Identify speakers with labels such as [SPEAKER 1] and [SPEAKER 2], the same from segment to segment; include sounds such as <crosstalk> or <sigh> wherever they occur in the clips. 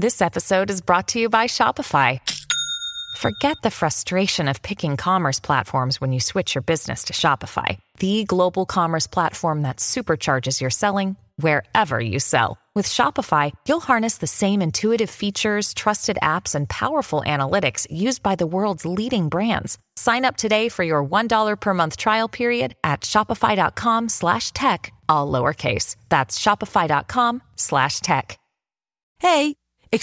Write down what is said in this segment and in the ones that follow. [SPEAKER 1] This episode is brought to you by Shopify. Forget the frustration of picking commerce platforms when you switch your business to Shopify, the global commerce platform that supercharges your selling wherever you sell. With Shopify, you'll harness the same intuitive features, trusted apps, and powerful analytics used by the world's leading brands. Sign up today for your $1 per month trial period at shopify.com slash tech, all lowercase. That's shopify.com slash tech.
[SPEAKER 2] Hey, ik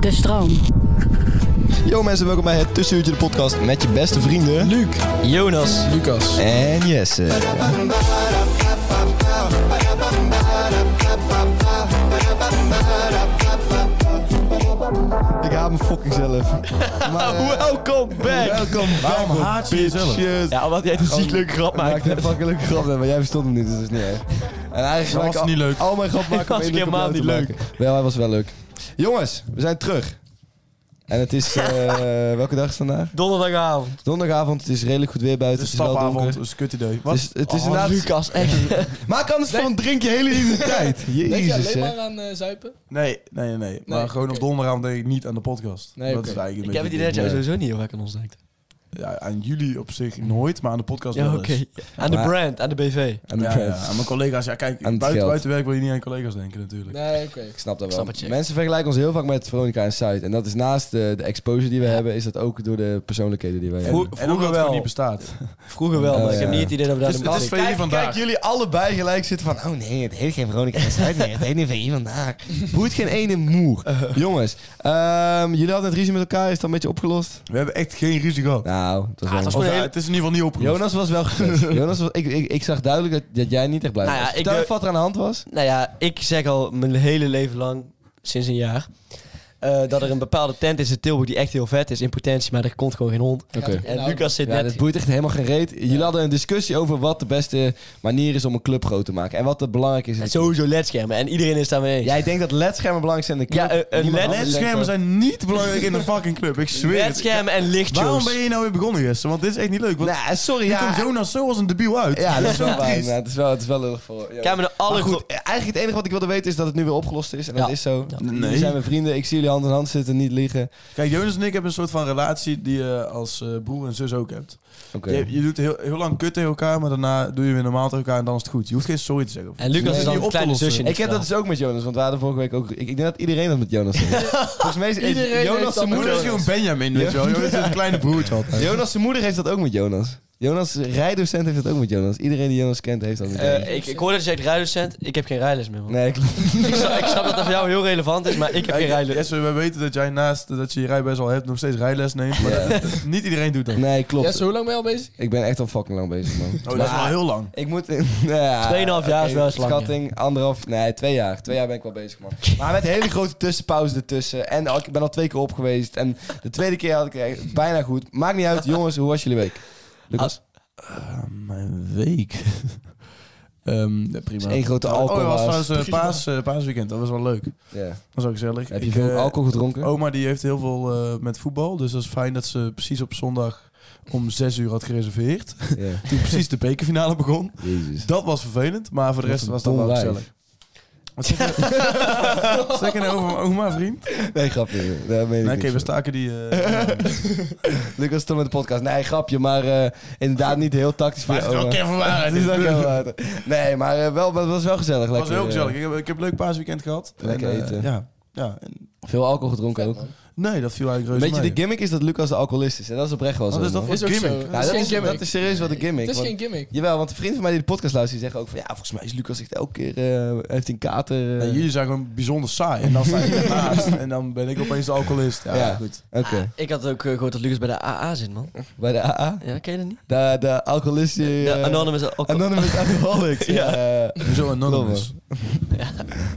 [SPEAKER 3] De stroom.
[SPEAKER 4] Yo mensen, welkom bij het Tussenuurtje de podcast met je beste vrienden... Luc, Jonas
[SPEAKER 5] Lucas.
[SPEAKER 4] en Jesse. Ik haat me fucking <laughs> zelf. Maar, eh,
[SPEAKER 5] Welkom back!
[SPEAKER 4] welkom
[SPEAKER 5] Waarom
[SPEAKER 4] back,
[SPEAKER 5] haat je jezelf?
[SPEAKER 4] bitches.
[SPEAKER 5] Ja, omdat jij een ziek leuke grap
[SPEAKER 4] Ik maakte een
[SPEAKER 5] maakt.
[SPEAKER 4] fucking leuke grap, maar jij verstond hem niet, dus dat is niet erg. En eigenlijk maak
[SPEAKER 5] was
[SPEAKER 4] ik al-
[SPEAKER 5] niet leuk.
[SPEAKER 4] Al mijn
[SPEAKER 5] <laughs>
[SPEAKER 4] grap maken
[SPEAKER 5] was helemaal niet leuk.
[SPEAKER 4] Wel, hij was wel leuk. Jongens, we zijn terug. En het is, eh,
[SPEAKER 5] <laughs>
[SPEAKER 4] welke dag is het vandaag?
[SPEAKER 5] Donderdagavond.
[SPEAKER 4] Donderdagavond, het is redelijk goed weer buiten.
[SPEAKER 5] Het is
[SPEAKER 4] wel donker.
[SPEAKER 5] stapavond, dus kut idee.
[SPEAKER 4] Het is, het is
[SPEAKER 5] Oh,
[SPEAKER 4] inderdaad...
[SPEAKER 5] Lucas, echt.
[SPEAKER 4] <laughs> Maak anders van drink je
[SPEAKER 5] <laughs>
[SPEAKER 4] hele identiteit.
[SPEAKER 6] Denk je
[SPEAKER 4] Jezus,
[SPEAKER 6] alleen
[SPEAKER 4] hè.
[SPEAKER 6] maar aan eh, zuipen?
[SPEAKER 5] Nee, nee, nee. nee. Maar
[SPEAKER 6] Nee,
[SPEAKER 5] gewoon op
[SPEAKER 6] oké.
[SPEAKER 5] donderdagavond denk ik niet aan de podcast.
[SPEAKER 6] Nee,
[SPEAKER 5] dat
[SPEAKER 6] oké.
[SPEAKER 5] is eigenlijk
[SPEAKER 7] Ik
[SPEAKER 5] een
[SPEAKER 7] heb het
[SPEAKER 5] beetje
[SPEAKER 7] idee dat jij
[SPEAKER 5] ding.
[SPEAKER 7] sowieso niet heel erg aan ons denkt.
[SPEAKER 5] Ja, aan jullie op zich nooit, maar aan de podcast
[SPEAKER 7] Ja,
[SPEAKER 5] wel
[SPEAKER 7] oké.
[SPEAKER 5] eens.
[SPEAKER 7] Aan de
[SPEAKER 4] Maar-
[SPEAKER 7] brand, aan de BV.
[SPEAKER 4] En
[SPEAKER 5] Ja, ja,
[SPEAKER 4] ik
[SPEAKER 5] aan mijn collega's. Ja, kijk,
[SPEAKER 4] het
[SPEAKER 5] buiten,
[SPEAKER 4] geld.
[SPEAKER 5] buiten werk wil je niet aan collega's denken natuurlijk.
[SPEAKER 6] Nee, oké.
[SPEAKER 4] snap dat wel.
[SPEAKER 7] snap het, Jack.
[SPEAKER 4] Mensen vergelijken ons heel vaak met Veronica en Zuid. En dat is naast de, de exposure die we hebben, is dat ook door de persoonlijkheden die wij
[SPEAKER 5] En,
[SPEAKER 4] hebben.
[SPEAKER 7] Vroeger
[SPEAKER 5] en omdat het gewoon
[SPEAKER 7] wel.
[SPEAKER 5] niet bestaat.
[SPEAKER 7] Vroeger wel, maar
[SPEAKER 4] Eh,
[SPEAKER 7] ik heb
[SPEAKER 4] ja.
[SPEAKER 7] niet het idee dat we daar
[SPEAKER 5] Het is-
[SPEAKER 7] de
[SPEAKER 5] het is
[SPEAKER 7] mannen-
[SPEAKER 5] van jullie vandaag.
[SPEAKER 4] jullie allebei gelijk zitten van... Oh nee, het heet geen Veronica en Zuid meer. Het heet nu VI vandaag. Boeit geen ene moer. Jongens, ehm, jullie hadden het ruzie met elkaar. Is dat een beetje opgelost?
[SPEAKER 5] <laughs> We hebben echt geen ruzie gehad.
[SPEAKER 4] Nou, dat was wel...
[SPEAKER 7] het was
[SPEAKER 5] Of,
[SPEAKER 7] gewoon
[SPEAKER 5] ja,
[SPEAKER 7] heel-
[SPEAKER 5] Ah, het is in ieder geval niet opgelost.
[SPEAKER 4] Jonas was wel gekwetst. Jonas was, ik, ik, ik zag duidelijk dat, dat jij niet echt blij was.
[SPEAKER 7] Nou ja, ik
[SPEAKER 4] Vertel
[SPEAKER 7] de-
[SPEAKER 4] even wat er aan de hand was.
[SPEAKER 7] Nou ja, ik zeg al mijn hele leven lang, sinds een jaar, eh, dat er een bepaalde tent is in Tilburg die echt heel vet is in potentie, maar er komt gewoon geen hond.
[SPEAKER 4] Oké.
[SPEAKER 7] En Lucas zit
[SPEAKER 4] Ja,
[SPEAKER 7] net...
[SPEAKER 4] dat boeit echt helemaal geen reet. Jullie hadden een discussie over wat de beste manier is om een club groot te maken. En wat het belangrijk is.
[SPEAKER 7] en sowieso ledschermen en iedereen is daarmee eens.
[SPEAKER 4] Jij denkt dat ledschermen belangrijk zijn in de club.
[SPEAKER 7] Ja, eh, een- een
[SPEAKER 4] Niemand
[SPEAKER 7] led-
[SPEAKER 4] anders denkt dat.
[SPEAKER 5] Ledschermen zijn niet belangrijk in een fucking club. Ik zweer het.
[SPEAKER 7] ledschermen en lichtjes.
[SPEAKER 5] Waarom ben je nou weer begonnen, Jesse? Want dit is echt niet leuk. Want
[SPEAKER 4] Nou, sorry.
[SPEAKER 5] hier
[SPEAKER 4] Ja,
[SPEAKER 5] komt Jonas zo als een debiel uit.
[SPEAKER 4] ja, dat is
[SPEAKER 7] <laughs>
[SPEAKER 5] <laughs>
[SPEAKER 4] wel waar.
[SPEAKER 5] triest.
[SPEAKER 4] maar Het is wel, het is wel lullig voor. Ja.
[SPEAKER 7] Kijk maar naar alle
[SPEAKER 4] Maar
[SPEAKER 7] goed.
[SPEAKER 4] goed, eigenlijk het enige wat ik wilde weten is dat het nu weer opgelost is. En dat
[SPEAKER 7] Ja.
[SPEAKER 4] is zo.
[SPEAKER 7] Ja.
[SPEAKER 4] Jullie
[SPEAKER 5] Nee.
[SPEAKER 4] zijn mijn vrienden. Ik zie jullie hand in hand zitten, niet liegen.
[SPEAKER 5] Kijk, Jonas en ik hebben een soort van relatie die je als eh, broer en zus ook hebt.
[SPEAKER 4] Oké.
[SPEAKER 5] Je, je doet heel, heel lang kut tegen elkaar, maar daarna doe je weer normaal tegen elkaar en dan is het goed. Je hoeft geen sorry te zeggen.
[SPEAKER 7] En Lucas
[SPEAKER 5] Nee,
[SPEAKER 7] is dan
[SPEAKER 5] niet
[SPEAKER 7] een
[SPEAKER 5] op te
[SPEAKER 7] kleine
[SPEAKER 5] lossen.
[SPEAKER 7] zusje. in
[SPEAKER 4] Ik
[SPEAKER 7] dit
[SPEAKER 4] heb dat
[SPEAKER 7] verhaal.
[SPEAKER 4] dus ook met Jonas, want we hadden vorige week ook... Ik, ik denk dat iedereen dat met Jonas
[SPEAKER 6] <laughs>
[SPEAKER 4] heeft. Volgens mij is
[SPEAKER 6] Iedereen
[SPEAKER 4] is Jonas
[SPEAKER 6] heeft
[SPEAKER 4] zijn
[SPEAKER 6] dat
[SPEAKER 4] moeder...
[SPEAKER 6] met
[SPEAKER 5] Jonas is gewoon Benjamin, weet je wel. Jonas is een kleine broertje altijd.
[SPEAKER 4] Jonas' zijn moeder heeft dat ook met Jonas. Jonas' rijdocent heeft dat ook met Jonas. Iedereen die Jonas kent heeft dat met Jonas.
[SPEAKER 7] Eh, ik, ik hoorde dat je zegt rijlescent. Ik heb geen rijles meer, man.
[SPEAKER 4] nee, klopt.
[SPEAKER 7] ik, snap, ik snap dat dat voor jou heel relevant is, maar ik heb geen
[SPEAKER 5] Kijk,
[SPEAKER 7] rijles.
[SPEAKER 5] Jesse, we weten dat jij naast dat je je rijbewijs al hebt, nog steeds rijles neemt. Maar dat- dat- niet iedereen doet dat.
[SPEAKER 4] Nee, klopt.
[SPEAKER 6] Jesse, hoe lang ben je al bezig?
[SPEAKER 4] Ik ben echt al fucking lang bezig,
[SPEAKER 6] <laughs>
[SPEAKER 4] man.
[SPEAKER 5] Oh, dat is wel heel lang.
[SPEAKER 4] Ik moet... <laughs> in- Ja,
[SPEAKER 7] 2,5 jaar is
[SPEAKER 4] oké,
[SPEAKER 7] wel eens lang,
[SPEAKER 4] Schatting, anderhalf... Nee, twee jaar. Twee jaar ben ik wel bezig, man. Maar met hele grote tussenpauzen ertussen. En al- ik ben al twee keer op geweest. En de tweede keer had ik echt bijna goed. Maakt niet uit. Jongens, hoe was jullie week?
[SPEAKER 5] Ah,
[SPEAKER 4] Lucas?
[SPEAKER 5] Mijn week. <laughs> Ehm, prima.
[SPEAKER 4] Dat is één grote alcohol-
[SPEAKER 5] Oh, dat was trouwens eh, paas, eh, paasweekend. Dat was wel leuk. Dat
[SPEAKER 4] Ja.
[SPEAKER 5] was ook gezellig.
[SPEAKER 4] Heb je
[SPEAKER 5] Ik,
[SPEAKER 4] veel
[SPEAKER 5] eh,
[SPEAKER 4] alcohol gedronken?
[SPEAKER 5] Oma die heeft heel veel eh, met voetbal. Dus dat is fijn dat ze precies op zondag om 6 uur had gereserveerd.
[SPEAKER 4] Ja.
[SPEAKER 5] <laughs> Toen precies de bekerfinale begon.
[SPEAKER 4] Jezus.
[SPEAKER 5] Dat was vervelend, maar voor de
[SPEAKER 4] Wat
[SPEAKER 5] rest
[SPEAKER 4] een
[SPEAKER 5] was dat wel
[SPEAKER 4] dom wijf.
[SPEAKER 5] gezellig. Wat zeg je
[SPEAKER 4] <laughs>
[SPEAKER 5] Wat zeg je nou over mijn oma, vriend? Nee,
[SPEAKER 4] Nee, grapje. Daar meen ik
[SPEAKER 5] Oké,
[SPEAKER 4] niks
[SPEAKER 5] we
[SPEAKER 4] van.
[SPEAKER 5] staken die...
[SPEAKER 4] <laughs>
[SPEAKER 5] eh,
[SPEAKER 4] Lucas stond met de podcast. Nee, grapje, maar eh, inderdaad niet heel tactisch. voor
[SPEAKER 5] maar het is
[SPEAKER 4] je
[SPEAKER 5] wel
[SPEAKER 4] oma.
[SPEAKER 5] kern van waarheid.
[SPEAKER 4] Oh, eh. Het is ook heel water. Nee, maar eh, wel, maar het was wel gezellig.
[SPEAKER 5] Het was
[SPEAKER 4] lekker, eh,
[SPEAKER 5] heel gezellig. Ik heb, ik heb een leuk paasweekend gehad.
[SPEAKER 4] Lekker
[SPEAKER 5] En, eh,
[SPEAKER 4] eten.
[SPEAKER 5] ja. Ja, en
[SPEAKER 4] Veel alcohol gedronken ook.
[SPEAKER 6] man.
[SPEAKER 5] Nee, dat viel eigenlijk
[SPEAKER 4] Weet
[SPEAKER 5] reuze
[SPEAKER 4] je,
[SPEAKER 5] mee.
[SPEAKER 4] de gimmick is dat Lucas de alcoholist is. En dat is oprecht wel zo.
[SPEAKER 5] Wat is dat
[SPEAKER 4] man.
[SPEAKER 5] voor
[SPEAKER 6] Is ook
[SPEAKER 5] gimmick?
[SPEAKER 6] zo.
[SPEAKER 5] Ja,
[SPEAKER 4] Ja, dat,
[SPEAKER 6] geen
[SPEAKER 4] is,
[SPEAKER 6] gimmick.
[SPEAKER 4] dat is serieus wat een gimmick.
[SPEAKER 6] Het is
[SPEAKER 4] want-
[SPEAKER 6] geen gimmick.
[SPEAKER 4] Jawel, want de vrienden van mij die de podcast luisteren, die zeggen ook van... Ja, volgens mij is Lucas echt elke keer... eh, heeft een kater... eh.
[SPEAKER 5] Nee, jullie zijn gewoon bijzonder saai. En dan sta
[SPEAKER 4] <laughs>
[SPEAKER 5] je ernaast. En dan ben ik opeens de alcoholist. Ja,
[SPEAKER 4] Ja.
[SPEAKER 5] goed.
[SPEAKER 4] Oké,
[SPEAKER 7] Ik had ook eh, gehoord dat Lucas bij de AA zit, man.
[SPEAKER 4] bij de AA.
[SPEAKER 7] Ja, ken je dat niet?
[SPEAKER 4] De, de alcoholist... eh,
[SPEAKER 7] Ja, Anonymous. Alco-
[SPEAKER 4] Anonymous
[SPEAKER 5] <laughs>
[SPEAKER 4] Alcoholics. ja. eh,
[SPEAKER 5] Zo anonymous.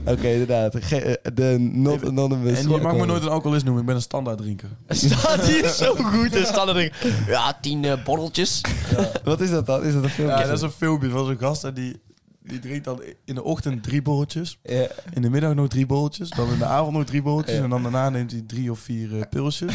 [SPEAKER 4] Oké, inderdaad. Ge- eh, de not anonymous.
[SPEAKER 5] En je mag me
[SPEAKER 4] alcoholic.
[SPEAKER 5] nooit een alcoholist noemen. Ik ben een standaard drinker.
[SPEAKER 7] <laughs> Staat hier
[SPEAKER 4] <laughs>
[SPEAKER 7] zo goed. Er staan er dingen. Ja, tien eh, borreltjes.
[SPEAKER 4] Wat is dat dan? Is dat een filmpje?
[SPEAKER 5] Ja, dat is een filmpje van zo'n gast. En die, die drinkt dan in de ochtend drie borreltjes.
[SPEAKER 4] Ja.
[SPEAKER 5] In de middag nog drie bolletjes, dan in de avond nog drie bolletjes
[SPEAKER 4] Ja.
[SPEAKER 5] en dan daarna neemt hij drie of vier eh,
[SPEAKER 4] <laughs>
[SPEAKER 5] pilsjes.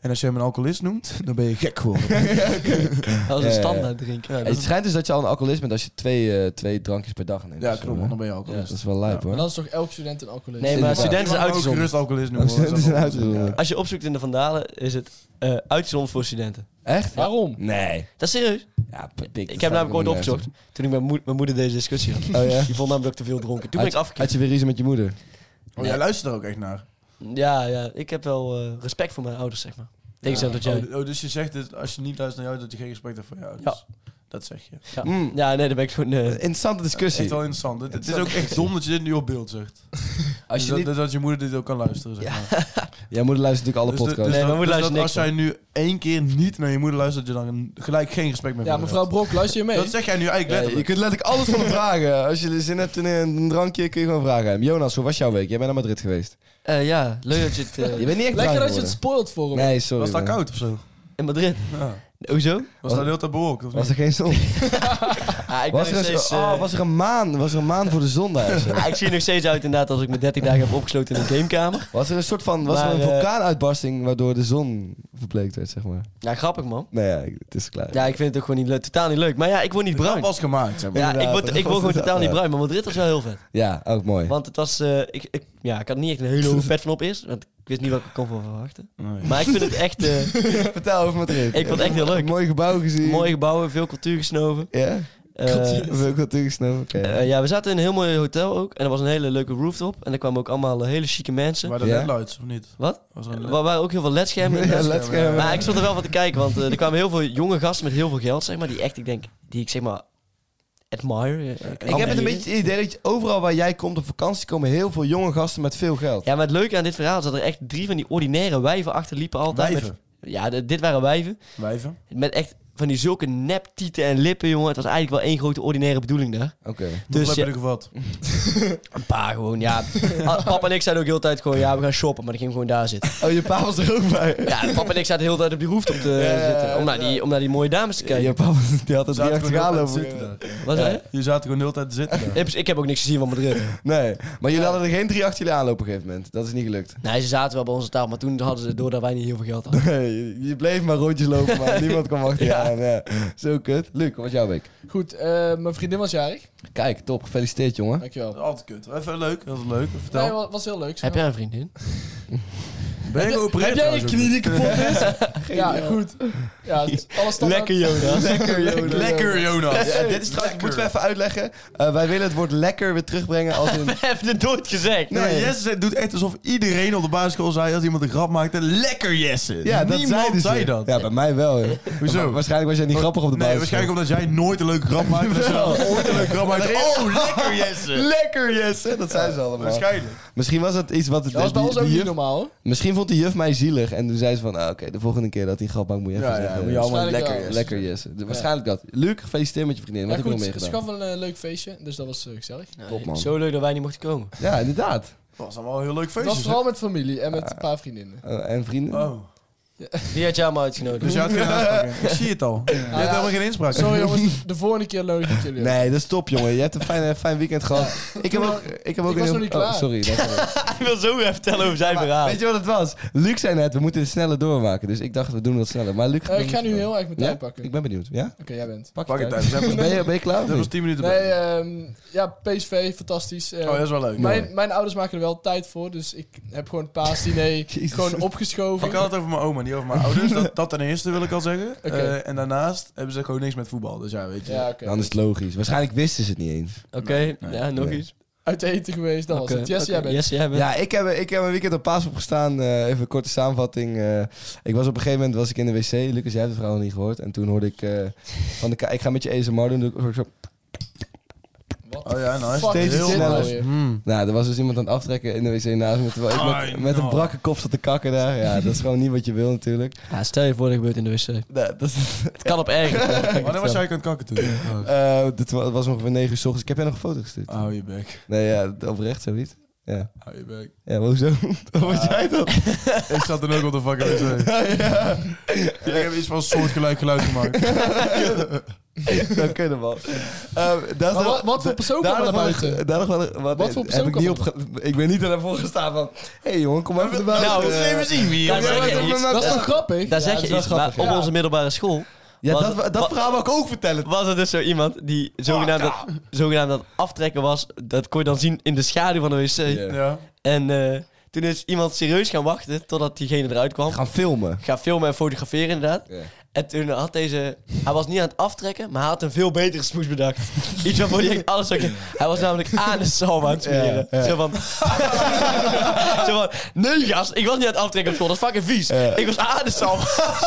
[SPEAKER 5] En als je hem een alcoholist noemt, dan ben je gek geworden.
[SPEAKER 7] Dat is
[SPEAKER 4] Ja,
[SPEAKER 7] een
[SPEAKER 4] ja.
[SPEAKER 7] standaard drinken.
[SPEAKER 5] Ja,
[SPEAKER 4] <laughs>
[SPEAKER 5] dat
[SPEAKER 4] Het
[SPEAKER 5] is-
[SPEAKER 4] schijnt dus dat je al een alcoholist bent als je twee, eh, twee drankjes per dag neemt.
[SPEAKER 5] ja
[SPEAKER 4] of zo,
[SPEAKER 5] klopt,
[SPEAKER 4] hè?
[SPEAKER 5] man, dan ben je
[SPEAKER 4] Ja, dat
[SPEAKER 5] alcoholist.
[SPEAKER 4] is wel lijp,
[SPEAKER 6] Maar
[SPEAKER 4] hoor.
[SPEAKER 6] dan is toch elk student een alcoholist?
[SPEAKER 7] Nee, maar
[SPEAKER 4] Ja.
[SPEAKER 7] studenten zijn
[SPEAKER 5] Je mag hem ook
[SPEAKER 7] uitgezonden.
[SPEAKER 4] <laughs>
[SPEAKER 5] gerust alcoholist noemen.
[SPEAKER 4] Oh,
[SPEAKER 5] hoor, dat is
[SPEAKER 4] studenten
[SPEAKER 5] allemaal
[SPEAKER 4] zijn
[SPEAKER 5] goed.
[SPEAKER 4] uitgezonden.
[SPEAKER 7] Als je opzoekt in de Vandalen is het eh uitzond voor studenten.
[SPEAKER 4] Echt?
[SPEAKER 6] Waarom?
[SPEAKER 4] Nee.
[SPEAKER 7] Dat is serieus.
[SPEAKER 4] Ja, pik, dat
[SPEAKER 7] Ik
[SPEAKER 4] staat
[SPEAKER 7] heb namelijk
[SPEAKER 4] helemaal
[SPEAKER 7] ooit
[SPEAKER 4] nergens
[SPEAKER 7] opgezocht. Toen ik met moe- mijn moeder deze discussie had.
[SPEAKER 4] Oh ja?
[SPEAKER 7] Die vond namelijk dat ik te veel dronken. Toen ben ik
[SPEAKER 4] Had
[SPEAKER 7] afgekeerd.
[SPEAKER 4] je weer ruzie met je moeder?
[SPEAKER 5] Oh, jij luistert er ook echt naar.
[SPEAKER 7] Ja, ja. Ik heb wel eh, respect voor mijn ouders, zeg maar. Tegenstelling dat jij...
[SPEAKER 5] Oh, oh, dus je zegt dat als je niet luistert naar jou, dat je geen respect hebt voor jou. dus Dat zeg je.
[SPEAKER 7] Ja.
[SPEAKER 4] Mm.
[SPEAKER 7] ja, nee, daar ben ik gewoon... eh,
[SPEAKER 4] Interessante
[SPEAKER 5] Echt
[SPEAKER 4] discussie.
[SPEAKER 5] wel interessant. Het, het is ook echt dom dat je dit nu op beeld zegt.
[SPEAKER 4] Als
[SPEAKER 5] Dus
[SPEAKER 4] je
[SPEAKER 5] dat,
[SPEAKER 4] niet...
[SPEAKER 5] dat, je moeder dit ook kan luisteren, zeg maar.
[SPEAKER 4] Jij moeder luistert natuurlijk alle
[SPEAKER 5] Dus de-
[SPEAKER 4] podcasts.
[SPEAKER 7] Nee,
[SPEAKER 5] dus
[SPEAKER 7] mijn
[SPEAKER 5] dat-
[SPEAKER 7] moeder
[SPEAKER 5] dus dat
[SPEAKER 7] luistert niks,
[SPEAKER 5] als jij nu één keer niet naar je moeder luistert, dat je dan gelijk geen respect meer voor
[SPEAKER 6] Ja,
[SPEAKER 5] haar
[SPEAKER 6] mevrouw
[SPEAKER 5] hebt.
[SPEAKER 6] Brok, luister je mee?
[SPEAKER 5] Dat zeg jij nu eigenlijk
[SPEAKER 4] Ja,
[SPEAKER 5] letterlijk.
[SPEAKER 4] je kunt letterlijk alles van hem vragen. Als je zin hebt in een drankje, kun je gewoon vragen aan hem. Jonas, hoe was jouw week? Jij bent naar Madrid geweest.
[SPEAKER 7] eh, ja, leuk dat je het... eh,
[SPEAKER 4] Je bent niet echt
[SPEAKER 6] Lekker
[SPEAKER 4] drank
[SPEAKER 6] dat je het
[SPEAKER 4] geworden.
[SPEAKER 6] spoilt voor hem.
[SPEAKER 4] Nee, sorry.
[SPEAKER 5] Was dat
[SPEAKER 4] man.
[SPEAKER 5] koud of zo?
[SPEAKER 7] in Madrid. Hoezo?
[SPEAKER 5] Was dat heel tijd bewolkt? Of
[SPEAKER 4] Was
[SPEAKER 5] niet?
[SPEAKER 4] er geen zon?
[SPEAKER 7] Ah, ik, ben
[SPEAKER 4] Was
[SPEAKER 7] nog
[SPEAKER 4] er, een,
[SPEAKER 7] steeds,
[SPEAKER 4] oh,
[SPEAKER 7] eh,
[SPEAKER 4] was er een maan? Was er een maan voor de zon daar? of zo?
[SPEAKER 7] <laughs> ah, <laughs> ik zie er nog steeds uit inderdaad als ik me 13 dagen heb opgesloten in een gamekamer.
[SPEAKER 4] Was er een soort van was
[SPEAKER 7] Maar,
[SPEAKER 4] er een
[SPEAKER 7] eh,
[SPEAKER 4] vulkaanuitbarsting waardoor de zon verbleekt werd, zeg maar?
[SPEAKER 7] Ja, grappig man.
[SPEAKER 4] Nou ja, ik- het is klaar.
[SPEAKER 7] Ja, ik vind het ook gewoon niet leuk. Totaal niet leuk. Maar ja, ik word niet
[SPEAKER 5] De grap
[SPEAKER 7] bruin.
[SPEAKER 5] was gemaakt, zeg maar.
[SPEAKER 7] Ja, ik word, ik word gewoon totaal niet
[SPEAKER 4] Ja.
[SPEAKER 7] bruin. Maar Madrid was wel heel vet.
[SPEAKER 4] Ja, ook mooi.
[SPEAKER 7] Want het was... eh, ik, ik, ja, ik had niet echt een hele hoge pet van op eerst. Want ik wist niet wat ik kon van verwachten.
[SPEAKER 5] Nee.
[SPEAKER 7] Maar ik vind het echt... eh,
[SPEAKER 4] <laughs> Vertel over Madrid.
[SPEAKER 7] ik vond het echt heel leuk.
[SPEAKER 4] Mooi gebouw gezien.
[SPEAKER 7] Mooie gebouwen, veel cultuur gesnoven.
[SPEAKER 4] Ja?
[SPEAKER 7] Eh,
[SPEAKER 4] Veel cultuur gesnoven. Oké.
[SPEAKER 7] eh, ja, we zaten in een heel mooi hotel ook. En er was een hele leuke rooftop. En er kwamen ook allemaal eh, hele chique mensen.
[SPEAKER 5] Waren dat
[SPEAKER 4] Ja?
[SPEAKER 5] ledlights of niet?
[SPEAKER 7] Wat?
[SPEAKER 5] Was er een
[SPEAKER 7] Er
[SPEAKER 5] led-
[SPEAKER 7] waren ook heel
[SPEAKER 4] <laughs>
[SPEAKER 7] veel ledschermen. in.
[SPEAKER 4] eh, Ja, let's go.
[SPEAKER 7] Maar ik stond er wel van te kijken, want eh, er kwamen heel veel jonge gasten met heel veel geld, zeg maar, die echt, ik denk, die ik zeg maar admire. eh,
[SPEAKER 4] Ik heb het een
[SPEAKER 7] admire.
[SPEAKER 4] beetje het idee dat je overal waar jij komt op vakantie komen heel veel jonge gasten met veel geld.
[SPEAKER 7] Ja, maar het leuke aan dit verhaal is dat er echt drie van die ordinaire wijven achterliepen altijd.
[SPEAKER 5] Wijven?
[SPEAKER 7] Met, ja, de- dit waren wijven.
[SPEAKER 5] Wijven?
[SPEAKER 7] Met echt van die zulke neptieten en lippen, jongen. Het was eigenlijk wel één grote ordinaire bedoeling daar.
[SPEAKER 4] Oké.
[SPEAKER 5] Dus
[SPEAKER 7] Dus
[SPEAKER 5] heb je
[SPEAKER 7] ja,
[SPEAKER 5] er gevat?
[SPEAKER 7] een paar gewoon, <laughs> ja. Ah, Papa en ik zeiden ook heel de tijd gewoon, ja, we gaan shoppen. Maar dan ging ik gewoon daar zitten.
[SPEAKER 4] Oh, je pa was er ook bij.
[SPEAKER 7] Ja, papa en ik zaten de hele tijd op die rooftop te
[SPEAKER 4] ja,
[SPEAKER 7] zitten. Om naar, die, om naar die mooie dames te kijken.
[SPEAKER 4] Je pa was, die had het niet
[SPEAKER 5] Zaten gewoon
[SPEAKER 4] achteraan
[SPEAKER 5] heel
[SPEAKER 4] over.
[SPEAKER 5] de tijd te zitten
[SPEAKER 7] Wat zei je?
[SPEAKER 5] daar. Je zaten gewoon de hele tijd te zitten daar.
[SPEAKER 7] Ik heb- Ik heb ook niks gezien van Madrid.
[SPEAKER 4] Nee, maar jullie hadden er geen drie achter jullie aanlopen op een gegeven moment. Dat is niet gelukt.
[SPEAKER 7] Nee, ze zaten wel bij onze tafel, maar toen hadden ze door dat wij niet heel veel geld
[SPEAKER 4] <laughs>
[SPEAKER 7] hadden.
[SPEAKER 4] Nee, je- je bleef maar rondjes lopen, <laughs> maar niemand kwam achter je aan. Ja. Zo kut. Luc, wat was jouw week?
[SPEAKER 6] Goed, eh, mijn vriendin was jarig.
[SPEAKER 4] Kijk, top. Gefeliciteerd, jongen.
[SPEAKER 6] Dankjewel.
[SPEAKER 5] Altijd kut. Even leuk, dat is leuk.
[SPEAKER 6] Nee,
[SPEAKER 5] Vertel.
[SPEAKER 6] wa- was heel leuk.
[SPEAKER 7] Heb jij een vriendin?
[SPEAKER 5] Ben je geopereerd
[SPEAKER 6] heb jij een
[SPEAKER 5] trouwens ook?
[SPEAKER 6] knie die kapot is? ja, goed.
[SPEAKER 5] <laughs>
[SPEAKER 6] Ja, het is alles standaard.
[SPEAKER 7] Jonas.
[SPEAKER 4] Lekker, jongen.
[SPEAKER 5] Lekker, Jonas.
[SPEAKER 4] Ja, dit is trouwens, moeten we even uitleggen. Eh, wij willen het woord lekker weer terugbrengen als in... <laughs>
[SPEAKER 7] We hebben het nooit gezegd.
[SPEAKER 5] Nee, maar Jesse zei- doet echt alsof iedereen op de basisschool zei als iemand een grap maakte, lekker Jesse.
[SPEAKER 4] Ja, dat
[SPEAKER 5] Niemand
[SPEAKER 4] zeiden ze. Oh,
[SPEAKER 5] zei dat.
[SPEAKER 4] Ja, bij mij wel. <laughs> joh.
[SPEAKER 5] Hoezo?
[SPEAKER 4] Wa- Waarschijnlijk was jij niet grappig op de
[SPEAKER 5] nee,
[SPEAKER 4] basisschool.
[SPEAKER 5] waarschijnlijk omdat jij nooit een leuke grap maakte. Dus
[SPEAKER 4] Jawel.
[SPEAKER 5] jij ooit een leuke grap maakte. Oh, lekker
[SPEAKER 6] <laughs>
[SPEAKER 5] Jesse.
[SPEAKER 4] Lekker, Jesse! Dat zijn ze allemaal.
[SPEAKER 5] Waarschijnlijk.
[SPEAKER 4] Misschien was het iets wat... Het,
[SPEAKER 6] Dat was bij
[SPEAKER 4] die-
[SPEAKER 6] ons
[SPEAKER 4] die
[SPEAKER 6] ook niet
[SPEAKER 4] juf-
[SPEAKER 6] normaal. hoor.
[SPEAKER 4] Misschien vond die juf mij zielig. En toen zei ze van... ah, Oké, de volgende keer dat die grap maakt moet je even
[SPEAKER 5] Ja, ja,
[SPEAKER 4] zeggen.
[SPEAKER 5] moet je allemaal
[SPEAKER 6] Waarschijnlijk
[SPEAKER 5] lekker Jesse.
[SPEAKER 6] wel.
[SPEAKER 4] Lekker, Jesse. De- Waarschijnlijk dat. Luc, gefeliciteerd met je vriendin. Wat
[SPEAKER 6] Ja,
[SPEAKER 4] heb je nog meer
[SPEAKER 6] goed, ze
[SPEAKER 4] gedaan?
[SPEAKER 6] gaf een eh, leuk feestje, dus dat was eh, gezellig.
[SPEAKER 4] Top, man.
[SPEAKER 7] Zo leuk dat wij niet mochten komen.
[SPEAKER 4] Ja, inderdaad.
[SPEAKER 5] Dat was allemaal een heel leuk
[SPEAKER 6] Het was
[SPEAKER 4] dus-
[SPEAKER 5] feestje.
[SPEAKER 6] vooral met familie en
[SPEAKER 4] Ah.
[SPEAKER 6] met een paar vriendinnen.
[SPEAKER 4] Eh, en vrienden?
[SPEAKER 5] zeg. Oh.
[SPEAKER 7] Wie had jou allemaal uitgenodigd?
[SPEAKER 5] Dus je had geen aanspraak in. Ik zie het al. Je hebt helemaal geen inspraak.
[SPEAKER 6] Sorry
[SPEAKER 4] <laughs>
[SPEAKER 6] jongens, de volgende keer nodig ik jullie. uit.
[SPEAKER 4] Nee, dat is top, jongen. Je hebt een fijn, fijn weekend gehad. Ik heb ook, ik heb ook
[SPEAKER 6] Ik was
[SPEAKER 4] een heel...
[SPEAKER 6] nog niet
[SPEAKER 4] Oh,
[SPEAKER 6] klaar.
[SPEAKER 4] sorry.
[SPEAKER 6] <laughs>
[SPEAKER 4] dat is-
[SPEAKER 7] Ik wil zo even vertellen over zijn
[SPEAKER 4] Maar weet je wat het was? Luc zei net, we moeten het sneller doormaken. Dus ik dacht, we doen het sneller. Maar Luc...
[SPEAKER 6] Eh, ik ga nu heel erg mijn
[SPEAKER 4] ja?
[SPEAKER 6] tijd pakken.
[SPEAKER 4] Ik
[SPEAKER 6] Oké,
[SPEAKER 4] ben benieuwd. Ja?
[SPEAKER 6] jij bent.
[SPEAKER 5] <laughs> Pak je tijd. We zijn-
[SPEAKER 4] Ben je, ben je klaar? of
[SPEAKER 5] We hebben nog
[SPEAKER 4] niet?
[SPEAKER 5] 10 minuten.
[SPEAKER 6] Nee,
[SPEAKER 5] bij.
[SPEAKER 6] ehm, ja, PSV, fantastisch. Eh,
[SPEAKER 5] oh, dat is wel leuk.
[SPEAKER 6] mijn, mijn ouders maken er wel tijd voor, dus ik heb gewoon paasdiner
[SPEAKER 4] <laughs> Jezus.
[SPEAKER 6] gewoon opgeschoven.
[SPEAKER 5] Ik had het over mijn oma, niet over mijn ouders. Dat, dat ten eerste wil ik al zeggen. Eh, en daarnaast hebben ze gewoon niks met voetbal. Dus ja, weet je.
[SPEAKER 6] Ja, oké.
[SPEAKER 4] Dan is het logisch. Waarschijnlijk wisten ze het niet eens.
[SPEAKER 7] Oké, ja, nog iets.
[SPEAKER 6] uit eten geweest. Dat was
[SPEAKER 7] Oké,
[SPEAKER 6] het. Yes,
[SPEAKER 7] oké.
[SPEAKER 6] jij bent.
[SPEAKER 7] Yes, jij bent.
[SPEAKER 4] Ja, ik heb, ik heb een weekend op Paas opgestaan. eh even een korte samenvatting. eh. ik was op een gegeven moment was ik in de wc. Lucas, jij hebt het verhaal nog niet gehoord. En toen hoorde ik eh, van de ka- ik ga met je ASMR doen. Toen hoorde ik zo-
[SPEAKER 5] Oh ja, nou
[SPEAKER 6] Fuck,
[SPEAKER 4] steeds
[SPEAKER 6] is dit
[SPEAKER 4] sneller.
[SPEAKER 6] nou weer?
[SPEAKER 4] Nou, er was dus iemand aan het aftrekken in de wc naast me. Terwijl ik met,
[SPEAKER 5] Ah,
[SPEAKER 4] met een
[SPEAKER 5] nou.
[SPEAKER 4] brakke kop zat te kakken daar. Ja, dat is gewoon niet wat je wil natuurlijk.
[SPEAKER 7] Ja, stel je voor dat gebeurt in de wc.
[SPEAKER 4] Nou, dat is-
[SPEAKER 7] Het kan op erg.
[SPEAKER 5] Wanneer was jij aan het kakken toen? Oh,
[SPEAKER 4] eh, dit wa- was ongeveer 9 uur s ochtends. Ik heb jij nog een foto gestuurd?
[SPEAKER 5] Hou je bek.
[SPEAKER 4] Nee, ja, oprecht zoiets. Ja,
[SPEAKER 5] Hou je bek.
[SPEAKER 4] ja maar hoezo? <laughs> Wat was jij dan?
[SPEAKER 5] Ik zat dan ook op de fucking wc.
[SPEAKER 4] ja,
[SPEAKER 5] Jullie hebben iets van een soortgelijk geluid gemaakt.
[SPEAKER 4] <laughs> dat kunnen wel. Ehm, dat is
[SPEAKER 6] Maar
[SPEAKER 4] wel-
[SPEAKER 6] wat, wat voor persoon kwam
[SPEAKER 4] Daar
[SPEAKER 6] er naar
[SPEAKER 4] nog wel een-
[SPEAKER 6] buiten?
[SPEAKER 4] daar nog wel een- wat,
[SPEAKER 6] Wat voor
[SPEAKER 4] heb
[SPEAKER 6] persoon
[SPEAKER 4] ik,
[SPEAKER 6] kwam
[SPEAKER 4] niet
[SPEAKER 6] er
[SPEAKER 4] opge- ik ben niet ervoor gestaan van... Hé hey jongen, kom maar even naar buiten.
[SPEAKER 7] nou,
[SPEAKER 4] Eh,
[SPEAKER 5] zien wie
[SPEAKER 7] Daar
[SPEAKER 4] kom jij
[SPEAKER 7] zeg
[SPEAKER 4] maar
[SPEAKER 7] je
[SPEAKER 4] even
[SPEAKER 7] iets.
[SPEAKER 4] naar-
[SPEAKER 6] Dat is toch grappig?
[SPEAKER 7] Daar
[SPEAKER 4] Ja,
[SPEAKER 7] zeg
[SPEAKER 4] dat is
[SPEAKER 7] je
[SPEAKER 4] wel
[SPEAKER 7] iets,
[SPEAKER 4] grappig,
[SPEAKER 7] maar
[SPEAKER 4] ja.
[SPEAKER 7] op onze middelbare school
[SPEAKER 4] Ja,
[SPEAKER 7] Wat-
[SPEAKER 4] dat, dat
[SPEAKER 7] wat-
[SPEAKER 4] verhaal wil ik ook vertellen.
[SPEAKER 7] was er dus zo iemand die zogenaamd dat, zogenaamd dat aftrekken was. Dat kon je dan zien in de schaduw van de wc.
[SPEAKER 5] Ja.
[SPEAKER 7] En eh, toen is iemand serieus gaan wachten totdat diegene eruit kwam.
[SPEAKER 4] Gaan filmen.
[SPEAKER 7] Ga filmen en fotograferen inderdaad.
[SPEAKER 4] Ja.
[SPEAKER 7] En toen had deze... Hij was niet aan het aftrekken, maar hij had een veel betere smoes
[SPEAKER 4] <laughs>
[SPEAKER 7] bedacht. Iets waarvoor hij echt alles zou kunnen. Hij was namelijk aan de salm aan het smeren.
[SPEAKER 4] Ja, ja.
[SPEAKER 7] Zo, van, <laughs> zo van... Nee, gast, ik was niet aan het aftrekken op school. Dat is fucking vies.
[SPEAKER 4] Ja.
[SPEAKER 7] Ik was aan de salm.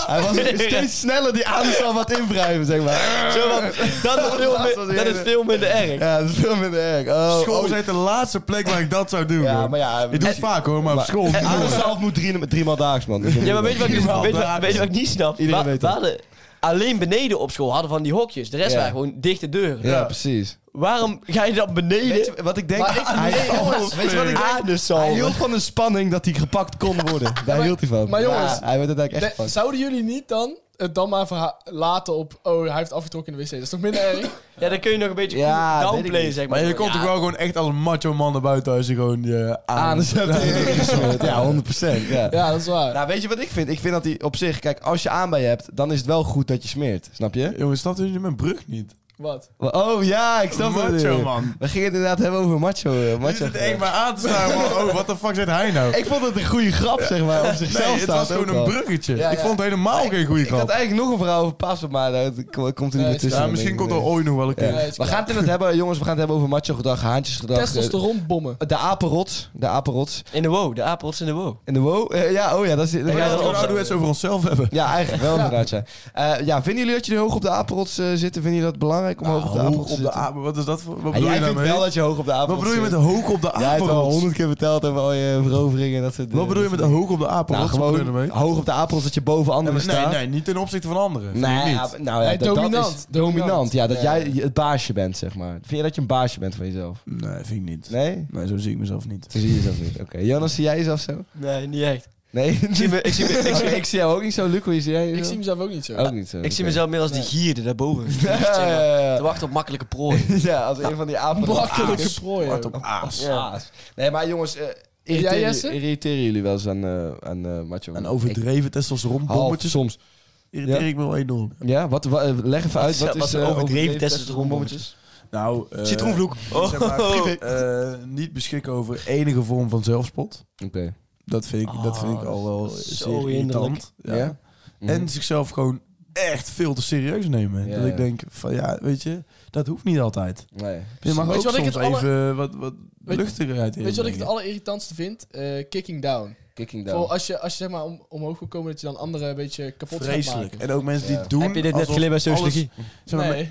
[SPEAKER 4] Hij <laughs> was steeds sneller die aandacht aan wat invrijven, zeg maar.
[SPEAKER 7] Zo van, dat is veel,
[SPEAKER 4] was
[SPEAKER 7] min-
[SPEAKER 4] die
[SPEAKER 7] dat is
[SPEAKER 4] hele-
[SPEAKER 7] veel minder erg.
[SPEAKER 4] Ja, dat is veel minder erg. Oh,
[SPEAKER 5] School
[SPEAKER 4] oh.
[SPEAKER 5] is echt de laatste plek waar ik dat zou doen.
[SPEAKER 4] Ja,
[SPEAKER 5] hoor.
[SPEAKER 4] maar ja...
[SPEAKER 5] Ik doe het vaak hoor, maar op
[SPEAKER 4] <laughs>
[SPEAKER 5] school.
[SPEAKER 4] En aan zelf moet drie, driemaal daags, man. Dus dat
[SPEAKER 7] Ja, maar
[SPEAKER 4] moet
[SPEAKER 7] weet je wat ik,
[SPEAKER 5] Minimaal
[SPEAKER 7] weet je wat,
[SPEAKER 5] dagen.
[SPEAKER 7] weet je wat ik niet snap?
[SPEAKER 4] Iedereen
[SPEAKER 7] Wa-
[SPEAKER 4] weet
[SPEAKER 7] we
[SPEAKER 4] dat.
[SPEAKER 7] hadden alleen beneden op school hadden van die hokjes. De rest
[SPEAKER 4] Ja.
[SPEAKER 7] waren gewoon dichte deuren.
[SPEAKER 4] wel. Ja, precies.
[SPEAKER 7] Waarom ga je dan beneden?
[SPEAKER 4] Weet je wat ik denk?
[SPEAKER 6] Maar ik-
[SPEAKER 4] Hij- Oh,
[SPEAKER 6] nee, jongens,
[SPEAKER 4] weet je wat ik
[SPEAKER 7] aan
[SPEAKER 4] denk?
[SPEAKER 7] de
[SPEAKER 4] Hij
[SPEAKER 7] zalm.
[SPEAKER 4] hield van de spanning dat hij gepakt kon worden. Daar hield hij van.
[SPEAKER 6] maar jongens,
[SPEAKER 4] Ja, hij werd uiteindelijk echt
[SPEAKER 6] De-
[SPEAKER 4] gepakt.
[SPEAKER 6] zouden jullie niet dan het dan maar verha- laten op... Oh, hij heeft afgetrokken in de wc. Dat is toch minder erg?
[SPEAKER 7] Ja, dan kun je nog een beetje
[SPEAKER 4] Ja, weet ik
[SPEAKER 7] downplayen,
[SPEAKER 4] niet.
[SPEAKER 7] zeg maar.
[SPEAKER 5] Maar je komt toch wel gewoon echt als een macho man naar buiten als je gewoon je aan...
[SPEAKER 4] Anus hebt hij gesmeerd. Ja, 100%. Ja.
[SPEAKER 6] Ja, dat is waar.
[SPEAKER 4] Nou, weet je wat ik vind? Ik vind dat hij op zich, kijk, als je aan bij je hebt, dan is het wel goed dat je smeert. Snap je?
[SPEAKER 5] Jongens, snapt jullie mijn brug niet?
[SPEAKER 6] Wat?
[SPEAKER 4] Oh ja, ik snap het.
[SPEAKER 5] Macho
[SPEAKER 4] weer.
[SPEAKER 5] man.
[SPEAKER 4] We gingen het inderdaad hebben over macho. eh,
[SPEAKER 5] Je
[SPEAKER 4] macho
[SPEAKER 5] zit echt maar aan te staan man. Oh, wat de fuck zit hij nou?
[SPEAKER 4] Ik vond het een goede grap, zeg maar. Op zichzelf
[SPEAKER 5] Nee, het
[SPEAKER 4] staat
[SPEAKER 5] was gewoon
[SPEAKER 4] ook
[SPEAKER 5] een
[SPEAKER 4] al.
[SPEAKER 5] bruggetje.
[SPEAKER 4] Ja,
[SPEAKER 5] Ik
[SPEAKER 4] ja.
[SPEAKER 5] vond het helemaal geen goede
[SPEAKER 4] Ik had
[SPEAKER 5] grap.
[SPEAKER 4] eigenlijk nog een verhaal over Pasen, maar dat ko- komt er niet
[SPEAKER 6] Nee,
[SPEAKER 4] meer tussen.
[SPEAKER 5] Ja, misschien komt er
[SPEAKER 4] Nee.
[SPEAKER 5] ooit nog wel een keer.
[SPEAKER 6] Nee, het is
[SPEAKER 4] We
[SPEAKER 6] klaar.
[SPEAKER 4] gaan het inderdaad hebben, jongens, we gaan het hebben over macho gedrag, haantjesgedrag. eh,
[SPEAKER 6] Testosteronbommen.
[SPEAKER 4] De apenrots. De apenrots.
[SPEAKER 7] In de wow, de apels in de wow.
[SPEAKER 4] En de wow. eh, ja, oh ja, dat is...
[SPEAKER 5] We gaan
[SPEAKER 7] Ja,
[SPEAKER 5] het
[SPEAKER 7] dat
[SPEAKER 5] gewoon
[SPEAKER 7] was-
[SPEAKER 5] ouderwets over onszelf hebben.
[SPEAKER 4] Ja, eigenlijk
[SPEAKER 5] <laughs>
[SPEAKER 4] wel inderdaad. Ja. Eh, ja, vinden jullie dat jullie hoog op de apenrots eh, zitten? Vinden jullie dat belangrijk om hoog op de
[SPEAKER 5] hoog
[SPEAKER 4] apenrots te
[SPEAKER 5] op de
[SPEAKER 4] zitten?
[SPEAKER 5] apen. Wat is dat voor... Wat
[SPEAKER 4] Ah,
[SPEAKER 5] bedoel
[SPEAKER 4] jij
[SPEAKER 5] je
[SPEAKER 4] vindt
[SPEAKER 5] daarmee?
[SPEAKER 4] wel dat je hoog op de apenrots
[SPEAKER 5] Wat bedoel je met
[SPEAKER 4] zit?
[SPEAKER 5] hoog op de
[SPEAKER 4] Jij hebt al
[SPEAKER 5] apenrots?
[SPEAKER 4] honderd keer verteld over al je veroveringen en dat soort
[SPEAKER 5] Wat
[SPEAKER 4] dingen.
[SPEAKER 5] bedoel je met hoog op de
[SPEAKER 4] Nou,
[SPEAKER 5] apenrots? Wat bedoel je
[SPEAKER 4] gewoon
[SPEAKER 5] daarmee?
[SPEAKER 4] hoog op de apenrots dat je boven anderen
[SPEAKER 5] Nee,
[SPEAKER 4] staat.
[SPEAKER 5] nee, niet ten opzichte van anderen. Vind ik
[SPEAKER 4] Nee,
[SPEAKER 5] niet.
[SPEAKER 4] ja, nou ja,
[SPEAKER 6] Nee,
[SPEAKER 4] dat, dat
[SPEAKER 6] dominant.
[SPEAKER 4] is dominant. Ja, dat
[SPEAKER 6] Ja.
[SPEAKER 4] jij het baasje bent, zeg maar. Vind je dat je een baasje bent van jezelf?
[SPEAKER 5] Nee, vind ik niet.
[SPEAKER 4] Nee?
[SPEAKER 5] Nee, zo zie ik mezelf niet.
[SPEAKER 4] Zo zie je jezelf niet. Oké, Jonas, zie jij jezelf zo?
[SPEAKER 7] Nee, niet echt.
[SPEAKER 4] Nee?
[SPEAKER 7] Ik zie, me, ik zie, me- ik
[SPEAKER 4] Oké,
[SPEAKER 7] zie,
[SPEAKER 4] <laughs> ik zie jou ook niet zo. Luc, hoe zie jij
[SPEAKER 6] Ik
[SPEAKER 4] jezelf?
[SPEAKER 6] zie mezelf ook niet zo.
[SPEAKER 4] ook niet zo.
[SPEAKER 7] ik zie
[SPEAKER 4] oké. Eh,
[SPEAKER 7] mezelf meer als die gierde daarboven.
[SPEAKER 4] Ja,
[SPEAKER 7] Te
[SPEAKER 4] ja, ja.
[SPEAKER 7] wachten op makkelijke
[SPEAKER 4] <laughs>
[SPEAKER 7] prooi.
[SPEAKER 4] Ja, als een van die apen.
[SPEAKER 6] Makkelijke prooi. joh.
[SPEAKER 5] aas.
[SPEAKER 4] Ja. Nee, maar jongens, eh
[SPEAKER 6] Jij,
[SPEAKER 4] irriteren,
[SPEAKER 6] Jesse?
[SPEAKER 4] irriteren jullie wel eens aan, eh, aan eh macho?
[SPEAKER 5] En overdreven
[SPEAKER 4] half
[SPEAKER 5] testosteronbommetjes
[SPEAKER 4] soms.
[SPEAKER 5] irriteer
[SPEAKER 4] Ja.
[SPEAKER 5] ik me wel enorm.
[SPEAKER 4] Ja, wat, wa- eh, leg even
[SPEAKER 5] <laughs>
[SPEAKER 4] uit. Wat, is, eh, testosteronbommetjes?
[SPEAKER 7] overdreven testosteronbommetjes?
[SPEAKER 5] Nou, eh,
[SPEAKER 7] Citroenvloek.
[SPEAKER 4] <laughs>
[SPEAKER 7] Oh.
[SPEAKER 5] zeg maar, eh, niet beschikken over enige vorm van zelfspot.
[SPEAKER 4] Oké.
[SPEAKER 5] Dat vind ik, dat vind ik
[SPEAKER 7] Oh,
[SPEAKER 5] al wel
[SPEAKER 7] dat is
[SPEAKER 5] zeer
[SPEAKER 7] zo hinderlijk.
[SPEAKER 5] irritant. Ja.
[SPEAKER 4] Ja? Mhm.
[SPEAKER 5] En zichzelf gewoon echt veel te serieus nemen.
[SPEAKER 4] Ja,
[SPEAKER 5] dat
[SPEAKER 4] ja.
[SPEAKER 5] ik denk van ja, weet je, dat hoeft niet altijd.
[SPEAKER 4] Nee.
[SPEAKER 5] Je mag
[SPEAKER 6] Weet
[SPEAKER 5] ook
[SPEAKER 6] je wat ik
[SPEAKER 5] soms
[SPEAKER 6] het alle-
[SPEAKER 5] even wat, wat
[SPEAKER 6] Weet-
[SPEAKER 5] luchtigheid in.
[SPEAKER 6] Weet je wat ik het
[SPEAKER 5] brengen.
[SPEAKER 6] allerirritantste vind? Eh, kicking down.
[SPEAKER 4] Kicking
[SPEAKER 6] Voor
[SPEAKER 4] down.
[SPEAKER 6] als je, als je zeg maar om, omhoog wil komen, dat je dan anderen een beetje kapot
[SPEAKER 5] Vreselijk.
[SPEAKER 6] gaat maken.
[SPEAKER 5] En ook mensen die
[SPEAKER 4] Ja.
[SPEAKER 5] doen...
[SPEAKER 7] Heb je dit net
[SPEAKER 5] alsof
[SPEAKER 7] geleerd bij
[SPEAKER 5] alles-
[SPEAKER 7] sociologie?
[SPEAKER 5] zeg maar,
[SPEAKER 6] Nee.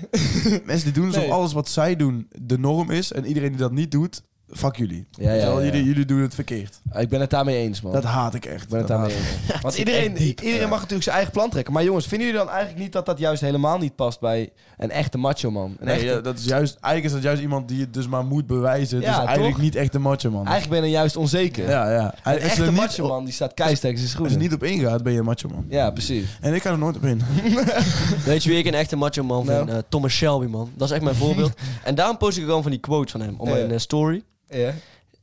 [SPEAKER 6] <laughs>
[SPEAKER 5] Mensen die doen alsof
[SPEAKER 6] Nee.
[SPEAKER 5] alles wat zij doen de norm is. En iedereen die dat niet doet, fuck jullie.
[SPEAKER 4] Ja, ja,
[SPEAKER 5] Terwijl
[SPEAKER 4] ja.
[SPEAKER 5] Jullie, jullie doen het verkeerd.
[SPEAKER 4] Ah, Ik ben het daarmee eens, man.
[SPEAKER 5] Dat haat ik echt.
[SPEAKER 4] Ik ben het
[SPEAKER 5] Dat
[SPEAKER 4] daarmee
[SPEAKER 5] haat ik.
[SPEAKER 4] eens. Want
[SPEAKER 5] <laughs>
[SPEAKER 7] zit
[SPEAKER 4] iedereen,
[SPEAKER 7] echt diep.
[SPEAKER 4] iedereen
[SPEAKER 7] Ja.
[SPEAKER 4] mag natuurlijk zijn eigen plan trekken. Maar jongens, vinden jullie dan eigenlijk niet dat dat juist helemaal niet past bij een echte macho man? Een
[SPEAKER 5] Nee,
[SPEAKER 4] echte-
[SPEAKER 5] ja, dat is juist, eigenlijk is dat juist iemand die het dus maar moet bewijzen.
[SPEAKER 4] Ja,
[SPEAKER 5] dus eigenlijk
[SPEAKER 4] toch?
[SPEAKER 5] niet echt een macho man.
[SPEAKER 4] Eigenlijk ben je dan juist onzeker.
[SPEAKER 5] ja,
[SPEAKER 4] Een
[SPEAKER 5] ja. Als je
[SPEAKER 4] echte
[SPEAKER 5] er niet-
[SPEAKER 4] macho man die staat keistek zijn
[SPEAKER 5] Als je
[SPEAKER 4] schoenen.
[SPEAKER 5] er niet op ingaat, ben je een macho man.
[SPEAKER 4] Ja, precies.
[SPEAKER 5] En ik ga er nooit op
[SPEAKER 4] <laughs>
[SPEAKER 5] in.
[SPEAKER 7] Weet je wie ik een echte macho man vind?
[SPEAKER 4] Nou.
[SPEAKER 7] Eh, Thomas Shelby, man. Dat is echt
[SPEAKER 4] <laughs>
[SPEAKER 7] mijn voorbeeld. En daarom post ik gewoon van die quotes van hem. Om
[SPEAKER 4] Ja.
[SPEAKER 7] mijn eh, story.
[SPEAKER 4] Ja.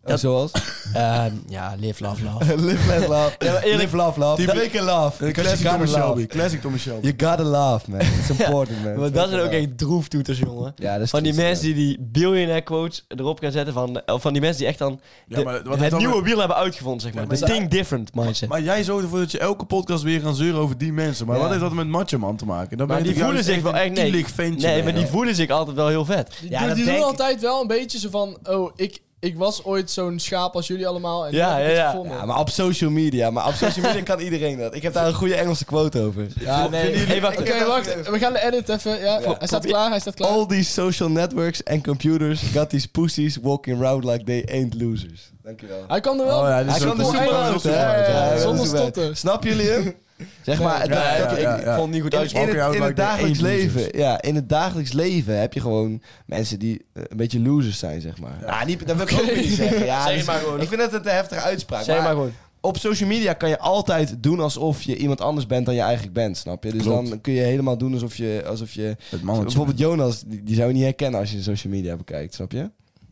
[SPEAKER 4] Oh,
[SPEAKER 7] Dat-
[SPEAKER 4] zoals?
[SPEAKER 7] Ehm, ja, live, love, love.
[SPEAKER 4] <laughs> Live, let, love.
[SPEAKER 7] Ja, maar eerlijk-
[SPEAKER 4] Live, love, love.
[SPEAKER 5] Die-
[SPEAKER 4] Fake and love. Because
[SPEAKER 5] Classic
[SPEAKER 4] you gotta
[SPEAKER 5] Thomas Shelby.
[SPEAKER 4] love.
[SPEAKER 5] Classic Thomas Shelby.
[SPEAKER 4] You gotta love, man. It's important, man.
[SPEAKER 7] Want dat zijn ook
[SPEAKER 4] Fake and
[SPEAKER 7] echt droeftoeters, jongen.
[SPEAKER 4] love. Ja, dat is
[SPEAKER 7] Van die
[SPEAKER 4] triest,
[SPEAKER 7] mensen die die billionaire quotes erop gaan zetten. Van, eh, of van die mensen die echt dan
[SPEAKER 5] Ja,
[SPEAKER 7] de-
[SPEAKER 5] maar wat heeft
[SPEAKER 7] het
[SPEAKER 5] dat
[SPEAKER 7] nieuwe
[SPEAKER 5] met-
[SPEAKER 7] wiel hebben uitgevonden, zeg maar.
[SPEAKER 5] Ja,
[SPEAKER 7] De
[SPEAKER 5] maar
[SPEAKER 7] thing
[SPEAKER 5] dat-
[SPEAKER 7] different mindset.
[SPEAKER 5] Maar jij zorgt ervoor dat je elke podcast weer gaat zeuren over die mensen. Maar
[SPEAKER 4] Ja.
[SPEAKER 5] wat heeft dat met macho man te maken? Dan
[SPEAKER 7] Maar
[SPEAKER 5] ben je
[SPEAKER 7] die
[SPEAKER 5] toch
[SPEAKER 7] voelen
[SPEAKER 5] juist
[SPEAKER 7] zich wel echt...
[SPEAKER 5] een
[SPEAKER 7] Nee,
[SPEAKER 5] ielig ventje.
[SPEAKER 7] nee
[SPEAKER 5] ben
[SPEAKER 7] maar
[SPEAKER 5] je.
[SPEAKER 7] die voelen zich altijd wel heel vet.
[SPEAKER 6] Die,
[SPEAKER 4] Ja,
[SPEAKER 6] doen-
[SPEAKER 4] dat
[SPEAKER 6] die doen
[SPEAKER 4] denk ik.
[SPEAKER 6] altijd wel een beetje zo van... Oh, ik, ik was ooit zo'n schaap als jullie allemaal. En
[SPEAKER 7] Ja,
[SPEAKER 6] ja, ja,
[SPEAKER 7] ja, ja.
[SPEAKER 4] Ja, maar op social media. Maar op social media kan iedereen dat. Ik heb daar een goede Engelse quote over.
[SPEAKER 6] Ja, nee.
[SPEAKER 7] Vinden jullie-
[SPEAKER 6] Hey, wacht,
[SPEAKER 7] Ik
[SPEAKER 6] Oké,
[SPEAKER 7] heb-
[SPEAKER 6] wacht. We gaan de edit even. Ja, Hij staat klaar, hij staat klaar.
[SPEAKER 4] All these social networks and computers got these pussies walking around like they ain't losers. Dankjewel.
[SPEAKER 6] Hij kan er wel.
[SPEAKER 5] Oh ja, dit is
[SPEAKER 4] Hij
[SPEAKER 5] ook
[SPEAKER 4] kwam er
[SPEAKER 5] een-
[SPEAKER 6] super
[SPEAKER 4] super
[SPEAKER 6] uit,
[SPEAKER 4] uit,
[SPEAKER 6] hè?
[SPEAKER 4] hè?
[SPEAKER 6] Ja, ja,
[SPEAKER 4] hij
[SPEAKER 6] zonder
[SPEAKER 4] kwam er super
[SPEAKER 6] stotten.
[SPEAKER 4] uit. Snap jullie hem? Zeg maar, het-
[SPEAKER 5] ja,
[SPEAKER 4] dat-
[SPEAKER 5] ja,
[SPEAKER 4] ik-
[SPEAKER 5] ja,
[SPEAKER 4] ik-
[SPEAKER 5] ja.
[SPEAKER 7] vond het niet goed
[SPEAKER 4] In, in
[SPEAKER 7] uitspraken.
[SPEAKER 4] het, in het dagelijks
[SPEAKER 5] één losers.
[SPEAKER 4] leven, ja, in het dagelijks leven heb je gewoon mensen die eh, een beetje losers zijn, zeg maar. Ja, niet, dat wil ik ook niet zeggen. <laughs> Ja,
[SPEAKER 7] Zeg
[SPEAKER 4] dus
[SPEAKER 7] maar gewoon.
[SPEAKER 4] Ik vind dat het een heftige uitspraak.
[SPEAKER 7] Zeg
[SPEAKER 4] maar
[SPEAKER 7] maar gewoon.
[SPEAKER 4] op social media kan je altijd doen alsof je iemand anders bent dan je eigenlijk bent, snap je? Dus
[SPEAKER 5] Klopt.
[SPEAKER 4] dan kun je helemaal doen alsof je, alsof je
[SPEAKER 5] Het mannetje.
[SPEAKER 4] bijvoorbeeld Jonas, die, die zou je niet herkennen als je social media bekijkt, snap je?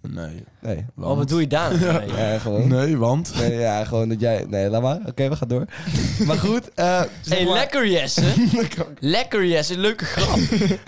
[SPEAKER 5] Nee.
[SPEAKER 4] Nee.
[SPEAKER 7] Oh, wat doe je
[SPEAKER 5] <laughs>
[SPEAKER 7] daar? nou mee?
[SPEAKER 4] Ja, gewoon.
[SPEAKER 5] Nee, want...
[SPEAKER 4] Nee, ja, gewoon dat jij... Nee, laat maar. Oké, we gaan door. Maar goed, eh, zeg
[SPEAKER 7] Hey,
[SPEAKER 4] maar-
[SPEAKER 7] lekker
[SPEAKER 5] <laughs>
[SPEAKER 7] Jesse. lekker Jesse, leuke grap.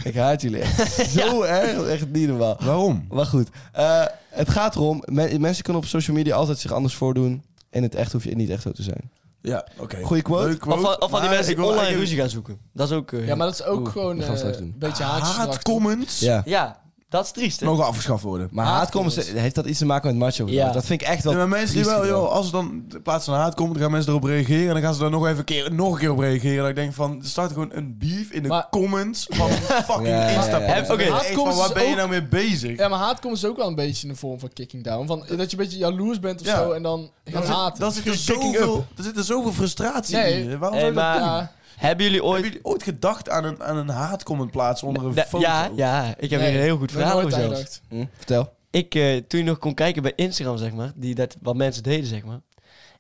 [SPEAKER 4] ik haat jullie echt zo erg. Echt niet normaal.
[SPEAKER 5] Waarom?
[SPEAKER 4] Maar goed, eh, het gaat erom... men- mensen kunnen op social media altijd zich anders voordoen. In het echt hoef je niet echt zo te zijn.
[SPEAKER 5] Ja, oké. Goeie
[SPEAKER 4] Goeie quote.
[SPEAKER 5] Leuk
[SPEAKER 7] Of,
[SPEAKER 5] quote,
[SPEAKER 7] van- of van die
[SPEAKER 5] maar
[SPEAKER 7] mensen
[SPEAKER 5] ik
[SPEAKER 7] die
[SPEAKER 5] wil
[SPEAKER 7] online
[SPEAKER 5] eigenlijk-
[SPEAKER 7] ruzie gaan zoeken. Dat is ook... eh,
[SPEAKER 6] Ja, maar dat is ook
[SPEAKER 4] Oeh,
[SPEAKER 6] gewoon
[SPEAKER 4] we gaan
[SPEAKER 6] eh,
[SPEAKER 4] straks doen.
[SPEAKER 6] een beetje haatjes.
[SPEAKER 5] Haatcomments
[SPEAKER 4] Ja.
[SPEAKER 7] ja, dat is triest, hè?
[SPEAKER 5] mogen afgeschaft worden.
[SPEAKER 4] Maar haatkomst, heeft dat iets te maken met macho?
[SPEAKER 7] Ja.
[SPEAKER 4] Dat vind ik echt wel...
[SPEAKER 5] Ja, maar mensen die
[SPEAKER 4] triest
[SPEAKER 5] wel,
[SPEAKER 4] gedrag.
[SPEAKER 5] joh, als er dan in plaats van haat komt, dan gaan mensen erop reageren. En dan gaan ze daar nog even een keer, nog een keer op reageren. Dat ik denk van, er staat gewoon een beef in de
[SPEAKER 6] Maar-
[SPEAKER 5] comments van een fucking
[SPEAKER 4] Ja, ja, ja.
[SPEAKER 5] insta
[SPEAKER 4] Heb-
[SPEAKER 7] oké.
[SPEAKER 6] Haatcomments
[SPEAKER 5] waar
[SPEAKER 6] is
[SPEAKER 5] ben je
[SPEAKER 6] ook-
[SPEAKER 5] nou mee bezig?
[SPEAKER 6] Ja, maar haat komt dus ook wel een beetje in de vorm van kicking down. Van, dat je een beetje jaloers bent of
[SPEAKER 5] Ja.
[SPEAKER 6] zo en dan gaat
[SPEAKER 5] Dan zit,
[SPEAKER 6] haten.
[SPEAKER 5] dan zit er
[SPEAKER 6] Kicking
[SPEAKER 5] zoveel, er zit er zoveel frustratie
[SPEAKER 6] Nee.
[SPEAKER 5] in. Waarom
[SPEAKER 7] Hey,
[SPEAKER 5] zou je dat
[SPEAKER 7] maar-
[SPEAKER 5] doen?
[SPEAKER 6] Ja,
[SPEAKER 7] Hebben jullie ooit...
[SPEAKER 5] Hebben jullie ooit gedacht aan een, aan een haatcomment plaatsen onder een
[SPEAKER 7] Da-
[SPEAKER 5] foto?
[SPEAKER 7] ja, ja, ik heb
[SPEAKER 6] Nee,
[SPEAKER 7] hier een heel goed
[SPEAKER 6] nog
[SPEAKER 7] verhaal over
[SPEAKER 6] nooit
[SPEAKER 7] zelfs.
[SPEAKER 6] aangedacht.
[SPEAKER 4] Hm, Vertel.
[SPEAKER 7] Ik, eh, toen je nog kon kijken bij Instagram, zeg maar, die, dat, wat mensen deden, zeg maar.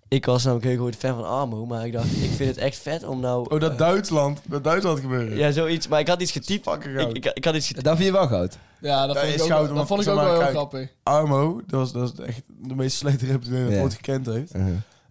[SPEAKER 7] Ik was namelijk heel groot fan van Armo, maar ik dacht, ik vind het echt vet om nou...
[SPEAKER 5] Oh, dat Duitsland. Dat Duitsland gebeuren.
[SPEAKER 7] Ja, zoiets. Maar ik had iets getypt.
[SPEAKER 5] Fucking
[SPEAKER 7] Ik,
[SPEAKER 5] goud.
[SPEAKER 7] ik, ik had iets getypt.
[SPEAKER 4] Dat vind je wel goud.
[SPEAKER 6] Ja, dat
[SPEAKER 5] Ja,
[SPEAKER 6] vond
[SPEAKER 5] is
[SPEAKER 6] ik ook,
[SPEAKER 5] goud,
[SPEAKER 6] wel-
[SPEAKER 5] want
[SPEAKER 6] dat vond ik
[SPEAKER 5] zeg
[SPEAKER 6] ook
[SPEAKER 5] maar,
[SPEAKER 6] wel heel
[SPEAKER 5] kijk.
[SPEAKER 6] grappig.
[SPEAKER 5] Armo, dat was, dat was echt de meest slechte rapper die Nederland
[SPEAKER 4] Ja.
[SPEAKER 5] ooit gekend heeft.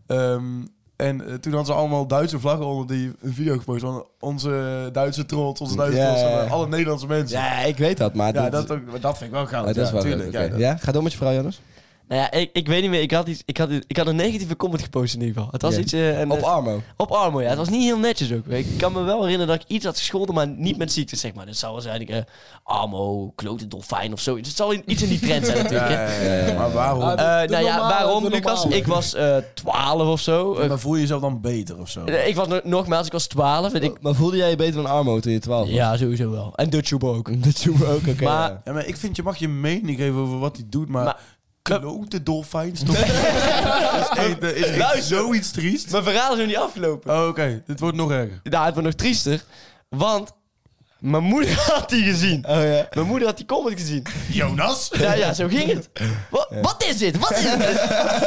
[SPEAKER 5] Ehm, en eh, toen hadden ze allemaal Duitse vlaggen onder die een video gepost van onze Duitse trots, onze Duitse
[SPEAKER 4] Ja,
[SPEAKER 5] trots,
[SPEAKER 4] ja,
[SPEAKER 5] zeg maar,
[SPEAKER 4] ja.
[SPEAKER 5] alle Nederlandse mensen. Ja,
[SPEAKER 4] Ja, ik weet dat, maar... dit-
[SPEAKER 5] dat, ook, maar dat vind ik wel goud.
[SPEAKER 4] maar dat
[SPEAKER 5] ja,
[SPEAKER 4] is wel
[SPEAKER 5] tuurlijk,
[SPEAKER 4] leuk,
[SPEAKER 5] ja,
[SPEAKER 4] oké.
[SPEAKER 5] dat-
[SPEAKER 4] Ja, ga door met je vrouw, Jonas.
[SPEAKER 7] Nou ja, ik, ik weet niet meer. Ik had, iets, ik, had, ik had een negatieve comment gepost in ieder geval. Het was
[SPEAKER 4] Ja.
[SPEAKER 7] iets... eh, en,
[SPEAKER 4] Op
[SPEAKER 7] eh,
[SPEAKER 4] Armo.
[SPEAKER 7] op Armo, ja. Het was niet heel netjes ook. Ik kan me wel herinneren dat ik iets had gescholden, maar niet met ziekte, zeg maar. Dus het zou waarschijnlijk eh, Armo, klote dolfijn of zo. Dus het zal in- iets in die trend zijn
[SPEAKER 5] Ja,
[SPEAKER 7] natuurlijk. hè.
[SPEAKER 5] ja, ja, ja. Maar waarom?
[SPEAKER 6] Ah,
[SPEAKER 7] Eh,
[SPEAKER 6] de- de
[SPEAKER 7] nou ja,
[SPEAKER 6] normale-
[SPEAKER 7] waarom,
[SPEAKER 6] de
[SPEAKER 7] Lucas?
[SPEAKER 6] normale.
[SPEAKER 7] Ik was eh 12 of zo.
[SPEAKER 5] Ja,
[SPEAKER 7] Eh,
[SPEAKER 5] maar voel je jezelf dan beter of zo?
[SPEAKER 7] ik was nog- nogmaals, ik was 12. En ik,
[SPEAKER 4] Maar voelde jij je beter dan Armo toen je 12 was?
[SPEAKER 7] ja, sowieso wel. En Dutchube ook. Dutchube
[SPEAKER 4] Ook oké.
[SPEAKER 7] <laughs> Maar-
[SPEAKER 4] ja.
[SPEAKER 5] Ja, maar ik vind, je mag je mening geven over wat hij doet, maar...
[SPEAKER 7] Maar-
[SPEAKER 5] Klote dolfijn
[SPEAKER 7] <laughs>
[SPEAKER 5] toch? is echt, eh, is echt
[SPEAKER 7] Luister.
[SPEAKER 5] zoiets triest.
[SPEAKER 7] Mijn verhaal is nog niet afgelopen.
[SPEAKER 5] Oh, Oké, dit wordt nog erger.
[SPEAKER 7] Daar het wordt nog triester. Want mijn moeder <laughs> had die gezien.
[SPEAKER 4] Oh ja.
[SPEAKER 7] Mijn moeder had die comment
[SPEAKER 4] <laughs>
[SPEAKER 7] gezien.
[SPEAKER 5] Jonas?
[SPEAKER 7] Ja, ja, zo ging het. Wat, wat is dit? Wat is
[SPEAKER 4] <laughs>
[SPEAKER 7] dit?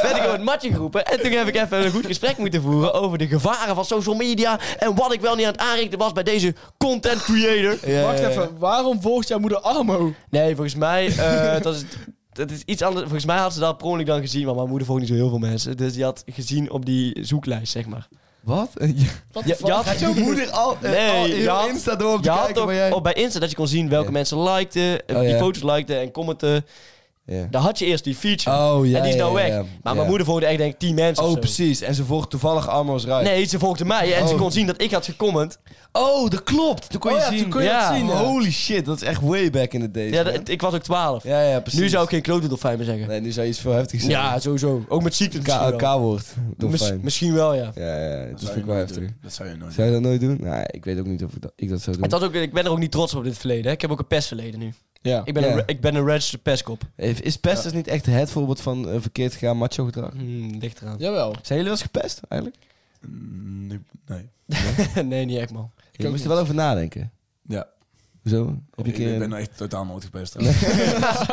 [SPEAKER 7] ben ik op het matje geroepen. En toen heb ik even een goed gesprek moeten voeren over de gevaren van social media. En wat ik wel niet aan het aanrichten was bij deze content creator.
[SPEAKER 6] Wacht
[SPEAKER 4] Eh,
[SPEAKER 6] even, waarom volgt jouw moeder Armo?
[SPEAKER 7] Nee, volgens mij, eh, <laughs> dat, is, dat is iets anders. Volgens mij had ze dat per ongeluk dan gezien, maar mijn moeder volgt niet zo heel veel mensen. Dus die had gezien op die zoeklijst, zeg maar.
[SPEAKER 4] Wat?
[SPEAKER 6] Wat
[SPEAKER 7] Ja,
[SPEAKER 6] de fuck?
[SPEAKER 7] je had-
[SPEAKER 4] Gaat jouw moeder al, eh,
[SPEAKER 7] Nee,
[SPEAKER 4] al
[SPEAKER 7] je
[SPEAKER 4] heel
[SPEAKER 7] had-
[SPEAKER 4] Insta door om te
[SPEAKER 7] Je had
[SPEAKER 4] kijken
[SPEAKER 7] ook
[SPEAKER 4] waar jij...
[SPEAKER 7] op bij Insta dat je kon zien welke
[SPEAKER 4] Ja.
[SPEAKER 7] mensen likten, eh,
[SPEAKER 4] Oh,
[SPEAKER 7] die
[SPEAKER 4] ja.
[SPEAKER 7] foto's likten en commenten.
[SPEAKER 4] Ja.
[SPEAKER 7] Daar had je eerst die feature.
[SPEAKER 4] Oh, ja,
[SPEAKER 7] en die is
[SPEAKER 4] ja,
[SPEAKER 7] nou
[SPEAKER 4] ja,
[SPEAKER 7] weg.
[SPEAKER 4] ja.
[SPEAKER 7] Maar
[SPEAKER 4] Ja.
[SPEAKER 7] mijn moeder volgde echt denk ik 10 mensen
[SPEAKER 4] Oh,
[SPEAKER 7] of zo.
[SPEAKER 4] precies. En ze volgt toevallig Armo's Rij.
[SPEAKER 7] Nee, ze volgde mij en ze
[SPEAKER 4] Oh.
[SPEAKER 7] kon zien dat ik had gecomment.
[SPEAKER 4] Oh, dat klopt. Toen kon
[SPEAKER 6] Oh
[SPEAKER 4] je
[SPEAKER 6] ja,
[SPEAKER 4] zien.
[SPEAKER 6] toen kon je
[SPEAKER 7] Ja.
[SPEAKER 6] dat zien. hè.
[SPEAKER 4] Holy shit, dat is echt way back in the days.
[SPEAKER 7] Ja,
[SPEAKER 4] man.
[SPEAKER 7] dat- ik was ook 12.
[SPEAKER 4] ja, ja, precies.
[SPEAKER 7] nu zou ik geen klote dolfijn meer zeggen.
[SPEAKER 4] Nee, nu zou je iets veel heftigs zeggen.
[SPEAKER 7] ja, sowieso. Ook met ziekte misschien wel.
[SPEAKER 4] K-woord.
[SPEAKER 7] Miss-
[SPEAKER 4] Dolfijn.
[SPEAKER 7] misschien wel, ja.
[SPEAKER 4] Ja, ja, dat vind ik wel
[SPEAKER 5] nooit
[SPEAKER 4] heftig.
[SPEAKER 5] doen. Dat zou je nooit
[SPEAKER 4] Zou je dat nooit doen? Nee, ik weet ook niet of ik dat, ik dat zou doen.
[SPEAKER 7] Het was ook, ik ben er ook niet trots op in het verleden. Hè. Ik heb ook een pestverleden nu.
[SPEAKER 4] Ja.
[SPEAKER 7] Ik ben,
[SPEAKER 4] Ja.
[SPEAKER 7] een, re- ik ben een registered pestkop.
[SPEAKER 4] Even, Is pest dus niet echt het voorbeeld van eh, verkeerd gegaan macho gedrag?
[SPEAKER 7] Hmm, ligt eraan.
[SPEAKER 6] Jawel.
[SPEAKER 4] Zijn jullie wel eens gepest eigenlijk?
[SPEAKER 5] Mm, Nee. nee.
[SPEAKER 7] <laughs> nee, niet echt, man.
[SPEAKER 4] Je
[SPEAKER 6] ook
[SPEAKER 4] moest er wel over nadenken.
[SPEAKER 5] Ja.
[SPEAKER 4] Hoezo? Heb je
[SPEAKER 5] Ik,
[SPEAKER 4] een keer...
[SPEAKER 5] ben
[SPEAKER 4] een-
[SPEAKER 5] echt totaal nooit
[SPEAKER 4] <laughs>
[SPEAKER 5] gepest.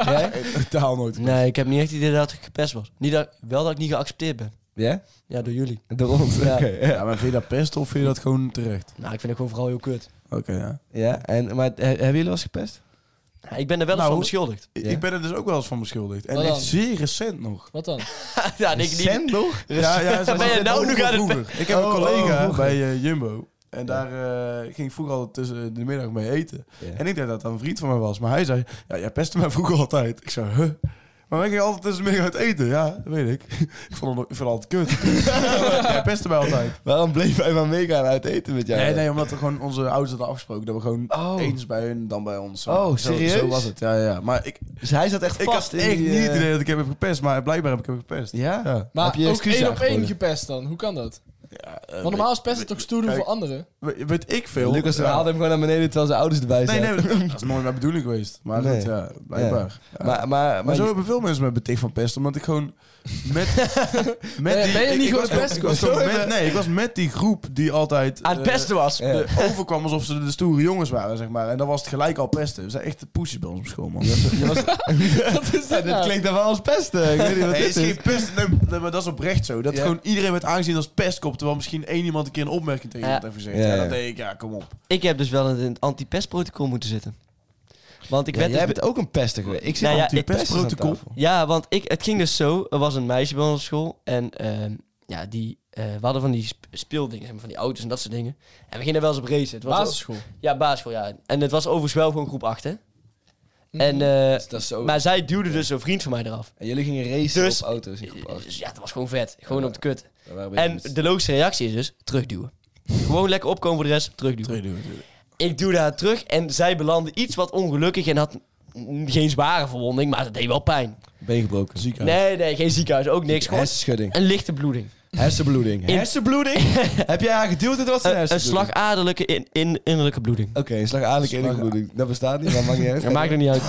[SPEAKER 4] Jij?
[SPEAKER 5] totaal nooit
[SPEAKER 7] Nee, ik heb niet echt het idee dat ik gepest was. Niet dat, wel dat ik niet geaccepteerd ben.
[SPEAKER 4] Ja?
[SPEAKER 7] Ja, door jullie.
[SPEAKER 4] Door ons. <laughs>
[SPEAKER 7] Ja.
[SPEAKER 4] Oké, ja.
[SPEAKER 5] Ja, maar vind je dat pest of vind je dat gewoon terecht?
[SPEAKER 7] Nou, ik vind het gewoon vooral heel kut.
[SPEAKER 5] Oké, ja.
[SPEAKER 4] Ja, en, maar he- hebben jullie wel eens gepest?
[SPEAKER 7] Ja, ik ben er wel eens
[SPEAKER 5] Nou,
[SPEAKER 7] van beschuldigd.
[SPEAKER 5] Ik-
[SPEAKER 4] Ja.
[SPEAKER 5] Ik ben er dus ook wel eens van beschuldigd.
[SPEAKER 4] Oh,
[SPEAKER 5] En
[SPEAKER 6] Wat
[SPEAKER 5] echt
[SPEAKER 6] dan?
[SPEAKER 5] zeer recent nog.
[SPEAKER 6] Wat dan?
[SPEAKER 7] <laughs> ja, denk ik niet.
[SPEAKER 4] Recent nog?
[SPEAKER 5] Ja, ja,
[SPEAKER 7] Ben je nou nog aan het
[SPEAKER 5] vroeger. Ik heb
[SPEAKER 4] Oh,
[SPEAKER 5] een collega
[SPEAKER 4] oh, vroeger.
[SPEAKER 5] bij eh, Jumbo. En daar eh, ging ik vroeger altijd tussen de middag mee eten.
[SPEAKER 4] Ja.
[SPEAKER 5] En ik dacht dat dat een vriend van mij was. Maar hij zei, ja, jij pestte mij vroeger altijd. Ik zei, huh? Maar wij gingen altijd tussen middag uit eten. Ja, dat weet ik. <laughs> Ik vond het, ik vond het altijd kut. <laughs> Jij pestte mij altijd.
[SPEAKER 4] Waarom bleef hij maar meegaan uit eten met jou?
[SPEAKER 5] Nee, nee, omdat we gewoon onze ouders hadden afgesproken. Dat we gewoon
[SPEAKER 4] Oh.
[SPEAKER 5] eens bij hun, dan bij ons.
[SPEAKER 4] Oh,
[SPEAKER 5] Zo-
[SPEAKER 4] serieus?
[SPEAKER 5] Zo was het, ja, ja. Maar ik,
[SPEAKER 4] Dus hij zat echt
[SPEAKER 5] ik
[SPEAKER 4] vast
[SPEAKER 5] had
[SPEAKER 4] in
[SPEAKER 5] echt
[SPEAKER 4] die,
[SPEAKER 5] niet het
[SPEAKER 4] eh,
[SPEAKER 5] idee dat ik hem heb gepest. Maar blijkbaar heb ik hem gepest.
[SPEAKER 4] Ja?
[SPEAKER 5] Ja.
[SPEAKER 6] Maar
[SPEAKER 4] Heb je
[SPEAKER 6] ook
[SPEAKER 4] excuses
[SPEAKER 6] één op één
[SPEAKER 4] aangeboden?
[SPEAKER 6] gepest dan. Hoe kan dat?
[SPEAKER 5] Ja, eh,
[SPEAKER 6] Want normaal is pesten toch stoer doen
[SPEAKER 5] kijk.
[SPEAKER 6] voor anderen?
[SPEAKER 5] weet, weet ik veel.
[SPEAKER 4] Lucas
[SPEAKER 5] Ja.
[SPEAKER 4] haalde hem gewoon naar beneden terwijl zijn ouders erbij
[SPEAKER 5] Nee,
[SPEAKER 4] zaten.
[SPEAKER 5] nee, dat is nooit mijn bedoeling geweest. Maar
[SPEAKER 4] Nee.
[SPEAKER 5] goed, ja, blijkbaar. Ja.
[SPEAKER 4] Maar, maar, maar,
[SPEAKER 5] Maar zo hebben veel mensen mij beticht van pesten, omdat ik gewoon <laughs> met, met
[SPEAKER 6] Ben- ben je
[SPEAKER 5] ik-
[SPEAKER 6] niet
[SPEAKER 5] ik
[SPEAKER 6] gewoon
[SPEAKER 5] was-
[SPEAKER 6] pesten?
[SPEAKER 5] ik was
[SPEAKER 6] Zo
[SPEAKER 5] gewoon
[SPEAKER 6] hebben-
[SPEAKER 5] met, nee, ik was met die groep die altijd
[SPEAKER 7] Aan het
[SPEAKER 5] eh,
[SPEAKER 7] pesten was.
[SPEAKER 4] Ja.
[SPEAKER 5] de- overkwam alsof ze de stoere jongens waren, zeg maar. En dan was het gelijk al pesten. We zijn echt de poesjes bij ons op school, man.
[SPEAKER 4] je was,
[SPEAKER 6] Wat is dat
[SPEAKER 4] dit
[SPEAKER 6] nou?
[SPEAKER 4] klinkt dan wel als pesten. Ik weet niet wat
[SPEAKER 5] <laughs> Nee, het
[SPEAKER 4] dit
[SPEAKER 5] is
[SPEAKER 4] is.
[SPEAKER 5] geen pest. Nee, nee, maar dat is oprecht zo. Dat
[SPEAKER 4] Ja.
[SPEAKER 5] gewoon iedereen werd aangezien als pestkop, terwijl misschien één iemand een keer een opmerking tegen
[SPEAKER 7] Ja.
[SPEAKER 5] iemand heeft gezegd.
[SPEAKER 4] Ja,
[SPEAKER 5] Ja,
[SPEAKER 4] ja.
[SPEAKER 5] dat deed ik, ja, kom op.
[SPEAKER 7] Ik heb dus wel in het anti-pestprotocol moeten zitten. Want ik
[SPEAKER 4] Ja,
[SPEAKER 7] werd dus
[SPEAKER 4] jij bent ook een pester geweest. Ik zit
[SPEAKER 7] Nou ja,
[SPEAKER 4] anti
[SPEAKER 5] pestprotocol.
[SPEAKER 7] Ja, want ik, het ging dus zo. Er was een meisje bij ons op school. En ehm, ja, die, eh, we hadden van die sp- speeldingen, zeg maar, van die auto's en dat soort dingen. En we gingen er wel eens op racen. Het was
[SPEAKER 6] Basisschool.
[SPEAKER 7] ook- ja, basisschool, ja. En het was overigens wel gewoon groep 8, hè. En, eh,
[SPEAKER 4] dat is zo.
[SPEAKER 7] maar zij duwde dus een vriend van mij eraf.
[SPEAKER 4] en jullie gingen racen
[SPEAKER 7] Dus-
[SPEAKER 4] op auto's in groep 8.
[SPEAKER 7] Dus ja, dat was gewoon vet. Gewoon op de kut.
[SPEAKER 4] Dat waren we
[SPEAKER 7] En
[SPEAKER 4] eens.
[SPEAKER 7] de logische reactie is dus terugduwen. gewoon lekker opkomen voor de rest, terugduwen.
[SPEAKER 5] Twee doen.
[SPEAKER 7] Ik duwde haar terug en zij belandde iets wat ongelukkig en had mm, geen zware verwonding, maar dat deed wel pijn.
[SPEAKER 4] been gebroken.
[SPEAKER 5] Ziekenhuis.
[SPEAKER 7] Nee, nee, geen ziekenhuis, ook niks. Gewoon
[SPEAKER 4] Hersenschudding.
[SPEAKER 7] een lichte bloeding.
[SPEAKER 4] Hersenbloeding.
[SPEAKER 7] In- <laughs>
[SPEAKER 4] Hersenbloeding? Heb jij haar geduwd? Het
[SPEAKER 5] Eh,
[SPEAKER 4] was een
[SPEAKER 7] Een, een
[SPEAKER 4] hersenbloeding.
[SPEAKER 7] slagaderlijke in, in, innerlijke bloeding.
[SPEAKER 4] Oké, een slagaderlijke inbloeding. Dat bestaat niet, maar maakt
[SPEAKER 5] <laughs>
[SPEAKER 4] niet uit.
[SPEAKER 7] Dat maakt er niet uit.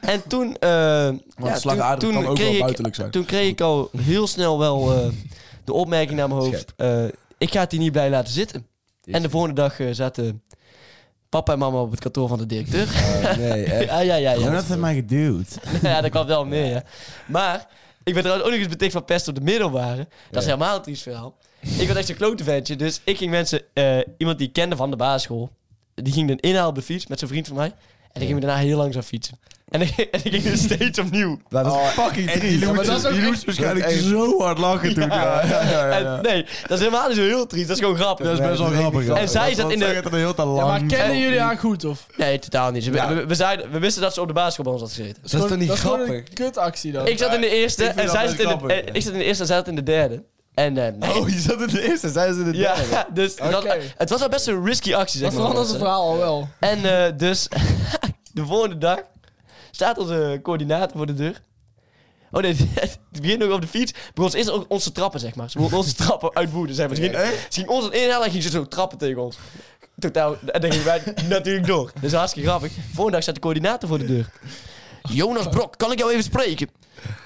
[SPEAKER 7] En toen, eh, ja, toen,
[SPEAKER 5] slagader kan
[SPEAKER 7] toen,
[SPEAKER 5] ook wel
[SPEAKER 7] kreeg ik,
[SPEAKER 5] buitenlijk zijn.
[SPEAKER 7] toen kreeg ik al heel snel wel eh, de opmerking naar mijn hoofd. eh, ik ga het hier niet bij laten zitten. En de volgende dag eh, zaten papa en mama op het kantoor van de directeur.
[SPEAKER 4] Oh, nee, echt.
[SPEAKER 7] Ja, ja, ja.
[SPEAKER 5] Ja,
[SPEAKER 7] ja.
[SPEAKER 5] dat heeft mij geduwd.
[SPEAKER 7] <laughs> ja, dat kwam wel meer, ja. Maar ik ben trouwens ook nog eens beticht van pest op de middelbare. Dat is helemaal een triest verhaal. Ik was echt zo'n klote ventje, dus ik ging mensen... eh, iemand die ik kende van de basisschool, die ging dan inhalen op de fiets met zijn vriend van mij. En ik ging daarna heel langzaam fietsen. En ik, en ik ging dus steeds opnieuw.
[SPEAKER 4] Maar dat is fucking triest.
[SPEAKER 6] Ja, maar dat is ook echt-
[SPEAKER 5] waarschijnlijk
[SPEAKER 4] Hey.
[SPEAKER 5] zo hard lachen toen. Ja, <laughs> ja, <laughs> ja, ja.
[SPEAKER 7] En nee, dat is helemaal niet zo heel triest. Dat is gewoon grappig.
[SPEAKER 5] Dat is best wel
[SPEAKER 4] dat is
[SPEAKER 5] grappig.
[SPEAKER 4] echt
[SPEAKER 5] ja.
[SPEAKER 7] En zij
[SPEAKER 5] Dat-
[SPEAKER 7] zat
[SPEAKER 5] dat
[SPEAKER 7] in de-
[SPEAKER 5] zegt het een heel te
[SPEAKER 6] Ja, maar
[SPEAKER 5] lang.
[SPEAKER 6] kennen jullie haar goed of?
[SPEAKER 7] Nee, totaal niet. We, we, we zeiden, we wisten dat ze op de basisschool bij ons had gezeten.
[SPEAKER 4] Dat is toch niet
[SPEAKER 6] dat gewoon
[SPEAKER 4] grappig?
[SPEAKER 6] een kutactie dan.
[SPEAKER 7] Ik zat in de eerste
[SPEAKER 5] Ik vind
[SPEAKER 7] en
[SPEAKER 5] dat
[SPEAKER 7] zij
[SPEAKER 5] best
[SPEAKER 7] zat in de,
[SPEAKER 5] grappig.
[SPEAKER 7] eh, ik zat in de eerste en zij zat in de derde. En eh, nee.
[SPEAKER 4] Oh, <laughs> je zat in de eerste, zij ze in de
[SPEAKER 7] ja,
[SPEAKER 4] derde.
[SPEAKER 7] <laughs> dus dat-
[SPEAKER 6] Oké.
[SPEAKER 7] het was al best een risky actie, zeg
[SPEAKER 6] dat
[SPEAKER 7] maar.
[SPEAKER 6] verandert het verhaal al wel.
[SPEAKER 7] En eh, dus <laughs> de volgende dag staat onze coördinator voor de deur. Oh nee, <laughs> het begint nog op de fiets. Begon ze eerst ook onze trappen, zeg maar. Ze begon onze trappen <laughs> uitwoeden. Zeg maar. Ze, ging, ze ging ons aan het inhalen en ging ze zo trappen tegen ons. Totaal. En dan gingen wij <laughs> natuurlijk door. Dat is hartstikke grappig. Volgende dag staat de coördinator voor de deur. Jonas Brok, kan ik jou even spreken?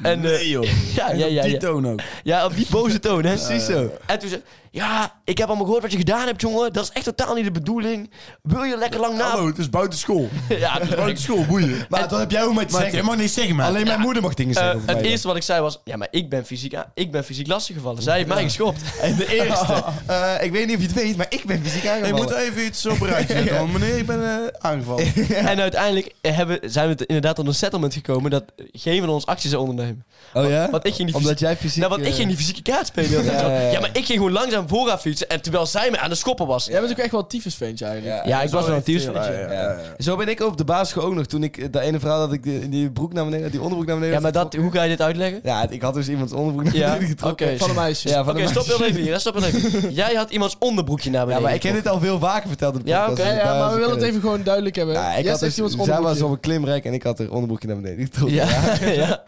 [SPEAKER 7] En, eh,
[SPEAKER 5] Nee, joh.
[SPEAKER 7] <laughs> Ja, ja, ja,
[SPEAKER 5] Die
[SPEAKER 7] ja.
[SPEAKER 5] toon ook.
[SPEAKER 7] ja, op die boze toon, hè?
[SPEAKER 4] Precies zo.
[SPEAKER 7] En toen zei ja, ik heb allemaal gehoord wat je gedaan hebt, jongen. Dat is echt totaal niet de bedoelig. Wil je lekker lang na...
[SPEAKER 5] Hallo, het is buiten <laughs> school.
[SPEAKER 7] Ja, dat
[SPEAKER 5] Buiten school, boeien.
[SPEAKER 4] Maar dat heb jij ook mee te zeggen.
[SPEAKER 5] mag niet zeggen, Eh, man.
[SPEAKER 4] Alleen mijn moeder mag dingen zeggen over
[SPEAKER 7] het
[SPEAKER 4] mij.
[SPEAKER 7] eerste wat ik zei was, ja, maar ik ben fysiek, aan- ik ben fysiek lastiggevallen. Zij heeft mij geschopt. En de eerste.
[SPEAKER 4] <laughs> Eh, ik weet niet of je het weet, maar ik ben fysiek
[SPEAKER 5] Ik
[SPEAKER 4] aangevallen.
[SPEAKER 5] moet even iets op een rijtje
[SPEAKER 4] <laughs>
[SPEAKER 5] zetten, want meneer, ik ben eh, aangevallen.
[SPEAKER 7] En uiteindelijk eh, hebben, zijn we t- inderdaad tot een settlement gekomen dat geen van ons acties zou ondernemen.
[SPEAKER 4] Oh ja?
[SPEAKER 7] Want ik ging die
[SPEAKER 4] Omdat
[SPEAKER 7] fysie-
[SPEAKER 4] jij fysiek...
[SPEAKER 7] nou, want ik
[SPEAKER 4] eh,
[SPEAKER 7] ging die fysieke kaart spelen.
[SPEAKER 4] Ja,
[SPEAKER 7] ja,
[SPEAKER 4] ja, ja.
[SPEAKER 7] maar ik ging gewoon langzaam vooraf fietsen. En terwijl zij me aan de schoppen was.
[SPEAKER 6] Jij bent ook echt wel een tyfusventje eigenlijk.
[SPEAKER 7] Ja, ik was wel een tiers.
[SPEAKER 5] Ja,
[SPEAKER 4] Ja.
[SPEAKER 5] ja, ja.
[SPEAKER 4] Zo ben ik op de basisschool ook nog. Toen ik eh, dat ene verhaal dat ik die, die broek naar beneden, die onderbroek naar beneden.
[SPEAKER 7] Ja, maar
[SPEAKER 4] had
[SPEAKER 7] dat, hoe ga je dit uitleggen?
[SPEAKER 4] getrokken. Ja, ik had dus iemands onderbroek naar
[SPEAKER 7] Ja,
[SPEAKER 4] beneden getrokken.
[SPEAKER 7] oké.
[SPEAKER 6] Van een meisje.
[SPEAKER 4] Ja, van
[SPEAKER 7] Oké,
[SPEAKER 4] een
[SPEAKER 7] stop
[SPEAKER 4] meisje.
[SPEAKER 7] heel even hier. hè, Stop heel even. Jij had iemands onderbroekje naar
[SPEAKER 4] Ja,
[SPEAKER 7] beneden.
[SPEAKER 4] maar ik heb dit al veel vaker verteld. in de
[SPEAKER 7] Ja,
[SPEAKER 4] podcast,
[SPEAKER 7] oké.
[SPEAKER 6] Ja,
[SPEAKER 4] dus
[SPEAKER 6] ja,
[SPEAKER 4] daar
[SPEAKER 6] maar
[SPEAKER 4] is
[SPEAKER 6] we willen het even gewoon duidelijk hebben.
[SPEAKER 4] Ja,
[SPEAKER 6] Ja,
[SPEAKER 4] ik had dus,
[SPEAKER 6] heeft iemands
[SPEAKER 4] zij was
[SPEAKER 6] onderbroekje.
[SPEAKER 4] op een klimrek en ik had haar onderbroekje naar beneden getrokken. Ja.
[SPEAKER 7] <laughs> Ja,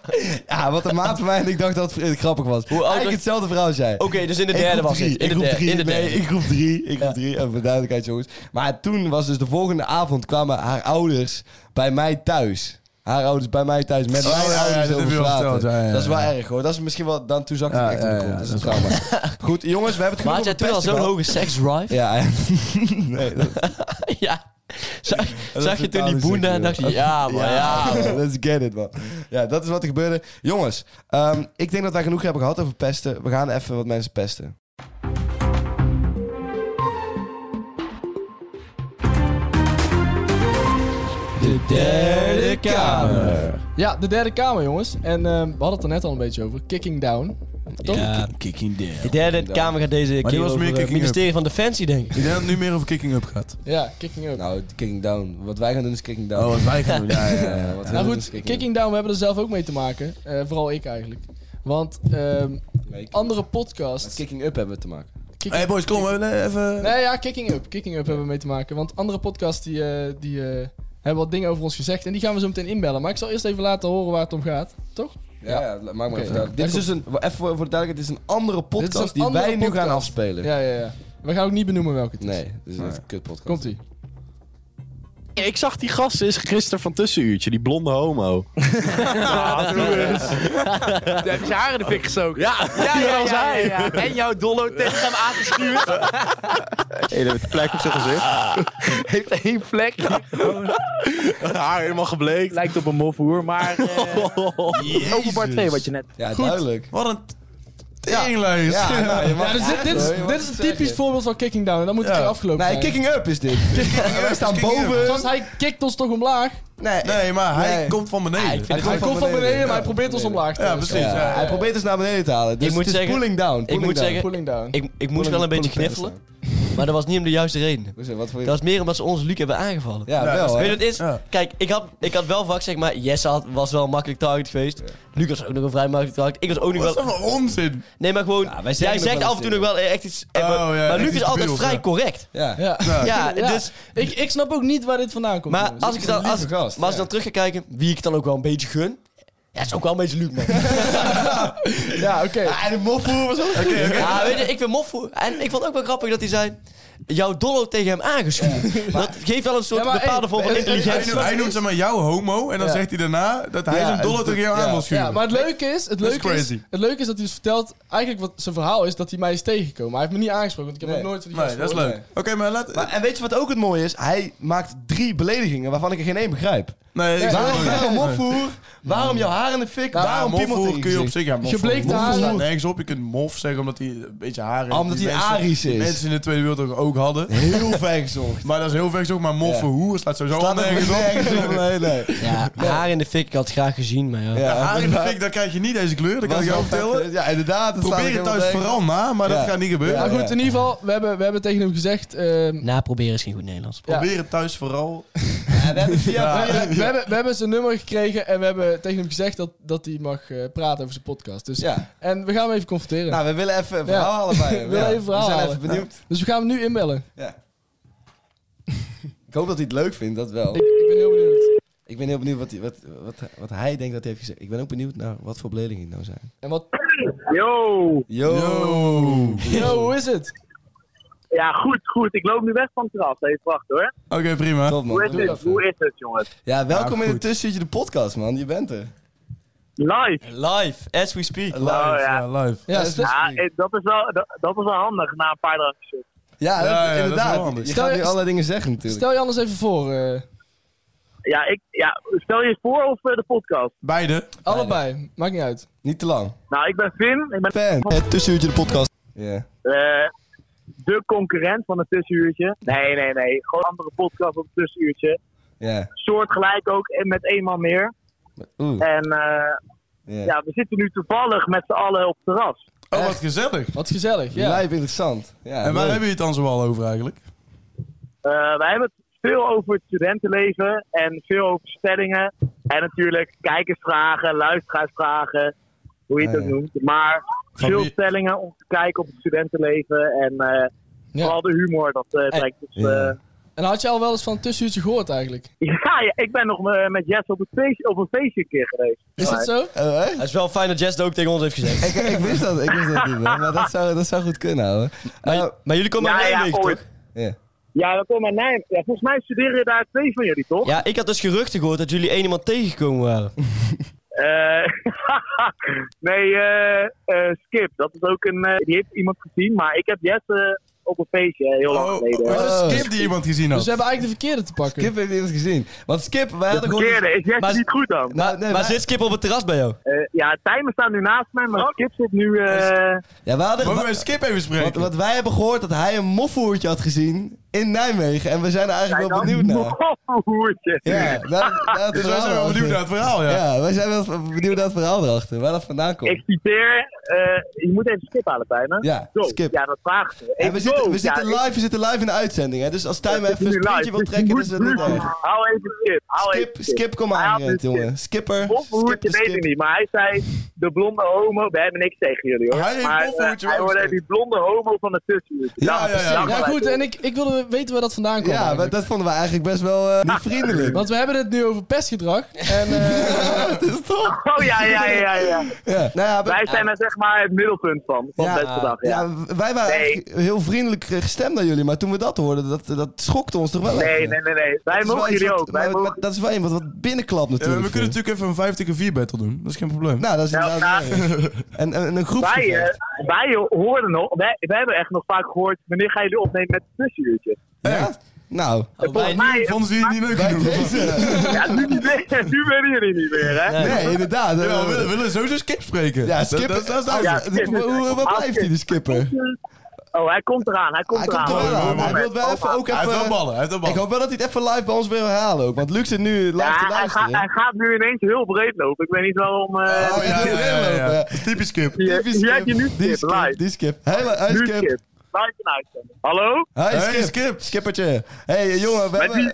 [SPEAKER 7] ja.
[SPEAKER 4] wat een maat van mij en ik dacht dat het grappig was. Eigenlijk
[SPEAKER 7] was-
[SPEAKER 4] hetzelfde verhaal als jij.
[SPEAKER 7] Oké, dus in de
[SPEAKER 4] Ik
[SPEAKER 7] derde
[SPEAKER 4] groep
[SPEAKER 7] was
[SPEAKER 4] drie,
[SPEAKER 7] het. In
[SPEAKER 4] ik
[SPEAKER 7] de
[SPEAKER 4] groep
[SPEAKER 7] derde.
[SPEAKER 4] drie,
[SPEAKER 7] In de
[SPEAKER 4] nee,
[SPEAKER 7] derde.
[SPEAKER 4] ik groep drie. Ik groep drie. Even voor duidelijkheid, jongens. Maar toen was dus de volgende avond kwamen haar ouders bij mij thuis. Haar ouders bij mij thuis. Met
[SPEAKER 5] Oh,
[SPEAKER 4] mijn
[SPEAKER 5] ja, ja,
[SPEAKER 4] ouders
[SPEAKER 5] dat
[SPEAKER 4] over
[SPEAKER 5] heb je wel
[SPEAKER 4] praten.
[SPEAKER 5] verteld, ja, ja, ja.
[SPEAKER 4] Dat is wel erg hoor. Dat is misschien wel... Dan, toen zag ik
[SPEAKER 5] Ja,
[SPEAKER 4] het echt
[SPEAKER 5] ja,
[SPEAKER 4] op de
[SPEAKER 5] ja,
[SPEAKER 4] grond. Dat is een
[SPEAKER 5] dat
[SPEAKER 4] trauma. Goed, jongens, we hebben het
[SPEAKER 7] Maar
[SPEAKER 4] genoeg
[SPEAKER 7] had jij
[SPEAKER 4] over
[SPEAKER 7] toen al
[SPEAKER 4] pesten
[SPEAKER 7] zo'n
[SPEAKER 4] gehad.
[SPEAKER 7] hoge sex drive?
[SPEAKER 4] Ja, ja. nee, dat,
[SPEAKER 7] <laughs> Ja. Zag, zag je toen
[SPEAKER 4] totaal
[SPEAKER 7] die
[SPEAKER 4] niet
[SPEAKER 7] boenda
[SPEAKER 4] zeker,
[SPEAKER 7] en dacht je,
[SPEAKER 4] joh.
[SPEAKER 7] ja man, ja. man.
[SPEAKER 4] Let's get it, man. Ja, dat is wat er gebeurde. Jongens, ehm, ik denk dat wij genoeg hebben gehad over pesten. We gaan even wat mensen pesten.
[SPEAKER 7] De derde
[SPEAKER 6] Ja, de derde kamer jongens. En ehm, we hadden het er net al een beetje over. Kicking down.
[SPEAKER 7] Ja.
[SPEAKER 5] Kicking down.
[SPEAKER 7] De derde
[SPEAKER 4] down.
[SPEAKER 7] kamer gaat deze
[SPEAKER 5] Maar
[SPEAKER 7] keer
[SPEAKER 5] die was
[SPEAKER 7] over
[SPEAKER 5] meer
[SPEAKER 7] eh,
[SPEAKER 5] kicking
[SPEAKER 7] ministerie van Defensie, denk ik.
[SPEAKER 5] <laughs> Ik denk dat het nu meer over kicking up gaat.
[SPEAKER 6] Ja, kicking up. Nou,
[SPEAKER 4] Nou, kicking down. Wat wij gaan doen is kicking down.
[SPEAKER 5] Oh, wat wij gaan doen.
[SPEAKER 4] <laughs>
[SPEAKER 5] Ja, ja, ja.
[SPEAKER 4] Ja, wat wij doen is
[SPEAKER 6] Nou goed, kicking down, we hebben er zelf ook mee te maken. Eh, vooral ik eigenlijk. Want ehm,
[SPEAKER 4] down. Nee, kicking-
[SPEAKER 6] andere
[SPEAKER 4] Met
[SPEAKER 6] podcast...
[SPEAKER 4] kicking up hebben we te maken.
[SPEAKER 6] Kicking-
[SPEAKER 5] Hey boys, kom, we willen even... <laughs>
[SPEAKER 6] Nee, ja, Kicking Up. Kicking Up hebben we mee te maken. Want andere podcasts die, eh, die eh, hebben wat dingen over ons gezegd. En die gaan we zo meteen inbellen. Maar ik zal eerst even laten horen waar het om gaat. Toch?
[SPEAKER 4] Ja, ja, maak maar
[SPEAKER 6] Oké.
[SPEAKER 4] even duidelijk. Dit is dus een, even voor de duidelijkheid, dit is een andere podcast
[SPEAKER 6] Dit is een
[SPEAKER 4] die
[SPEAKER 6] andere
[SPEAKER 4] wij nu gaan
[SPEAKER 6] podcast.
[SPEAKER 4] afspelen.
[SPEAKER 6] Ja, ja, ja. We gaan ook niet benoemen welke het is.
[SPEAKER 4] Nee, dit is echt een kut podcast.
[SPEAKER 6] Komt-ie.
[SPEAKER 8] Ik zag die gast is gisteren van tussenuurtje, die blonde homo.
[SPEAKER 9] Daar heb je zijn haar in de fik gestoken. Ja, ja, ja, ja, ja, ja. En jouw dollo tegen hem
[SPEAKER 8] <laughs>
[SPEAKER 9] aangeschuurd.
[SPEAKER 8] Hele met plek op zijn gezicht.
[SPEAKER 9] <laughs> Heeft één vlek.
[SPEAKER 5] Ah,
[SPEAKER 8] Haar helemaal gebleekt.
[SPEAKER 9] Lijkt op een mofhoer, maar... <laughs> eh Openbaar 2, wat je net...
[SPEAKER 4] Ja, duidelijk.
[SPEAKER 5] Wat een teringlijst.
[SPEAKER 4] <laughs> Ja, nou, je mag-
[SPEAKER 6] Ja, dus dit, dit is,
[SPEAKER 4] Sorry, wat
[SPEAKER 6] dit is een
[SPEAKER 4] zeg je?
[SPEAKER 6] typisch voorbeeld van Kicking Down. En dan moet het
[SPEAKER 5] Ja.
[SPEAKER 6] weer afgelopen
[SPEAKER 4] Nee,
[SPEAKER 6] zijn.
[SPEAKER 4] kicking up is dit. we staan
[SPEAKER 5] Kicking up.
[SPEAKER 4] boven.
[SPEAKER 6] Zoals hij kikt ons toch omlaag.
[SPEAKER 4] Nee,
[SPEAKER 5] Nee, maar hij
[SPEAKER 4] Nee.
[SPEAKER 5] komt van beneden.
[SPEAKER 4] Hij
[SPEAKER 6] Hij komt van beneden, maar hij probeert ons
[SPEAKER 4] beneden.
[SPEAKER 6] omlaag te
[SPEAKER 5] Ja,
[SPEAKER 6] tillen.
[SPEAKER 5] precies.
[SPEAKER 4] Ja,
[SPEAKER 5] Ja, ja,
[SPEAKER 4] Hij
[SPEAKER 5] ja.
[SPEAKER 4] probeert ons naar beneden te halen. Dus
[SPEAKER 7] moet
[SPEAKER 4] het is
[SPEAKER 7] zeggen-
[SPEAKER 4] pulling down. pulling
[SPEAKER 7] moet
[SPEAKER 4] down.
[SPEAKER 7] zeggen-
[SPEAKER 6] Pulling down.
[SPEAKER 7] Ik, ik moest wel een beetje kniffelen, maar dat was niet om de juiste redenen.
[SPEAKER 4] Hoezo, wat voor
[SPEAKER 7] Dat
[SPEAKER 4] je...
[SPEAKER 7] was meer omdat ze ons Luc hebben aangevallen.
[SPEAKER 4] Ja,
[SPEAKER 5] Ja, dat
[SPEAKER 4] wel.
[SPEAKER 5] is-
[SPEAKER 4] Oh, hè?
[SPEAKER 7] Weet je wat het is?
[SPEAKER 5] Ja.
[SPEAKER 7] Kijk, ik had, ik had wel vaak zeg maar... Jesse had, was wel een makkelijk target geweest. Luc was ook nog een vrij makkelijk target. Ik was ook nog
[SPEAKER 5] Wat is
[SPEAKER 7] wel...
[SPEAKER 5] dat voor onzin?
[SPEAKER 7] Nee, maar gewoon...
[SPEAKER 4] Ja, wij zeggen nog
[SPEAKER 7] jij zegt
[SPEAKER 4] wel
[SPEAKER 7] af en toe nog
[SPEAKER 4] eens
[SPEAKER 7] wel echt iets...
[SPEAKER 5] Oh,
[SPEAKER 7] maar
[SPEAKER 5] ja,
[SPEAKER 7] maar
[SPEAKER 5] echt
[SPEAKER 7] Luc
[SPEAKER 5] iets
[SPEAKER 7] is altijd
[SPEAKER 5] debiels,
[SPEAKER 7] vrij
[SPEAKER 5] ja.
[SPEAKER 7] correct.
[SPEAKER 4] Ja.
[SPEAKER 6] Ja.
[SPEAKER 7] Ja,
[SPEAKER 6] Ja.
[SPEAKER 7] dus...
[SPEAKER 6] Ik, ik snap ook niet waar dit vandaan komt.
[SPEAKER 7] Maar
[SPEAKER 6] jongens.
[SPEAKER 7] als ik, dan,
[SPEAKER 4] lieve
[SPEAKER 7] als, maar als
[SPEAKER 4] gast,
[SPEAKER 7] ik
[SPEAKER 4] ja.
[SPEAKER 7] dan terug ga kijken, wie ik dan ook wel een beetje gun... Ja, is ook wel een beetje Luc, man.
[SPEAKER 6] Ja, oké.
[SPEAKER 4] En de mofvoer was ook
[SPEAKER 7] Ja, weet je, ik vind moffo. En ik vond ook wel grappig dat hij zei... Jouw dollo tegen hem aangeschuurd. <laughs> dat geeft wel een soort
[SPEAKER 6] Ja, maar, hey,
[SPEAKER 7] bepaalde vorm van
[SPEAKER 6] het- het-
[SPEAKER 5] Hij
[SPEAKER 7] intelligentie.
[SPEAKER 5] noemt, hij noemt zeg maar jou homo en dan
[SPEAKER 6] Ja.
[SPEAKER 5] zegt hij daarna dat hij
[SPEAKER 4] Ja,
[SPEAKER 5] zijn dollar
[SPEAKER 4] en-
[SPEAKER 5] tegen jou aan
[SPEAKER 4] ja.
[SPEAKER 5] wil
[SPEAKER 6] Ja,
[SPEAKER 5] schuren.
[SPEAKER 6] maar het leuke is, het
[SPEAKER 5] Dat is
[SPEAKER 6] leuke is,
[SPEAKER 5] crazy.
[SPEAKER 6] het leuke is dat hij dus vertelt, eigenlijk wat zijn verhaal is, dat hij mij is tegengekomen. Hij heeft me niet aangesproken, want ik heb
[SPEAKER 4] Nee.
[SPEAKER 6] nog nooit van die
[SPEAKER 5] Nee,
[SPEAKER 6] gast
[SPEAKER 5] dat is
[SPEAKER 6] gehoord.
[SPEAKER 5] leuk. Oké, maar laat...
[SPEAKER 4] Maar, en weet je wat ook het mooie is? Hij maakt drie beledigingen waarvan ik er geen één begrijp.
[SPEAKER 5] nee, ik
[SPEAKER 4] Waarom,
[SPEAKER 5] zeg
[SPEAKER 4] waarom mofvoer? Waarom jouw haar in de fik? waarom piemel tegen
[SPEAKER 5] kun je op
[SPEAKER 4] gezicht?
[SPEAKER 5] zich... Ja, mof,
[SPEAKER 6] Gebleekte
[SPEAKER 5] mof
[SPEAKER 6] haren.
[SPEAKER 5] slaat nergens op. Je kunt mof zeggen omdat hij een beetje haar heeft.
[SPEAKER 4] Omdat
[SPEAKER 5] Die
[SPEAKER 4] hij
[SPEAKER 5] mensen-
[SPEAKER 4] Arisch
[SPEAKER 5] die
[SPEAKER 4] is.
[SPEAKER 5] mensen in de Tweede Wereldoorlog
[SPEAKER 4] <laughs>
[SPEAKER 5] ook hadden.
[SPEAKER 4] Heel ver <laughs> gezocht.
[SPEAKER 5] Maar dat is heel ver ook Maar mof
[SPEAKER 4] Ja.
[SPEAKER 5] voor hoer slaat sowieso al
[SPEAKER 4] Staat er
[SPEAKER 5] nergens op.
[SPEAKER 4] nergens op. Nee, nee.
[SPEAKER 7] Ja, haar in de fik, ik had het graag gezien, maar ja.
[SPEAKER 4] Ja,
[SPEAKER 5] Haar in de fik, dan krijg je niet deze kleur. Dat kan
[SPEAKER 4] Was
[SPEAKER 5] ik jou
[SPEAKER 4] wel vet,
[SPEAKER 5] vertellen.
[SPEAKER 4] hè? Ja, inderdaad. dat staat
[SPEAKER 5] Probeer
[SPEAKER 4] ook
[SPEAKER 5] het thuis
[SPEAKER 4] helemaal
[SPEAKER 5] vooral na, maar dat
[SPEAKER 4] Ja.
[SPEAKER 5] gaat niet gebeuren.
[SPEAKER 6] Maar
[SPEAKER 4] Ja.
[SPEAKER 6] goed, in ieder geval, we hebben, we hebben tegen hem gezegd, ehm,
[SPEAKER 7] Na proberen is geen goed Nederlands.
[SPEAKER 6] ja,
[SPEAKER 5] Probeer het thuis vooral.
[SPEAKER 4] tegen. Ja, we hebben via-
[SPEAKER 6] we,
[SPEAKER 5] <laughs>
[SPEAKER 6] we hebben, we hebben zijn nummer gekregen en we hebben tegen hem gezegd dat, dat hij mag eh, praten over zijn podcast. Dus,
[SPEAKER 4] Ja.
[SPEAKER 6] En we gaan hem even confronteren.
[SPEAKER 4] Nou, we willen even een verhaal
[SPEAKER 6] Ja.
[SPEAKER 4] halen <laughs> bij hem.
[SPEAKER 6] We willen
[SPEAKER 4] Ja.
[SPEAKER 6] even een verhaal
[SPEAKER 4] We zijn
[SPEAKER 6] halen.
[SPEAKER 4] even benieuwd.
[SPEAKER 6] Dus we gaan hem nu inbellen.
[SPEAKER 4] Ja. Ik hoop dat hij het leuk vindt, dat wel.
[SPEAKER 6] Ik, ik ben heel benieuwd.
[SPEAKER 4] Ik ben heel benieuwd wat, hij- wat, wat, wat hij denkt dat hij heeft gezegd. Ik ben ook benieuwd naar wat voor beledigingen het nou zijn.
[SPEAKER 6] En
[SPEAKER 5] <laughs>
[SPEAKER 6] wat,
[SPEAKER 9] Yo!
[SPEAKER 4] Yo!
[SPEAKER 6] yo, hoe is het?
[SPEAKER 9] Ja, goed, goed. Ik loop nu weg van het terras. Even wachten hoor.
[SPEAKER 5] Oké, prima.
[SPEAKER 4] Top, man.
[SPEAKER 9] Hoe is
[SPEAKER 4] Doe
[SPEAKER 9] het?
[SPEAKER 4] even.
[SPEAKER 9] Hoe is het, jongens?
[SPEAKER 4] Ja, welkom
[SPEAKER 5] Ja,
[SPEAKER 4] in de
[SPEAKER 5] goed.
[SPEAKER 4] tussentje de podcast, man. Je bent er.
[SPEAKER 9] Live!
[SPEAKER 7] Live, as we speak.
[SPEAKER 5] Live,
[SPEAKER 9] Nou, ja.
[SPEAKER 5] ja, live.
[SPEAKER 6] Ja, stel,
[SPEAKER 9] Ja, eh, dat is wel, dat, dat is wel handig na een paar dagen. shit.
[SPEAKER 4] Ja, dat-
[SPEAKER 5] ja, dat is wel
[SPEAKER 4] inderdaad.
[SPEAKER 5] handig.
[SPEAKER 4] je
[SPEAKER 6] Stel
[SPEAKER 4] gaat
[SPEAKER 6] je-
[SPEAKER 4] nu allerlei dingen zeggen natuurlijk.
[SPEAKER 6] stel je anders even voor. eh,
[SPEAKER 9] Ja, ik, ja, stel je eens voor of eh, de podcast?
[SPEAKER 5] Beide.
[SPEAKER 6] allebei, maakt niet uit.
[SPEAKER 4] Niet te lang.
[SPEAKER 9] Nou, ik ben Finn. Ik ben
[SPEAKER 4] Fan.
[SPEAKER 8] Het tussenuurtje de podcast.
[SPEAKER 4] Ja.
[SPEAKER 9] eh, de concurrent van het tussenuurtje. Nee, nee, nee. Gewoon een andere podcast op het tussenuurtje.
[SPEAKER 4] Ja.
[SPEAKER 9] Soortgelijk ook en met één man meer.
[SPEAKER 4] Oeh.
[SPEAKER 9] En eh,
[SPEAKER 4] Ja.
[SPEAKER 9] ja, we zitten nu toevallig met z'n allen op het terras.
[SPEAKER 5] Oh, wat
[SPEAKER 4] Echt?
[SPEAKER 5] gezellig.
[SPEAKER 6] Wat gezellig, ja.
[SPEAKER 4] Live interessant. Ja,
[SPEAKER 5] En waar
[SPEAKER 4] leuk.
[SPEAKER 5] hebben jullie het dan zoal over eigenlijk?
[SPEAKER 9] Eh, wij hebben het veel over het studentenleven en veel over stellingen. En natuurlijk kijkersvragen, luisteraarsvragen, hoe je het
[SPEAKER 4] Ah,
[SPEAKER 9] ook
[SPEAKER 4] ja.
[SPEAKER 9] noemt. Maar
[SPEAKER 5] Van
[SPEAKER 9] veel
[SPEAKER 5] wie-
[SPEAKER 9] stellingen om te kijken op het studentenleven en eh,
[SPEAKER 6] Ja.
[SPEAKER 9] vooral de humor, dat eh trekt ons...
[SPEAKER 4] ja.
[SPEAKER 9] eh, <laughs>
[SPEAKER 6] En had je al wel eens van een tussenuurtje gehoord eigenlijk?
[SPEAKER 9] Ja, ja, ik ben nog eh, met Jess op, het feest, op een feestje een keer geweest.
[SPEAKER 6] Is dat zo?
[SPEAKER 4] Oh, hè?
[SPEAKER 7] <laughs> Het is wel fijn dat Jess dat ook tegen ons heeft gezegd.
[SPEAKER 4] ik, ik wist dat, ik wist dat niet, man. maar dat zou, dat zou goed kunnen, hoor. Eh,
[SPEAKER 7] Maar, maar jullie komen
[SPEAKER 9] Ja,
[SPEAKER 7] uit
[SPEAKER 9] ja,
[SPEAKER 7] Nijmegen,
[SPEAKER 9] ooit.
[SPEAKER 7] toch?
[SPEAKER 4] Ja.
[SPEAKER 9] Ja, dat komt uit Nijmegen. Ja, volgens mij studeren daar twee van jullie, toch?
[SPEAKER 7] Ja, ik had dus geruchten gehoord dat jullie één iemand tegengekomen waren.
[SPEAKER 9] Eh, <laughs> nee, eh, eh, Skip, dat is ook een... eh, die heeft iemand gezien, maar ik heb Jess eh, op een feestje eh, heel lang
[SPEAKER 5] Oh,
[SPEAKER 9] geleden.
[SPEAKER 5] was
[SPEAKER 4] Oh.
[SPEAKER 5] een skip die iemand gezien
[SPEAKER 6] Dus we
[SPEAKER 5] had.
[SPEAKER 6] hebben eigenlijk de verkeerde te pakken.
[SPEAKER 4] Skip heeft iemand gezien. Want Skip, wij hadden gewoon...
[SPEAKER 9] Verkeerde, is Jess
[SPEAKER 7] maar-
[SPEAKER 9] niet goed dan?
[SPEAKER 4] Nou, nee,
[SPEAKER 7] maar
[SPEAKER 4] wij-
[SPEAKER 7] zit Skip op het terras bij jou?
[SPEAKER 9] Eh, ja, Tijmen staat nu naast mij,
[SPEAKER 5] Oh.
[SPEAKER 9] maar Skip zit nu... eh
[SPEAKER 4] Ja, wij hadden...
[SPEAKER 5] Mogen we skip even
[SPEAKER 4] Wat,
[SPEAKER 5] spreken?
[SPEAKER 4] wat wij hebben gehoord, dat hij een mofvoertje had gezien in Nijmegen. En we zijn er eigenlijk wel
[SPEAKER 9] <laughs>
[SPEAKER 4] benieuwd naar.
[SPEAKER 9] Oh, Hoertje.
[SPEAKER 4] Nou. Ja,
[SPEAKER 9] <laughs>
[SPEAKER 4] dat, dat
[SPEAKER 5] Dus wij zijn wel benieuwd naar het verhaal, ja.
[SPEAKER 4] Ja, wij zijn wel benieuwd naar het verhaal erachter. Waar dat vandaan komt.
[SPEAKER 9] Ik citeer, eh, je moet even skip halen bijna.
[SPEAKER 4] Ja,
[SPEAKER 9] Go.
[SPEAKER 4] skip.
[SPEAKER 9] Ja, dat vraagt ze.
[SPEAKER 4] En
[SPEAKER 9] Even
[SPEAKER 4] we zitten,
[SPEAKER 9] go.
[SPEAKER 4] we, zitten
[SPEAKER 9] Ja,
[SPEAKER 4] live, we zitten live in de uitzending, hè? dus als Tijm
[SPEAKER 9] ik-
[SPEAKER 4] even een
[SPEAKER 9] nu live,
[SPEAKER 4] sprintje wil
[SPEAKER 9] dus je
[SPEAKER 4] trekken,
[SPEAKER 9] moet
[SPEAKER 4] dus dat doet
[SPEAKER 9] nu-
[SPEAKER 4] hij.
[SPEAKER 9] Hou even skip. Hou
[SPEAKER 4] Skip,
[SPEAKER 9] even
[SPEAKER 4] skip, kom aan,
[SPEAKER 9] Hou even
[SPEAKER 4] Rent, jongen. Skipper.
[SPEAKER 9] Of hoe
[SPEAKER 4] skip
[SPEAKER 9] het je
[SPEAKER 4] de
[SPEAKER 9] weet
[SPEAKER 4] skip.
[SPEAKER 9] ik niet, maar hij zei de blonde homo. We hebben niks tegen jullie hoor.
[SPEAKER 5] Hij heeft
[SPEAKER 9] maar
[SPEAKER 5] bofferhoedje
[SPEAKER 9] eh, hij
[SPEAKER 5] wel
[SPEAKER 9] hoorde
[SPEAKER 5] gezeten.
[SPEAKER 9] die blonde homo van de tussenuur.
[SPEAKER 4] Ja, ja, ja.
[SPEAKER 6] Ja, goed, en ik, ik wilde weten waar dat vandaan komt.
[SPEAKER 4] Ja, maar
[SPEAKER 6] eigenlijk.
[SPEAKER 4] dat vonden we eigenlijk best wel eh,
[SPEAKER 9] <laughs>
[SPEAKER 4] niet vriendelijk.
[SPEAKER 6] Want we hebben het nu over pestgedrag. En, eh,
[SPEAKER 4] dat is dus toch?
[SPEAKER 9] <laughs> Oh ja, ja, ja, ja.
[SPEAKER 4] Ja, nou ja, we-
[SPEAKER 9] Wij zijn er zeg maar het middelpunt van. Van best gedag, ja.
[SPEAKER 4] ja, wij waren
[SPEAKER 9] Nee.
[SPEAKER 4] eigenlijk heel vriendelijk gestemd naar jullie, maar toen we dat hoorden, dat, dat schokte ons toch wel
[SPEAKER 9] Nee,
[SPEAKER 4] even.
[SPEAKER 9] nee, nee, nee.
[SPEAKER 4] Dat
[SPEAKER 9] Wij
[SPEAKER 4] is wel
[SPEAKER 9] mogen
[SPEAKER 4] iets
[SPEAKER 9] jullie
[SPEAKER 4] wat-
[SPEAKER 9] ook.
[SPEAKER 4] maar-
[SPEAKER 9] Wij
[SPEAKER 4] maar
[SPEAKER 9] mogen...
[SPEAKER 4] dat is wel iemand wat binnenklapt
[SPEAKER 5] Eh,
[SPEAKER 4] natuurlijk.
[SPEAKER 5] we kunnen natuurlijk even een 5 tegen 4 battle doen. Dat is geen probleem.
[SPEAKER 4] Nou, dat is
[SPEAKER 9] Nou,
[SPEAKER 4] inderdaad waar. en, en, en <laughs> een groep.
[SPEAKER 9] Wij, eh, wij hoorden nog, wij, wij hebben echt nog vaak gehoord, wanneer gaan jullie opnemen met het tussenuurtje?
[SPEAKER 5] Echt?
[SPEAKER 4] Nou, <laughs>
[SPEAKER 7] Oh, wij niet.
[SPEAKER 9] Mij,
[SPEAKER 5] Vonden ze je niet leuk
[SPEAKER 4] bij
[SPEAKER 5] genoeg?
[SPEAKER 4] <laughs> deze.
[SPEAKER 9] ja, nu, niet meer. nu willen jullie niet meer, hè?
[SPEAKER 4] Nee, inderdaad.
[SPEAKER 5] Ja,
[SPEAKER 4] Eh,
[SPEAKER 5] we willen- we willen sowieso Skip spreken.
[SPEAKER 4] Ja,
[SPEAKER 5] Dat-
[SPEAKER 4] skipper.
[SPEAKER 5] Dat, dat is
[SPEAKER 4] Oh, ja,
[SPEAKER 5] duidelijk.
[SPEAKER 9] skip.
[SPEAKER 4] Hoe- hoe- Waar blijft hij, de skipper?
[SPEAKER 9] Oh, hij komt eraan, hij komt
[SPEAKER 4] Hij
[SPEAKER 9] eraan.
[SPEAKER 4] komt er wel
[SPEAKER 5] mooi,
[SPEAKER 4] aan.
[SPEAKER 5] mooi,
[SPEAKER 4] Hij
[SPEAKER 5] mooi.
[SPEAKER 4] wil wel even ook
[SPEAKER 5] Hij heeft wel
[SPEAKER 4] even...
[SPEAKER 5] ballen, hij heeft wel
[SPEAKER 4] Ik
[SPEAKER 5] ballen.
[SPEAKER 4] hoop wel dat hij het even live bij ons wil herhalen ook. Want Luc zit nu live te
[SPEAKER 9] Ja, hij, gaat,
[SPEAKER 4] luisteren.
[SPEAKER 9] hij gaat nu ineens heel breed lopen. Ik weet niet waarom. eh
[SPEAKER 5] Oh, ja, ja, ja, ja. Dat is Typisch Skip.
[SPEAKER 9] die,
[SPEAKER 4] Die
[SPEAKER 9] die heb je nu
[SPEAKER 4] Die
[SPEAKER 9] skip,
[SPEAKER 4] skip,
[SPEAKER 9] live.
[SPEAKER 4] die skip. Hele, hij
[SPEAKER 9] Nu
[SPEAKER 4] skip.
[SPEAKER 9] skip. Live en uitzending. Hallo?
[SPEAKER 4] Hij
[SPEAKER 5] Hey,
[SPEAKER 4] skip.
[SPEAKER 5] Skip.
[SPEAKER 4] Skippertje. Hé, hey, jongen, we
[SPEAKER 9] Met
[SPEAKER 4] hebben...
[SPEAKER 9] wie?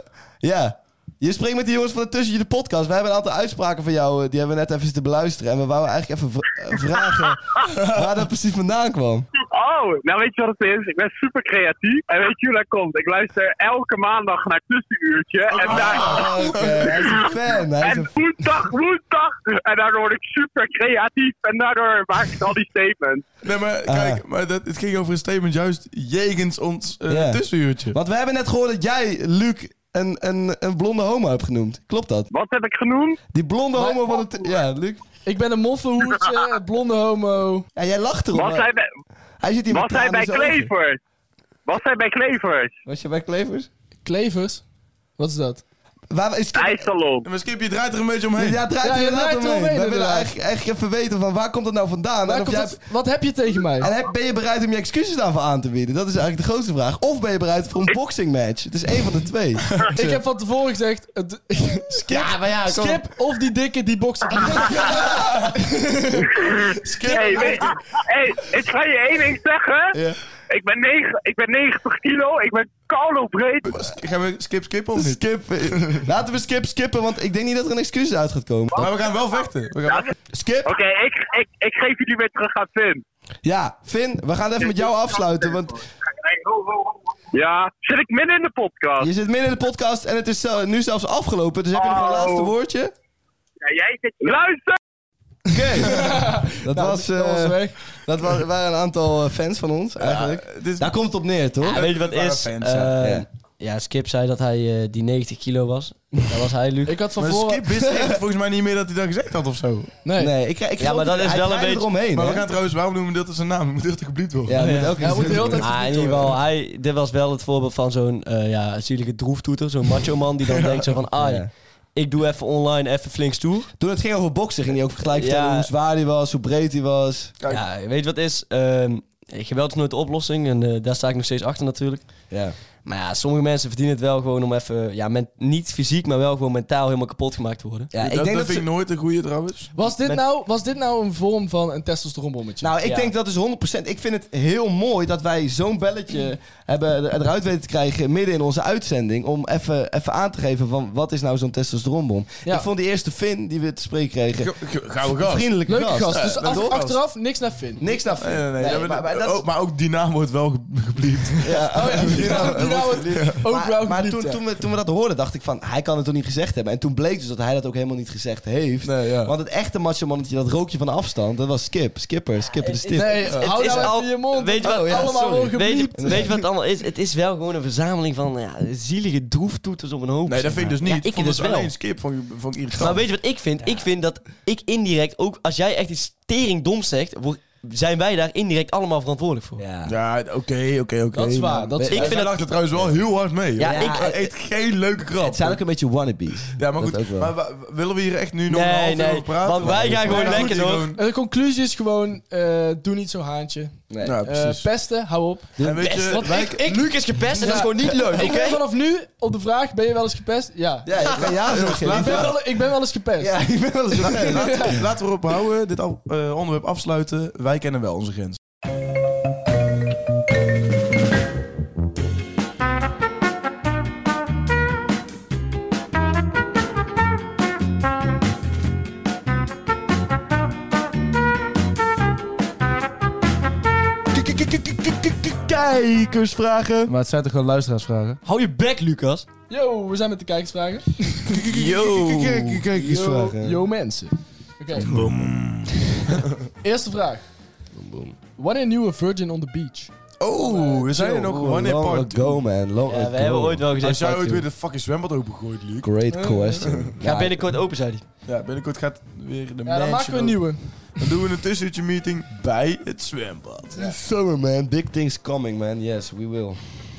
[SPEAKER 4] Ja. Je spreekt met die jongens van de Tussen de podcast. We hebben een aantal uitspraken van jou, eh, die hebben we net even zitten beluisteren. En we wouden eigenlijk even v- eh,
[SPEAKER 9] <laughs>
[SPEAKER 4] vragen waar dat precies vandaan kwam.
[SPEAKER 9] Oh, nou weet je wat het is? Ik ben super creatief. En weet je hoe dat komt? Ik luister elke maandag naar Tussenuurtje. En daar...
[SPEAKER 4] Ah, Oké, hij is een fan. Hij is
[SPEAKER 9] En
[SPEAKER 4] een
[SPEAKER 9] woensdag, woensdag. En daardoor word ik super creatief. En daardoor maak ik al die statements.
[SPEAKER 5] Nee, maar kijk, maar dat, het ging over een statement juist jegens ons eh
[SPEAKER 4] Ja.
[SPEAKER 5] tussenuurtje.
[SPEAKER 4] Want we hebben net gehoord dat jij, Luc, een, een, een blonde homo hebt genoemd. Klopt dat?
[SPEAKER 9] Wat heb ik genoemd?
[SPEAKER 4] Die blonde homo van het... Ja, Luc.
[SPEAKER 6] ik ben een moffenhoertje,
[SPEAKER 4] <laughs>
[SPEAKER 6] een blonde homo.
[SPEAKER 4] Ja, jij lacht erom.
[SPEAKER 9] Was
[SPEAKER 4] maar-
[SPEAKER 9] hij bij,
[SPEAKER 4] hij zit hier met
[SPEAKER 9] was hij bij
[SPEAKER 4] tranen in zijn ogen.
[SPEAKER 9] Klevers? Was hij bij Klevers?
[SPEAKER 4] Was je bij Klevers?
[SPEAKER 6] Klevers? Wat is dat?
[SPEAKER 4] Waar is Klevers?
[SPEAKER 9] IJssalon.
[SPEAKER 5] Maar Skip, je draait er een beetje omheen.
[SPEAKER 4] Ja, draait
[SPEAKER 6] Ja,
[SPEAKER 4] er
[SPEAKER 6] je
[SPEAKER 4] inderdaad
[SPEAKER 6] draait
[SPEAKER 4] omheen.
[SPEAKER 6] er omheen,
[SPEAKER 4] Wij willen
[SPEAKER 6] inderdaad.
[SPEAKER 4] eigenlijk, eigenlijk even weten van waar komt dat nou vandaan?
[SPEAKER 6] Waar
[SPEAKER 4] en, of
[SPEAKER 6] komt
[SPEAKER 4] jij-
[SPEAKER 6] het- wat heb je tegen mij?
[SPEAKER 4] en heb- ben je bereid om je excuses daarvoor aan te bieden? Dat is eigenlijk de grootste vraag. Of ben je bereid voor een boxing match? Het is één van de
[SPEAKER 6] <laughs>
[SPEAKER 4] twee.
[SPEAKER 6] Ik heb van tevoren gezegd, het- skip,
[SPEAKER 7] Ja, maar ja, kom.
[SPEAKER 6] skip of die dikke die
[SPEAKER 4] <laughs>
[SPEAKER 6] boksen.
[SPEAKER 9] Hey, weet- hey, ik ga je één ding zeggen.
[SPEAKER 4] Ja.
[SPEAKER 9] Ik, ben negen, ik ben 90 kilo. Ik ben koude breed.
[SPEAKER 5] Maar sk- Gaan we Skip skip of niet?
[SPEAKER 4] Skip. Laten we skip skippen, want ik denk niet dat er een excuus uit gaat komen.
[SPEAKER 5] Maar we gaan wel vechten. We gaan wel-
[SPEAKER 4] Skip.
[SPEAKER 9] Oké, ik, ik, ik geef jullie weer terug aan Finn.
[SPEAKER 4] Ja, Finn, we gaan het even met jou afsluiten, want
[SPEAKER 9] Ja, zit ik midden in de podcast?
[SPEAKER 4] je zit midden in de podcast en het is zo- nu zelfs afgelopen. Dus heb je nog een
[SPEAKER 9] Oh.
[SPEAKER 4] laatste woordje?
[SPEAKER 9] Ja, jij zit... Luister!
[SPEAKER 4] Oké.
[SPEAKER 6] <laughs>
[SPEAKER 4] dat, was, eh,
[SPEAKER 6] Dat was
[SPEAKER 4] dat,
[SPEAKER 6] weg.
[SPEAKER 4] wa- waren een aantal eh, fans van ons, eigenlijk.
[SPEAKER 5] het is-
[SPEAKER 4] Daar komt het op neer, toch?
[SPEAKER 7] Ja, weet je wat
[SPEAKER 5] We waren
[SPEAKER 7] is?
[SPEAKER 5] fans,
[SPEAKER 7] Eh,
[SPEAKER 5] ja.
[SPEAKER 4] Ja.
[SPEAKER 7] ja. Skip zei dat hij eh, die 90 kilo was. Dat was hij, Luc.
[SPEAKER 6] Ik had van
[SPEAKER 5] Maar Skip
[SPEAKER 6] tevoren...
[SPEAKER 5] wist echt volgens mij niet meer dat hij dat gezegd had of zo.
[SPEAKER 6] Nee.
[SPEAKER 4] Nee, ik, ik geloof
[SPEAKER 7] maar
[SPEAKER 4] niet.
[SPEAKER 7] dat is
[SPEAKER 4] Hij
[SPEAKER 7] wel
[SPEAKER 4] draaide
[SPEAKER 7] een beetje-
[SPEAKER 4] eromheen,
[SPEAKER 5] Maar we
[SPEAKER 4] hè?
[SPEAKER 5] gaan trouwens, waarom noemen we dit als een naam? <laughs> Moet dit toch geblied worden?
[SPEAKER 4] Ja, moet elke
[SPEAKER 6] Ja,
[SPEAKER 4] keer
[SPEAKER 6] moet heel de tijd
[SPEAKER 7] Ah, in ieder geval, hij, dit was wel het voorbeeld van zo'n eh ja, zielige droeftoeter. Zo'n macho man die dan denkt zo van... Ai,
[SPEAKER 4] Ja.
[SPEAKER 7] ik doe even online even flink stoer.
[SPEAKER 4] Toen het ging over boksen, ging hij ook gelijk vertellen
[SPEAKER 7] Ja.
[SPEAKER 4] hoe zwaar hij was, hoe breed hij was.
[SPEAKER 5] Kijk.
[SPEAKER 7] Ja, weet je wat is? Ehm, geweld is nooit de oplossing. En eh, daar sta ik nog steeds achter natuurlijk.
[SPEAKER 4] Ja.
[SPEAKER 7] Maar ja, sommige mensen verdienen het wel gewoon om even... Ja, men- niet fysiek, maar wel gewoon mentaal helemaal kapot gemaakt te worden.
[SPEAKER 4] Ja, ik
[SPEAKER 5] dat, dat
[SPEAKER 4] denk dat
[SPEAKER 5] vind ik
[SPEAKER 4] ze-
[SPEAKER 5] nooit een goede trouwens.
[SPEAKER 6] Was dit, nou, was dit nou een vorm van een testosteronbommetje?
[SPEAKER 4] Nou, ik
[SPEAKER 7] Ja.
[SPEAKER 4] denk dat is 100%. Ik vind het heel mooi dat wij zo'n belletje <clears throat> hebben er- eruit weten te krijgen midden in onze uitzending. Om even, even aan te geven van wat is nou zo'n testosteronbom.
[SPEAKER 6] Ja.
[SPEAKER 4] Ik vond die eerste Finn die we te spreken kregen.
[SPEAKER 5] Ge- ge- Gouden gast.
[SPEAKER 4] Vriendelijke
[SPEAKER 6] Leuke gast.
[SPEAKER 4] Ja,
[SPEAKER 6] Dus
[SPEAKER 4] dat
[SPEAKER 6] af-
[SPEAKER 4] toch?
[SPEAKER 6] achteraf niks naar Finn.
[SPEAKER 4] Niks naar Finn.
[SPEAKER 5] Nee, nee, nee.
[SPEAKER 4] Nee,
[SPEAKER 5] Ja, maar,
[SPEAKER 4] maar, maar dat is-
[SPEAKER 5] ook, oh, maar ook die naam wordt wel ge- <laughs> gebliept.
[SPEAKER 4] Ja,
[SPEAKER 5] <laughs>
[SPEAKER 4] oh ja,
[SPEAKER 6] Die nou, die nou het ook
[SPEAKER 4] maar,
[SPEAKER 6] wel
[SPEAKER 4] maar
[SPEAKER 6] gebliept,
[SPEAKER 4] toen,
[SPEAKER 6] ja.
[SPEAKER 4] toen, we, toen we dat hoorden, dacht ik van, hij kan het toch niet gezegd hebben. En toen bleek dus dat hij dat ook helemaal niet gezegd heeft.
[SPEAKER 5] Nee, ja.
[SPEAKER 4] Want het echte macho mannetje, dat rookje van afstand, dat was Skip. Skipper, Skipper de Stip.
[SPEAKER 6] Nee, hou nou
[SPEAKER 7] al-
[SPEAKER 6] even je mond.
[SPEAKER 7] Weet je wat,
[SPEAKER 6] Oh, ja, allemaal
[SPEAKER 7] sorry.
[SPEAKER 6] wel
[SPEAKER 7] weet, je-
[SPEAKER 6] gebliept.
[SPEAKER 7] weet je wat het allemaal is? Het is wel gewoon een verzameling van ja, zielige droeftoeters op een hoop.
[SPEAKER 5] Nee,
[SPEAKER 7] zeg
[SPEAKER 5] dat vind ik
[SPEAKER 7] maar.
[SPEAKER 5] dus niet.
[SPEAKER 7] Ja,
[SPEAKER 5] ik
[SPEAKER 7] ik
[SPEAKER 5] vond
[SPEAKER 7] dus
[SPEAKER 5] het
[SPEAKER 7] wel.
[SPEAKER 5] alleen Skip van, van irritant.
[SPEAKER 7] Maar weet je wat ik vind? Ik vind dat ik indirect ook, als jij echt iets tering doms zegt, wor- zijn wij daar indirect allemaal verantwoordelijk voor.
[SPEAKER 4] Ja.
[SPEAKER 5] Ja, oké, oké, oké.
[SPEAKER 6] Dat is waar. Dat is
[SPEAKER 7] Ik
[SPEAKER 5] Ik
[SPEAKER 7] vind
[SPEAKER 5] vind
[SPEAKER 7] dat-
[SPEAKER 5] lacht er trouwens wel heel hard mee.
[SPEAKER 7] Ja,
[SPEAKER 5] Ja,
[SPEAKER 7] ik-
[SPEAKER 5] ik eet geen leuke krap.
[SPEAKER 4] Het zijn ook een beetje wannabes.
[SPEAKER 5] Ja, maar
[SPEAKER 4] Dat ook
[SPEAKER 5] goed.
[SPEAKER 4] wel.
[SPEAKER 5] Maar wa- willen we hier echt nu nog een
[SPEAKER 7] Nee,
[SPEAKER 5] half uur
[SPEAKER 7] nee.
[SPEAKER 5] over praten?
[SPEAKER 7] Want wij gaan
[SPEAKER 5] Ja,
[SPEAKER 7] gewoon
[SPEAKER 5] goed,
[SPEAKER 7] lekker,
[SPEAKER 5] hier
[SPEAKER 7] hoor.
[SPEAKER 5] gewoon-
[SPEAKER 6] En de conclusie is gewoon, eh, doe niet zo haantje.
[SPEAKER 4] Nee.
[SPEAKER 5] Ja,
[SPEAKER 6] Eh,
[SPEAKER 5] precies.
[SPEAKER 6] pesten, hou op.
[SPEAKER 5] en weet je,
[SPEAKER 7] Want
[SPEAKER 5] wij-
[SPEAKER 7] ik, ik, Luc is gepest en dat is
[SPEAKER 6] Ja.
[SPEAKER 7] gewoon niet leuk, oké?
[SPEAKER 6] Ik ben vanaf nu op de vraag, ben je wel eens gepest? Ja.
[SPEAKER 4] Ja, ik ben ja, zo
[SPEAKER 6] Ik, ben wel, ik ben wel eens gepest.
[SPEAKER 4] Ja, ik ben wel eens
[SPEAKER 5] Nee, laten, laten we erop houden, dit af- eh, onderwerp afsluiten. Wij kennen wel onze grens. Kijkersvragen. Maar het zijn toch gewoon luisteraarsvragen?
[SPEAKER 7] Hou je bek, Lucas.
[SPEAKER 6] Yo, we zijn met de kijkersvragen.
[SPEAKER 7] Yo.
[SPEAKER 6] Yo, yo mensen. Oké. <laughs> Eerste vraag. Wanneer nieuwe Virgin on the Beach?
[SPEAKER 5] Oh, we zijn er nog. Wanneer
[SPEAKER 4] long
[SPEAKER 5] part
[SPEAKER 4] ago,
[SPEAKER 5] 2?
[SPEAKER 4] man. Long
[SPEAKER 7] Ja,
[SPEAKER 4] ago.
[SPEAKER 7] we hebben ooit wel
[SPEAKER 5] Als
[SPEAKER 7] gezegd.
[SPEAKER 5] jij
[SPEAKER 7] part
[SPEAKER 5] ooit
[SPEAKER 7] two.
[SPEAKER 5] weer de fucking zwembad opengegooid, Luc.
[SPEAKER 4] Great question.
[SPEAKER 7] Ga binnenkort open, zei hij.
[SPEAKER 5] Ja, binnenkort gaat weer de
[SPEAKER 6] Ja, dan maken we een nieuwe.
[SPEAKER 5] Dan doen we een tussenuurtje meeting bij het zwembad.
[SPEAKER 4] <laughs> Summer, man. Big things coming, man. Yes, we will.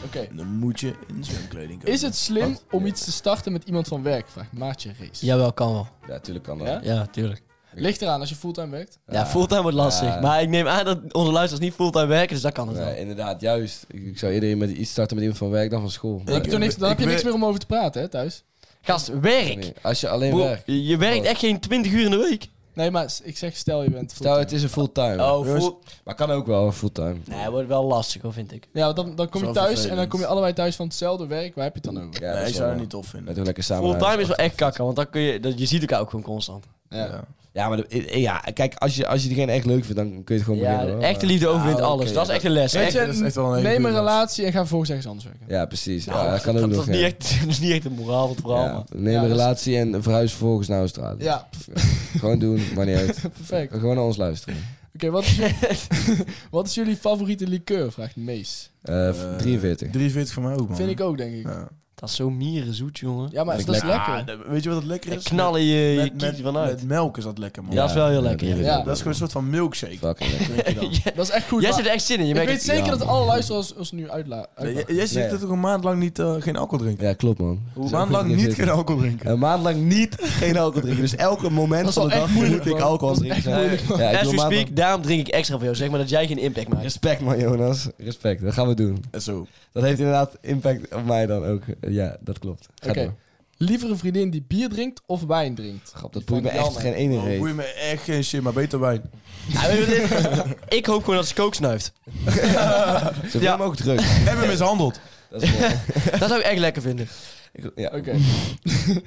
[SPEAKER 6] Oké.
[SPEAKER 5] En dan moet je in zwemkleding komen.
[SPEAKER 6] Is het slim om iets te starten met iemand van werk? Vraagt Maartje Race.
[SPEAKER 7] Jawel, kan wel.
[SPEAKER 4] Ja, tuurlijk kan dat.
[SPEAKER 6] Ja?
[SPEAKER 7] Ja, tuurlijk.
[SPEAKER 6] Ligt eraan als je fulltime werkt.
[SPEAKER 7] Ja, fulltime wordt lastig.
[SPEAKER 4] Ja.
[SPEAKER 7] Maar ik neem aan dat onze luisteraars niet fulltime werken, dus dat kan het
[SPEAKER 4] Nee,
[SPEAKER 7] wel.
[SPEAKER 4] inderdaad, juist. Ik ik zou iedereen met iets starten met iemand van werk dan van school.
[SPEAKER 6] Dan heb je, toch niks, dan
[SPEAKER 5] ik
[SPEAKER 6] heb je niks
[SPEAKER 5] weet-
[SPEAKER 6] meer om over te praten, hè, thuis?
[SPEAKER 7] Gast, werk.
[SPEAKER 4] Nee, Als je alleen
[SPEAKER 7] Bro,
[SPEAKER 4] werkt.
[SPEAKER 7] je werkt echt geen 20 uur in de week.
[SPEAKER 6] Nee, maar s- ik zeg stel je bent
[SPEAKER 4] Stel,
[SPEAKER 6] fulltime.
[SPEAKER 4] het is een fulltime.
[SPEAKER 7] Oh,
[SPEAKER 4] Jongens,
[SPEAKER 7] full-
[SPEAKER 4] Maar kan ook wel een fulltime.
[SPEAKER 7] Nee, wordt wel lastig hoor, vind ik.
[SPEAKER 6] Ja, want dan, dan kom je
[SPEAKER 5] Zo
[SPEAKER 6] thuis en
[SPEAKER 5] vervelend.
[SPEAKER 6] dan kom je allebei thuis van hetzelfde werk. Waar heb je het dan over?
[SPEAKER 4] Ja,
[SPEAKER 5] Nee,
[SPEAKER 4] dat
[SPEAKER 5] ik
[SPEAKER 4] is
[SPEAKER 5] zou
[SPEAKER 4] wel-
[SPEAKER 5] dat niet tof
[SPEAKER 4] Met
[SPEAKER 5] vinden.
[SPEAKER 4] hun lekker samen.
[SPEAKER 7] Fulltime is wel echt kakken, want dan kun je, dat, je ziet elkaar ook gewoon constant.
[SPEAKER 5] Ja.
[SPEAKER 4] Ja, maar de- eh, ja, kijk, als je, als je diegene echt leuk vindt, dan kun je het gewoon
[SPEAKER 7] Ja,
[SPEAKER 4] beginnen.
[SPEAKER 7] de
[SPEAKER 4] hoor.
[SPEAKER 7] echte liefde overwint
[SPEAKER 4] Ah, oké,
[SPEAKER 7] alles. Dat is echt een les.
[SPEAKER 6] Weet
[SPEAKER 7] Echt-
[SPEAKER 6] je,
[SPEAKER 5] dat is echt wel een hele
[SPEAKER 6] neem een
[SPEAKER 5] goeie
[SPEAKER 6] relatie en ga vervolgens ergens anders werken.
[SPEAKER 4] Ja, precies.
[SPEAKER 7] Nou,
[SPEAKER 4] ja, dat kan ook nog.
[SPEAKER 7] is niet
[SPEAKER 4] ja.
[SPEAKER 7] echt, <laughs> dat is niet echt een moraal van het verhaal,
[SPEAKER 4] Ja,
[SPEAKER 7] man.
[SPEAKER 4] neem
[SPEAKER 6] Ja,
[SPEAKER 4] een
[SPEAKER 6] dus-
[SPEAKER 4] relatie en verhuis vervolgens naar Australië.
[SPEAKER 6] Ja,
[SPEAKER 4] <laughs> Gewoon doen, maar niet uit.
[SPEAKER 6] <laughs> perfect. Oké,
[SPEAKER 4] Gewoon naar ons luisteren.
[SPEAKER 5] <laughs>
[SPEAKER 6] wat, is je- wat is jullie <laughs> favoriete liqueur? Vraagt Mees.
[SPEAKER 4] Eh, v- 43.
[SPEAKER 5] 43 van mij ook, man.
[SPEAKER 6] Vind ik ook, denk ik.
[SPEAKER 5] Ja.
[SPEAKER 7] Dat is zo mierenzoet, jongen.
[SPEAKER 6] Ja, maar
[SPEAKER 4] Vind
[SPEAKER 6] dat
[SPEAKER 4] ik
[SPEAKER 6] is lekker.
[SPEAKER 5] Ah, weet je wat het lekker
[SPEAKER 7] En
[SPEAKER 5] is?
[SPEAKER 7] knallen je, je
[SPEAKER 5] Met-
[SPEAKER 7] kiezen
[SPEAKER 5] met,
[SPEAKER 7] vanuit.
[SPEAKER 5] met melk is dat lekker, man.
[SPEAKER 7] Ja, dat is wel heel
[SPEAKER 4] Ja,
[SPEAKER 7] lekker. Ja.
[SPEAKER 4] 43.
[SPEAKER 6] Ja.
[SPEAKER 5] Dat is gewoon een soort van milkshake.
[SPEAKER 4] Fucking lekker.
[SPEAKER 5] drink je dan.
[SPEAKER 6] Dat is echt goed.
[SPEAKER 7] Jij
[SPEAKER 6] maar
[SPEAKER 7] zit er echt zin in. Je
[SPEAKER 6] ik
[SPEAKER 7] merkt
[SPEAKER 6] weet
[SPEAKER 7] het.
[SPEAKER 6] zeker dat alle luisteraars ons nu uitla
[SPEAKER 5] Nee,
[SPEAKER 6] uitlachen.
[SPEAKER 5] j- Jij zegt
[SPEAKER 4] Nee.
[SPEAKER 5] dat toch een maand lang niet, eh, geen alcohol drinken?
[SPEAKER 4] Ja, klopt man.
[SPEAKER 5] Een maand lang
[SPEAKER 4] Zo goed
[SPEAKER 5] niet
[SPEAKER 4] zitten.
[SPEAKER 5] geen alcohol drinken.
[SPEAKER 4] Een maand lang niet <laughs> geen alcohol drinken. Dus elke moment
[SPEAKER 6] Dat is
[SPEAKER 4] van de
[SPEAKER 6] wel
[SPEAKER 4] dag
[SPEAKER 6] echt moeilijk,
[SPEAKER 4] moet ik
[SPEAKER 6] man.
[SPEAKER 4] alcohol
[SPEAKER 6] Dat is echt
[SPEAKER 4] drinken. Ja,
[SPEAKER 6] moeilijk, man.
[SPEAKER 4] ik
[SPEAKER 7] As
[SPEAKER 4] doe
[SPEAKER 7] we
[SPEAKER 4] maand lang-
[SPEAKER 7] speak, daarom drink ik extra voor jou. Zeg maar dat jij geen impact maakt.
[SPEAKER 4] Respect man Jonas. Respect. Dat gaan we doen.
[SPEAKER 5] En Zo.
[SPEAKER 4] Dat heeft inderdaad impact op mij dan ook. Ja, dat klopt. Ga
[SPEAKER 6] Oké.
[SPEAKER 4] door.
[SPEAKER 6] Liever een vriendin die bier drinkt of wijn drinkt?
[SPEAKER 4] Grap, dat boeit me echt geen ene
[SPEAKER 5] Oh,
[SPEAKER 4] reet.
[SPEAKER 5] boeit me echt geen shit, maar beter wijn.
[SPEAKER 7] Ja, weet je wat dit is? <laughs> ik hoop gewoon dat ze kook snuift.
[SPEAKER 4] Zoveel
[SPEAKER 7] Ja.
[SPEAKER 4] mogelijk druk.
[SPEAKER 5] Hebben we mishandeld.
[SPEAKER 4] Dat is
[SPEAKER 6] <laughs>
[SPEAKER 4] mooi.
[SPEAKER 7] Dat zou ik echt lekker vinden.
[SPEAKER 4] Ik- ja.
[SPEAKER 6] Oké. <laughs>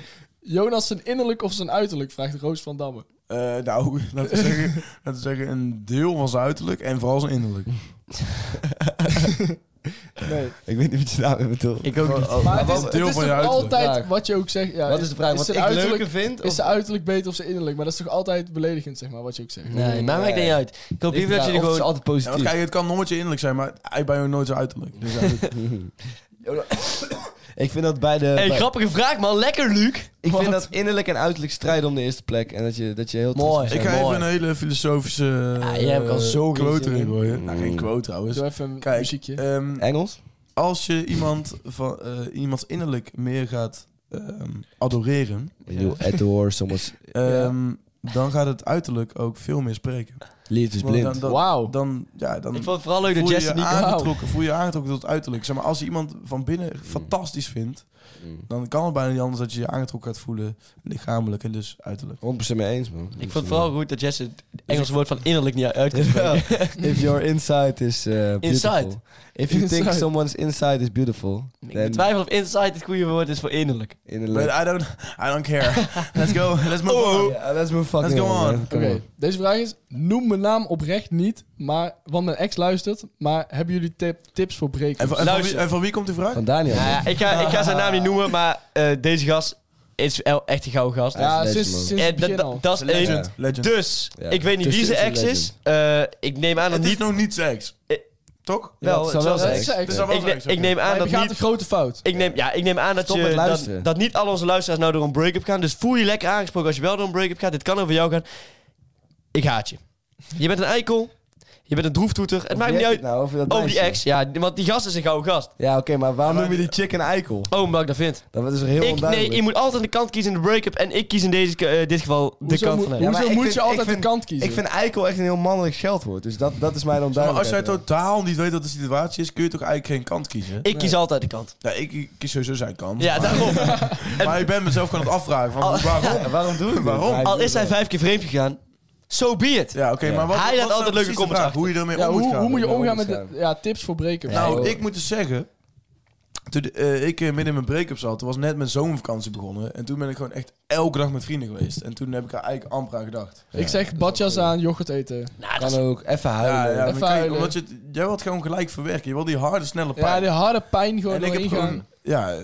[SPEAKER 6] Jonas zijn innerlijk of zijn uiterlijk? Vraagt Roos van Damme.
[SPEAKER 5] Eh, nou, <laughs> laten we, zeggen, laten we zeggen, een deel van zijn uiterlijk en vooral zijn innerlijk.
[SPEAKER 6] Nee.
[SPEAKER 4] Ik weet niet wat je daarmee bedoelt.
[SPEAKER 7] Ik ook niet.
[SPEAKER 6] Maar het
[SPEAKER 5] wat
[SPEAKER 6] is,
[SPEAKER 5] een
[SPEAKER 6] het
[SPEAKER 5] deel
[SPEAKER 6] is
[SPEAKER 5] van je
[SPEAKER 6] toch
[SPEAKER 5] uiterlijk?
[SPEAKER 6] altijd
[SPEAKER 4] Vraag.
[SPEAKER 6] wat je ook zegt. Ja,
[SPEAKER 4] Wat is de vraag? wat
[SPEAKER 6] zijn
[SPEAKER 4] ik
[SPEAKER 6] uiterlijk-
[SPEAKER 4] leuker vind?
[SPEAKER 6] Is zijn uiterlijk beter of zijn innerlijk? Maar dat is toch altijd beledigend, zeg maar, wat je ook zegt.
[SPEAKER 7] Nee, mij maakt het niet uit. Ik hoop
[SPEAKER 4] Ik
[SPEAKER 7] liever dat jullie
[SPEAKER 4] is
[SPEAKER 7] gewoon...
[SPEAKER 4] altijd
[SPEAKER 5] Ja, want
[SPEAKER 4] positief.
[SPEAKER 5] kijk, het kan nooit je innerlijk zijn, maar hij bij jou nooit zijn uiterlijk. Dus ja, dat-
[SPEAKER 4] Ik vind dat bij de...
[SPEAKER 7] Hey,
[SPEAKER 4] bij-
[SPEAKER 7] grappige vraag man. Lekker, Luc.
[SPEAKER 4] ik vind dat innerlijk en uiterlijk strijden om de eerste plek. En dat je, dat je heel
[SPEAKER 7] Mooi.
[SPEAKER 5] <laughs> ik ga even een hele filosofische
[SPEAKER 7] Ja, jij hebt al
[SPEAKER 5] eh,
[SPEAKER 7] zo geen
[SPEAKER 5] quote
[SPEAKER 7] zin
[SPEAKER 5] erin
[SPEAKER 7] in.
[SPEAKER 5] gooien. Nou, geen quote trouwens.
[SPEAKER 6] Doe even een
[SPEAKER 5] Kijk,
[SPEAKER 6] muziekje.
[SPEAKER 5] ehm,
[SPEAKER 4] Engels?
[SPEAKER 5] als je iemand van, eh, iemands innerlijk meer gaat ehm, adoreren,
[SPEAKER 4] When you adore someone's...
[SPEAKER 5] ehm, dan gaat het uiterlijk ook veel meer spreken.
[SPEAKER 4] Liefde is
[SPEAKER 5] Want
[SPEAKER 4] blind.
[SPEAKER 5] Dan, dan,
[SPEAKER 6] Wauw.
[SPEAKER 5] dan, ja, dan
[SPEAKER 7] Ik vond het vooral leuk dat
[SPEAKER 5] voel je
[SPEAKER 7] Jesse
[SPEAKER 5] je
[SPEAKER 7] niet...
[SPEAKER 5] aangetrokken, voel je je aangetrokken tot het uiterlijk. Zeg maar, als je iemand van
[SPEAKER 7] Mm.
[SPEAKER 5] binnen fantastisch vindt, dan kan het bijna niet anders dat je je aangetrokken gaat voelen lichamelijk en dus uiterlijk.
[SPEAKER 4] 100% mee eens, man.
[SPEAKER 7] Ik vond het vooral goed dat Jesse het Engelse woord van innerlijk niet uit kon spreken.
[SPEAKER 4] <laughs> If your inside is eh, beautiful.
[SPEAKER 7] Inside.
[SPEAKER 4] If you think
[SPEAKER 6] Inside.
[SPEAKER 4] someone's inside is beautiful,
[SPEAKER 7] Ik
[SPEAKER 4] then
[SPEAKER 7] betwijfel of inside het goede woord is voor innerlijk.
[SPEAKER 5] But
[SPEAKER 4] innerlijk...
[SPEAKER 5] I don't, I don't
[SPEAKER 7] <laughs>
[SPEAKER 5] care. Let's go. Let's move
[SPEAKER 7] Oh.
[SPEAKER 5] on.
[SPEAKER 4] Yeah, let's move fucking
[SPEAKER 5] oh. Let's go on.
[SPEAKER 4] man.
[SPEAKER 6] Oké,
[SPEAKER 4] Come on.
[SPEAKER 6] deze vraag is: noem mijn naam oprecht niet, maar, want mijn ex luistert. Maar hebben jullie tip- tips voor
[SPEAKER 5] En,
[SPEAKER 6] breken?
[SPEAKER 5] van- en van, wie,
[SPEAKER 7] Luister.
[SPEAKER 5] en van wie komt die vraag?
[SPEAKER 4] Van Daniel.
[SPEAKER 7] Nou
[SPEAKER 4] man.
[SPEAKER 7] ja, ik, ga, ik ga zijn naam niet noemen, maar eh, deze gast is el- echt een gouden gast.
[SPEAKER 6] Ja,
[SPEAKER 4] dat is legend,
[SPEAKER 6] sinds,
[SPEAKER 4] man.
[SPEAKER 6] sinds
[SPEAKER 7] Eh,
[SPEAKER 6] het
[SPEAKER 7] dat-
[SPEAKER 6] begin al.
[SPEAKER 7] dat- dat is één.
[SPEAKER 5] Legend. Legend.
[SPEAKER 7] Dus,
[SPEAKER 4] Ja.
[SPEAKER 7] ik weet niet
[SPEAKER 4] Dus
[SPEAKER 7] wie
[SPEAKER 4] is
[SPEAKER 7] zijn
[SPEAKER 4] een
[SPEAKER 7] ex
[SPEAKER 4] legend.
[SPEAKER 7] is. Eh, ik neem aan dat
[SPEAKER 5] het is
[SPEAKER 7] niet...
[SPEAKER 5] nog niet seks.
[SPEAKER 7] Eh,
[SPEAKER 5] Toch?
[SPEAKER 7] Wel,
[SPEAKER 4] het zou
[SPEAKER 7] het zal
[SPEAKER 4] wel
[SPEAKER 6] zijn.
[SPEAKER 7] zijn.
[SPEAKER 6] Het
[SPEAKER 5] zou wel
[SPEAKER 7] Ik
[SPEAKER 5] zijn,
[SPEAKER 7] neem-
[SPEAKER 5] zeker.
[SPEAKER 7] Ik neem aan
[SPEAKER 6] Hij
[SPEAKER 7] dat
[SPEAKER 6] begaat een
[SPEAKER 7] niet...
[SPEAKER 6] grote fout.
[SPEAKER 7] Ik neem, ja, ik neem aan dat,
[SPEAKER 4] Stop
[SPEAKER 7] je,
[SPEAKER 4] met
[SPEAKER 7] dat,
[SPEAKER 4] luisteren.
[SPEAKER 7] dat niet al onze luisteraars nou door een break-up gaan. Dus voel je lekker aangesproken als je wel door een break-up gaat. Dit kan over jou gaan. Ik haat je. Je bent een eikel. Je bent een droeftoeter. Het maakt
[SPEAKER 4] Wie heeft
[SPEAKER 7] niet uit.
[SPEAKER 4] het Nou, over dat
[SPEAKER 7] Over die
[SPEAKER 4] meisje?
[SPEAKER 7] ex, ja. Want die gast is een gouden gast.
[SPEAKER 4] Ja, oké, maar waarom noem je die chick een eikel?
[SPEAKER 7] Oh, omdat ik dat vind.
[SPEAKER 4] Dat is heel
[SPEAKER 7] Ik, nee,
[SPEAKER 4] onduidelijk.
[SPEAKER 7] je moet altijd de kant kiezen in de break-up. En ik kies in deze, ke- eh, dit geval de
[SPEAKER 6] Hoezo
[SPEAKER 7] kant
[SPEAKER 6] moet-
[SPEAKER 7] van hem.
[SPEAKER 4] Ja, maar
[SPEAKER 6] Hoezo
[SPEAKER 4] ik
[SPEAKER 6] moet
[SPEAKER 4] vind-
[SPEAKER 6] je altijd
[SPEAKER 4] ik vind-
[SPEAKER 6] een kant kiezen?
[SPEAKER 4] Ik vind eikel echt een heel mannelijk scheldwoord. Dus dat, dat is mij dan
[SPEAKER 5] Maar
[SPEAKER 4] duidelijk.
[SPEAKER 5] als jij totaal niet weet wat de situatie is, kun je toch eigenlijk geen kant kiezen?
[SPEAKER 7] Ik kies altijd de kant.
[SPEAKER 5] Ja, ik ik kies sowieso zijn
[SPEAKER 4] <laughs>
[SPEAKER 5] kant.
[SPEAKER 7] Ja, Oh. daarom.
[SPEAKER 5] Maar ik ben mezelf gewoon aan het afvragen van waarom?
[SPEAKER 7] <laughs>
[SPEAKER 4] Ja, waarom doe ik dit?
[SPEAKER 5] Waarom?
[SPEAKER 4] Hij
[SPEAKER 7] Al
[SPEAKER 4] doet
[SPEAKER 7] is hij
[SPEAKER 4] dat.
[SPEAKER 7] vijf keer vreemd gegaan, Ah, so be it.
[SPEAKER 5] Ja, oké, maar wat,
[SPEAKER 7] Hij laat
[SPEAKER 5] wat is nou
[SPEAKER 7] altijd leuke
[SPEAKER 5] precies de
[SPEAKER 7] comments
[SPEAKER 5] vraag?
[SPEAKER 7] achter.
[SPEAKER 5] Hoe je ermee
[SPEAKER 6] ja,
[SPEAKER 5] om moet
[SPEAKER 6] hoe,
[SPEAKER 5] gaan.
[SPEAKER 6] hoe moet je
[SPEAKER 4] om
[SPEAKER 6] omgaan met
[SPEAKER 4] moet
[SPEAKER 6] de,
[SPEAKER 4] gaan.
[SPEAKER 6] ja, tips voor breken?
[SPEAKER 5] Nou,
[SPEAKER 4] joh.
[SPEAKER 5] ik moet dus zeggen... Toen de- eh, ik eh, midden in mijn break-up zat, toen was net mijn zomervakantie begonnen. En toen ben ik gewoon echt elke dag met vrienden geweest. En toen heb ik er eigenlijk amper aan gedacht.
[SPEAKER 6] ik zeg badjas aan, yoghurt eten.
[SPEAKER 7] Nou, dat is-
[SPEAKER 4] Kan ook. Even
[SPEAKER 5] Ja,
[SPEAKER 4] huilen.
[SPEAKER 5] ja, maar
[SPEAKER 6] Even
[SPEAKER 5] kijk,
[SPEAKER 6] huilen.
[SPEAKER 5] omdat je, het- jij wilt gewoon gelijk verwerken. Je wil die harde, snelle pijn.
[SPEAKER 6] Ja, die harde pijn gewoon
[SPEAKER 5] en ik
[SPEAKER 6] doorheen
[SPEAKER 5] heb
[SPEAKER 6] gaan.
[SPEAKER 5] gewoon... Ja,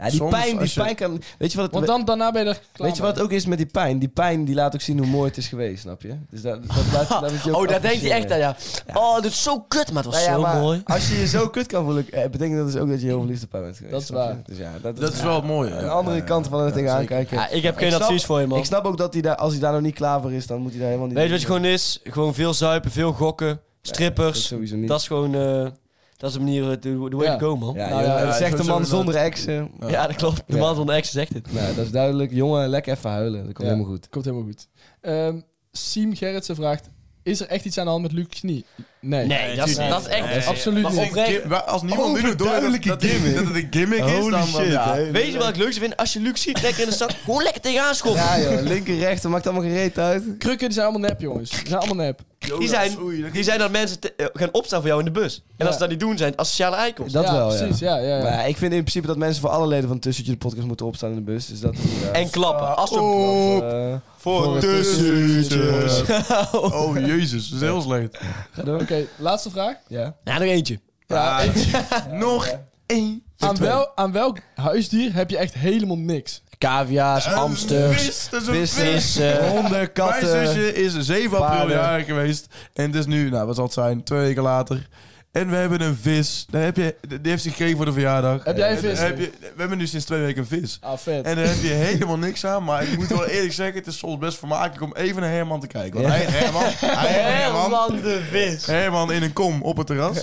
[SPEAKER 4] Ja, die
[SPEAKER 5] Soms
[SPEAKER 4] pijn, die
[SPEAKER 5] als je-
[SPEAKER 4] pijn kan... Weet je wat het...
[SPEAKER 6] Want dan, daarna ben je er klaar
[SPEAKER 4] Weet je wat het ook is met die pijn? Die pijn die laat ook zien hoe mooi het is geweest, snap je? Dus dat, dat
[SPEAKER 7] <laughs>
[SPEAKER 4] laat, laat het je ook
[SPEAKER 7] oh, daar denkt hij echt aan,
[SPEAKER 4] appreciëren.
[SPEAKER 7] ja. Oh, dit is zo kut, maar het was
[SPEAKER 4] Nou ja,
[SPEAKER 7] zo
[SPEAKER 4] maar
[SPEAKER 7] mooi.
[SPEAKER 4] Als je je zo kut kan voelen, eh, betekent dat dus ook dat je heel verliefd op haar bent geweest.
[SPEAKER 6] Dat is
[SPEAKER 4] snap je?
[SPEAKER 6] waar.
[SPEAKER 4] Dus ja, dat,
[SPEAKER 5] dat is wel het mooie.
[SPEAKER 4] Een andere kant van het ding
[SPEAKER 5] zeker.
[SPEAKER 4] aankijken.
[SPEAKER 7] Ja, ik heb geen
[SPEAKER 4] snap-
[SPEAKER 7] advies voor je, man.
[SPEAKER 4] Ik snap ook dat hij daar, als hij daar nog niet klaar voor is, dan moet hij daar helemaal niet...
[SPEAKER 7] Weet je wat je gewoon is? Gewoon veel zuipen, veel gokken,
[SPEAKER 4] Dat is
[SPEAKER 7] strippers.
[SPEAKER 4] sowieso niet.
[SPEAKER 7] Dat is gewoon... eh, dat is de manier, eh, de, de way
[SPEAKER 6] Ja.
[SPEAKER 7] to go, man. Ja,
[SPEAKER 4] Oh, ja,
[SPEAKER 6] Nou
[SPEAKER 4] joh,
[SPEAKER 6] ja,
[SPEAKER 4] dat
[SPEAKER 5] ja,
[SPEAKER 4] zegt de
[SPEAKER 5] sowieso
[SPEAKER 4] man
[SPEAKER 5] dat-
[SPEAKER 4] zonder exen.
[SPEAKER 7] <laughs> dat klopt. De
[SPEAKER 4] Ja.
[SPEAKER 7] man van de ex zegt het.
[SPEAKER 4] Nou, dat is duidelijk. Jongen, lekker even huilen. Dat komt
[SPEAKER 6] Ja.
[SPEAKER 4] helemaal goed.
[SPEAKER 6] Komt helemaal goed. Ehm, Siem Gerritsen vraagt... Is er echt iets aan de hand met Luc Knie? Nee.
[SPEAKER 7] Nee, dat is,
[SPEAKER 5] tuurlijk.
[SPEAKER 7] dat is echt...
[SPEAKER 5] Nee,
[SPEAKER 6] absoluut
[SPEAKER 7] maar
[SPEAKER 6] niet.
[SPEAKER 7] oprecht,
[SPEAKER 5] Gim- waar- Als niemand nu nog door heeft dat, dat, die- dat het een gimmick is, dan... wel- ja.
[SPEAKER 7] Weet je wat ik het leukste vind? Als je Luc ziet trekken in de stad, gewoon lekker tegenaan schoppen.
[SPEAKER 4] Ja joh, linker, rechter, maakt allemaal geen reet uit.
[SPEAKER 6] Krukken die zijn allemaal nep, jongens. Die zijn allemaal nep.
[SPEAKER 7] die, zijn, die zijn dat mensen te- eh, gaan opstaan voor jou in de bus. En als ze dat niet doen, zijn het als sociale eikels.
[SPEAKER 4] Dat
[SPEAKER 6] ja,
[SPEAKER 4] wel, ja.
[SPEAKER 6] precies. Ja, ja, ja.
[SPEAKER 4] Maar ja, ik vind in principe dat mensen voor alle leden van Tussentje de podcast moeten opstaan in de bus. Dus dat is... ja,
[SPEAKER 7] En klappen. Als we
[SPEAKER 4] eh,
[SPEAKER 7] voor
[SPEAKER 5] Jezus. <laughs> Oh, jezus. Dat is heel slecht.
[SPEAKER 6] Oké, laatste vraag.
[SPEAKER 4] ja.
[SPEAKER 7] Nou, nog eentje.
[SPEAKER 6] Ja,
[SPEAKER 5] Nog één.
[SPEAKER 6] aan, wel, aan welk huisdier heb je echt helemaal niks? Ehm,
[SPEAKER 7] Cavia's,
[SPEAKER 5] Een
[SPEAKER 7] hamsters,
[SPEAKER 5] vis, dat is een
[SPEAKER 4] Vis,
[SPEAKER 5] vis.
[SPEAKER 7] vis, eh,
[SPEAKER 4] honden,
[SPEAKER 5] Mijn
[SPEAKER 4] katten.
[SPEAKER 5] zusje is 7 april
[SPEAKER 4] paarden.
[SPEAKER 5] jarig geweest. En het is nu, nou wat zal het zijn, twee weken later. En we hebben een vis. Daar heb je, die heeft zich gegeven voor de verjaardag.
[SPEAKER 6] Heb jij een
[SPEAKER 5] En daar
[SPEAKER 6] vis?
[SPEAKER 5] Heb je, we hebben nu sinds twee weken een vis.
[SPEAKER 6] Ah, vet.
[SPEAKER 5] En daar heb je helemaal niks aan. Maar ik moet wel eerlijk zeggen, het is soms best vermakelijk om even naar Herman te kijken. Want hij, Herman,
[SPEAKER 6] <laughs>
[SPEAKER 5] hij Herman,
[SPEAKER 7] Herman de vis.
[SPEAKER 5] Herman in een kom op het terras.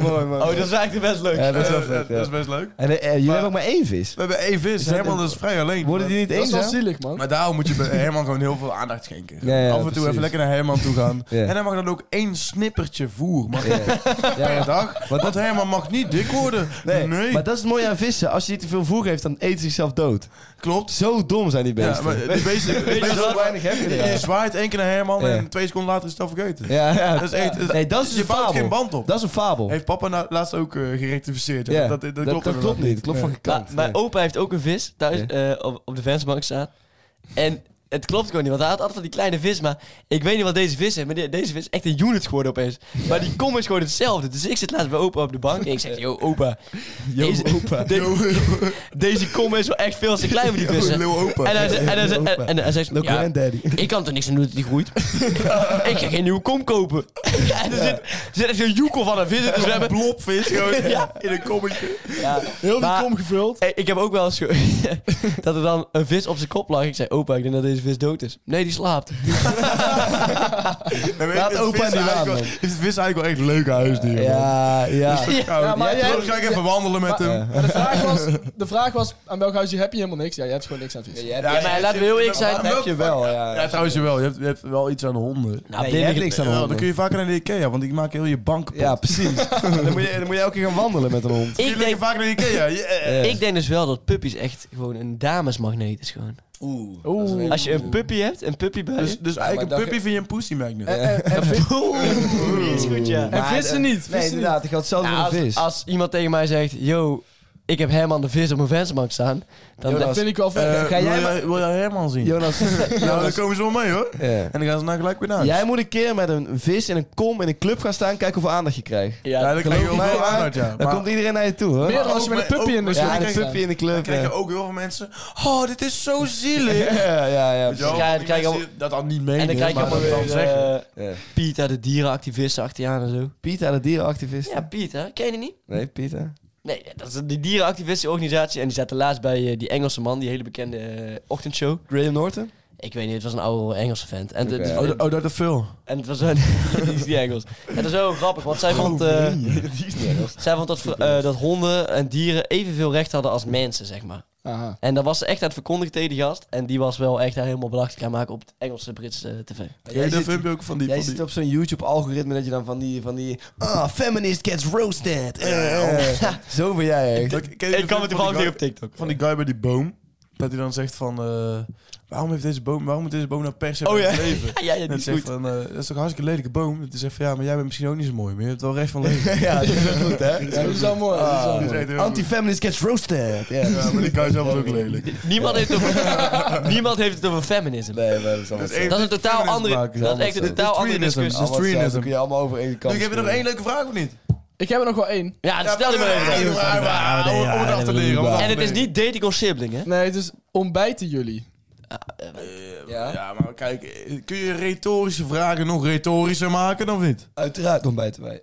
[SPEAKER 4] Mooi, mooi.
[SPEAKER 7] Oh, dat is eigenlijk best leuk.
[SPEAKER 4] Ja, dat is wel
[SPEAKER 5] Eh,
[SPEAKER 4] vet, ja.
[SPEAKER 5] dat is best leuk.
[SPEAKER 4] En eh, eh, jullie hebben ook maar één vis.
[SPEAKER 5] We hebben één vis. Herman is vrij alleen.
[SPEAKER 4] Worden die niet
[SPEAKER 6] dat is
[SPEAKER 4] eens,
[SPEAKER 6] wel
[SPEAKER 4] hè?
[SPEAKER 6] zielig, man.
[SPEAKER 5] Maar daarom moet je bij Herman gewoon heel veel aandacht schenken.
[SPEAKER 4] Ja, ja,
[SPEAKER 5] Af en toe
[SPEAKER 4] precies.
[SPEAKER 5] even lekker naar Herman toe gaan.
[SPEAKER 4] Ja.
[SPEAKER 5] En hij mag dan ook één snippertje voer mag hij
[SPEAKER 4] Ja,
[SPEAKER 5] per
[SPEAKER 4] ja.
[SPEAKER 5] dag. Want dat Herman mag niet dik worden. Nee,
[SPEAKER 4] Nee, maar dat is het mooie aan vissen. Als je niet te veel voer geeft, dan eten ze zichzelf dood.
[SPEAKER 5] klopt.
[SPEAKER 4] Zo dom zijn die
[SPEAKER 5] Ja,
[SPEAKER 4] beesten.
[SPEAKER 5] maar die beesten... die beesten-
[SPEAKER 4] zo weinig heb je
[SPEAKER 5] je
[SPEAKER 4] eraan.
[SPEAKER 5] zwaait één keer naar Herman
[SPEAKER 4] Ja.
[SPEAKER 5] en twee seconden later is het al vergeten.
[SPEAKER 4] Ja, ja.
[SPEAKER 5] Dat is echt...
[SPEAKER 4] Nee, dat is
[SPEAKER 5] je
[SPEAKER 4] een
[SPEAKER 5] bouwt
[SPEAKER 4] fabel.
[SPEAKER 5] geen band op.
[SPEAKER 4] Dat is een fabel.
[SPEAKER 5] Heeft papa nou laatst ook eh, gerectificeerd. hè?
[SPEAKER 4] Ja.
[SPEAKER 5] Dat, dat, klopt
[SPEAKER 4] dat klopt
[SPEAKER 5] inderdaad
[SPEAKER 4] niet. Dat klopt van geen
[SPEAKER 7] Maar
[SPEAKER 4] kant.
[SPEAKER 7] Mijn
[SPEAKER 4] Nee.
[SPEAKER 7] opa heeft ook een vis thuis eh, op, op de vensterbank staan. En het klopt gewoon niet, want hij had altijd van die kleine vis. Maar ik weet niet wat deze vis is, maar de- deze vis is echt een unit geworden opeens. Maar die kom is gewoon hetzelfde. Dus ik zit laatst bij opa op de bank en ik zeg, yo opa. deze, de- deze kom is wel echt veel te klein voor die vissen.
[SPEAKER 5] Yo, lil opa.
[SPEAKER 7] En hij, ze- en hij, ze- en, en hij zegt,
[SPEAKER 4] No
[SPEAKER 7] ja,
[SPEAKER 4] granddaddy.
[SPEAKER 7] ik kan er niks aan doen dat die <laughs> groeit. ik ga geen nieuwe kom kopen. en er, zit, er zit echt een joekel van een vis in te zwemmen.
[SPEAKER 5] Een blobvis
[SPEAKER 7] <laughs>
[SPEAKER 5] gewoon in een kommetje.
[SPEAKER 6] Heel die
[SPEAKER 7] maar-
[SPEAKER 6] kom gevuld.
[SPEAKER 7] Hey, ik heb ook wel eens ge- <laughs> dat er dan een vis op zijn kop lag. Ik zei, opa, ik denk dat deze vis dood is. Nee, die slaapt.
[SPEAKER 5] En weet je,
[SPEAKER 4] Laat
[SPEAKER 5] is
[SPEAKER 4] opa
[SPEAKER 5] vis
[SPEAKER 4] die
[SPEAKER 5] eigenlijk
[SPEAKER 4] laan,
[SPEAKER 5] wel-
[SPEAKER 4] man.
[SPEAKER 5] Is het vis eigenlijk wel echt een leuk huisdier? man.
[SPEAKER 4] Ja, ja.
[SPEAKER 5] Ja,
[SPEAKER 6] maar
[SPEAKER 5] maar
[SPEAKER 6] jij-
[SPEAKER 5] ga ik even wandelen met hem.
[SPEAKER 6] Maar de, vraag was, de vraag was, aan welk huisdier heb je helemaal niks? Ja, je hebt gewoon niks aan vis.
[SPEAKER 4] Ja,
[SPEAKER 7] Ja, maar laten we heel eerlijk zijn.
[SPEAKER 5] Ja,
[SPEAKER 4] heb je wel, ja.
[SPEAKER 5] Ja, trouwens je wel. Je hebt, je hebt wel iets aan honden.
[SPEAKER 7] Nou,
[SPEAKER 4] Nee, je hebt
[SPEAKER 7] dit-
[SPEAKER 4] niks aan
[SPEAKER 5] Ja, dan
[SPEAKER 4] honden.
[SPEAKER 5] kun je vaker naar de Ikea, want die maken heel je bank kapot.
[SPEAKER 4] Ja, precies. dan, moet je, dan moet je elke keer gaan wandelen met een hond.
[SPEAKER 5] Die
[SPEAKER 7] ik,
[SPEAKER 5] liggen
[SPEAKER 7] denk,
[SPEAKER 5] vaker naar
[SPEAKER 4] <laughs>
[SPEAKER 5] de Ikea. eh, yeah.
[SPEAKER 7] ik denk dus wel dat puppies echt gewoon een damesmagneet is. Gewoon.
[SPEAKER 6] Oeh.
[SPEAKER 7] Als je een puppy hebt, een puppy bij
[SPEAKER 5] Dus,
[SPEAKER 7] je.
[SPEAKER 5] dus eigenlijk
[SPEAKER 4] dat
[SPEAKER 5] een puppy vind je een pussy magnet.
[SPEAKER 4] Eh,
[SPEAKER 7] Oeh, die is goed, ja.
[SPEAKER 6] En vissen niet. Vissen
[SPEAKER 4] Nee,
[SPEAKER 6] niet.
[SPEAKER 4] inderdaad. Ik had hetzelfde
[SPEAKER 7] Nou,
[SPEAKER 4] met een
[SPEAKER 7] als,
[SPEAKER 4] vis.
[SPEAKER 7] als iemand tegen mij zegt, yo, ik heb Herman de vis op mijn vensterbank staan. Dan
[SPEAKER 6] Dat vind ik wel vet.
[SPEAKER 5] Eh,
[SPEAKER 4] ga jij
[SPEAKER 5] wil,
[SPEAKER 4] maar-
[SPEAKER 5] jij, wil jij Herman zien?
[SPEAKER 4] Jonas,
[SPEAKER 5] <laughs> nou, dan komen ze wel mee hoor.
[SPEAKER 4] Ja.
[SPEAKER 5] En dan gaan ze nou gelijk weer naar huis.
[SPEAKER 4] jij moet een keer met een vis en een kom in een club gaan staan. Kijken hoeveel aandacht je krijgt.
[SPEAKER 5] ja, dan krijg je
[SPEAKER 4] Geloof
[SPEAKER 5] wel
[SPEAKER 4] mij,
[SPEAKER 5] veel
[SPEAKER 4] maar-
[SPEAKER 5] aandacht, ja.
[SPEAKER 4] Dan
[SPEAKER 5] Maar-
[SPEAKER 4] komt iedereen naar je toe, hoor.
[SPEAKER 6] Meer
[SPEAKER 4] Ja,
[SPEAKER 6] dan als je
[SPEAKER 5] ook
[SPEAKER 6] met een
[SPEAKER 5] met-
[SPEAKER 6] puppy
[SPEAKER 5] ook-
[SPEAKER 6] in de
[SPEAKER 5] ja,
[SPEAKER 6] ja,
[SPEAKER 4] een puppy in de
[SPEAKER 5] dan
[SPEAKER 4] club.
[SPEAKER 5] krijg je
[SPEAKER 4] Ja,
[SPEAKER 5] ook heel veel mensen. Oh, dit is zo zielig.
[SPEAKER 4] <laughs> ja, ja. ja.
[SPEAKER 5] Weet je wel,
[SPEAKER 7] Ja, dan
[SPEAKER 5] die
[SPEAKER 7] krijg je
[SPEAKER 5] mensen die dat dan niet mee.
[SPEAKER 7] en dan krijg je allemaal weer eh,
[SPEAKER 4] Ja.
[SPEAKER 7] Piet uit de dierenactivisten achter je aan en zo.
[SPEAKER 4] Pieter, de dierenactivist.
[SPEAKER 7] Ja, Piet, hè? Ken je die niet?
[SPEAKER 4] Nee, Pieter.
[SPEAKER 7] Nee, dat is die dierenactivistenorganisatie. En die zaten laatst bij eh, die Engelse man, die hele bekende eh, ochtendshow.
[SPEAKER 4] Graham Norton?
[SPEAKER 7] Ik weet niet, het was een oude Engelse vent. En, het-
[SPEAKER 4] Oké.
[SPEAKER 7] het-
[SPEAKER 5] Oh, dat- oh, dat is veel.
[SPEAKER 7] en het was een... <laughs> die is die Engels. En dat is wel grappig, want zij vond... eh, zij vond dat, vr- eh, dat honden en dieren evenveel recht hadden als mensen, zeg maar.
[SPEAKER 6] Aha.
[SPEAKER 7] En dat was ze echt aan het verkondigen tegen die gast. En die was wel echt daar helemaal belachelijk aan maken op het Engelse, Britse eh, tv.
[SPEAKER 5] Ken je dat filmpje ook van die...
[SPEAKER 4] Jij
[SPEAKER 5] Van die
[SPEAKER 4] zit op zo'n YouTube-algoritme dat je dan van die, van die... Ah, feminist gets roasted. Eh, eh. Zo ben jij echt.
[SPEAKER 5] Ken je dat filmpje van die guy-
[SPEAKER 7] TikTok.
[SPEAKER 5] Van die guy bij die boom. Dat hij dan zegt van... eh, waarom heeft deze boom... Waarom moet deze boom nou per se
[SPEAKER 7] Oh,
[SPEAKER 5] blijven
[SPEAKER 4] <laughs>
[SPEAKER 7] ja.
[SPEAKER 5] leven?
[SPEAKER 7] Ja, ja, ja, die
[SPEAKER 5] Dat,
[SPEAKER 7] is
[SPEAKER 5] zegt
[SPEAKER 7] goed.
[SPEAKER 5] van, eh, dat is toch een hartstikke lelijke boom. Dat is zegt van ja, maar jij bent misschien ook niet zo mooi, maar je hebt wel recht
[SPEAKER 7] <laughs>
[SPEAKER 5] van
[SPEAKER 4] <laughs>
[SPEAKER 5] leven.
[SPEAKER 4] Ja, dat is wel goed, hè? Ah.
[SPEAKER 6] Ja, dat is wel mooi. dat is wel
[SPEAKER 5] Dat is
[SPEAKER 6] mooi.
[SPEAKER 5] echt heel goed.
[SPEAKER 4] Anti-feminist gets roasted. Ja.
[SPEAKER 5] Ja, maar die guy
[SPEAKER 7] <laughs>
[SPEAKER 5] zelf was ook lelijk.
[SPEAKER 7] Niemand, heeft het over, <laughs> niemand heeft het over feminisme.
[SPEAKER 4] <laughs> Nee, maar dat is allemaal zo.
[SPEAKER 7] Dat is een totaal andere,
[SPEAKER 5] maken,
[SPEAKER 7] dat is echt een
[SPEAKER 5] allemaal
[SPEAKER 7] totaal
[SPEAKER 5] zo.
[SPEAKER 7] andere
[SPEAKER 5] Dit is
[SPEAKER 7] discussie.
[SPEAKER 5] Allemaal
[SPEAKER 4] Allemaal hetzelfde,
[SPEAKER 5] Streamism.
[SPEAKER 4] kun je allemaal over één kant
[SPEAKER 5] Nu, heb je nog één leuke vraag of niet?
[SPEAKER 6] Ik heb er nog wel één.
[SPEAKER 7] Ja, dat stel je maar even.
[SPEAKER 5] Ja, maar- maar- om- Om het af te leren. om af te
[SPEAKER 7] En het is
[SPEAKER 5] leren.
[SPEAKER 7] niet dating of sibling, hè?
[SPEAKER 6] Nee, het is ontbijten jullie.
[SPEAKER 5] Ja, maar kijk, eh, kun je retorische vragen nog retorischer maken of niet?
[SPEAKER 4] Uiteraard ontbijten
[SPEAKER 5] <laughs>
[SPEAKER 4] wij.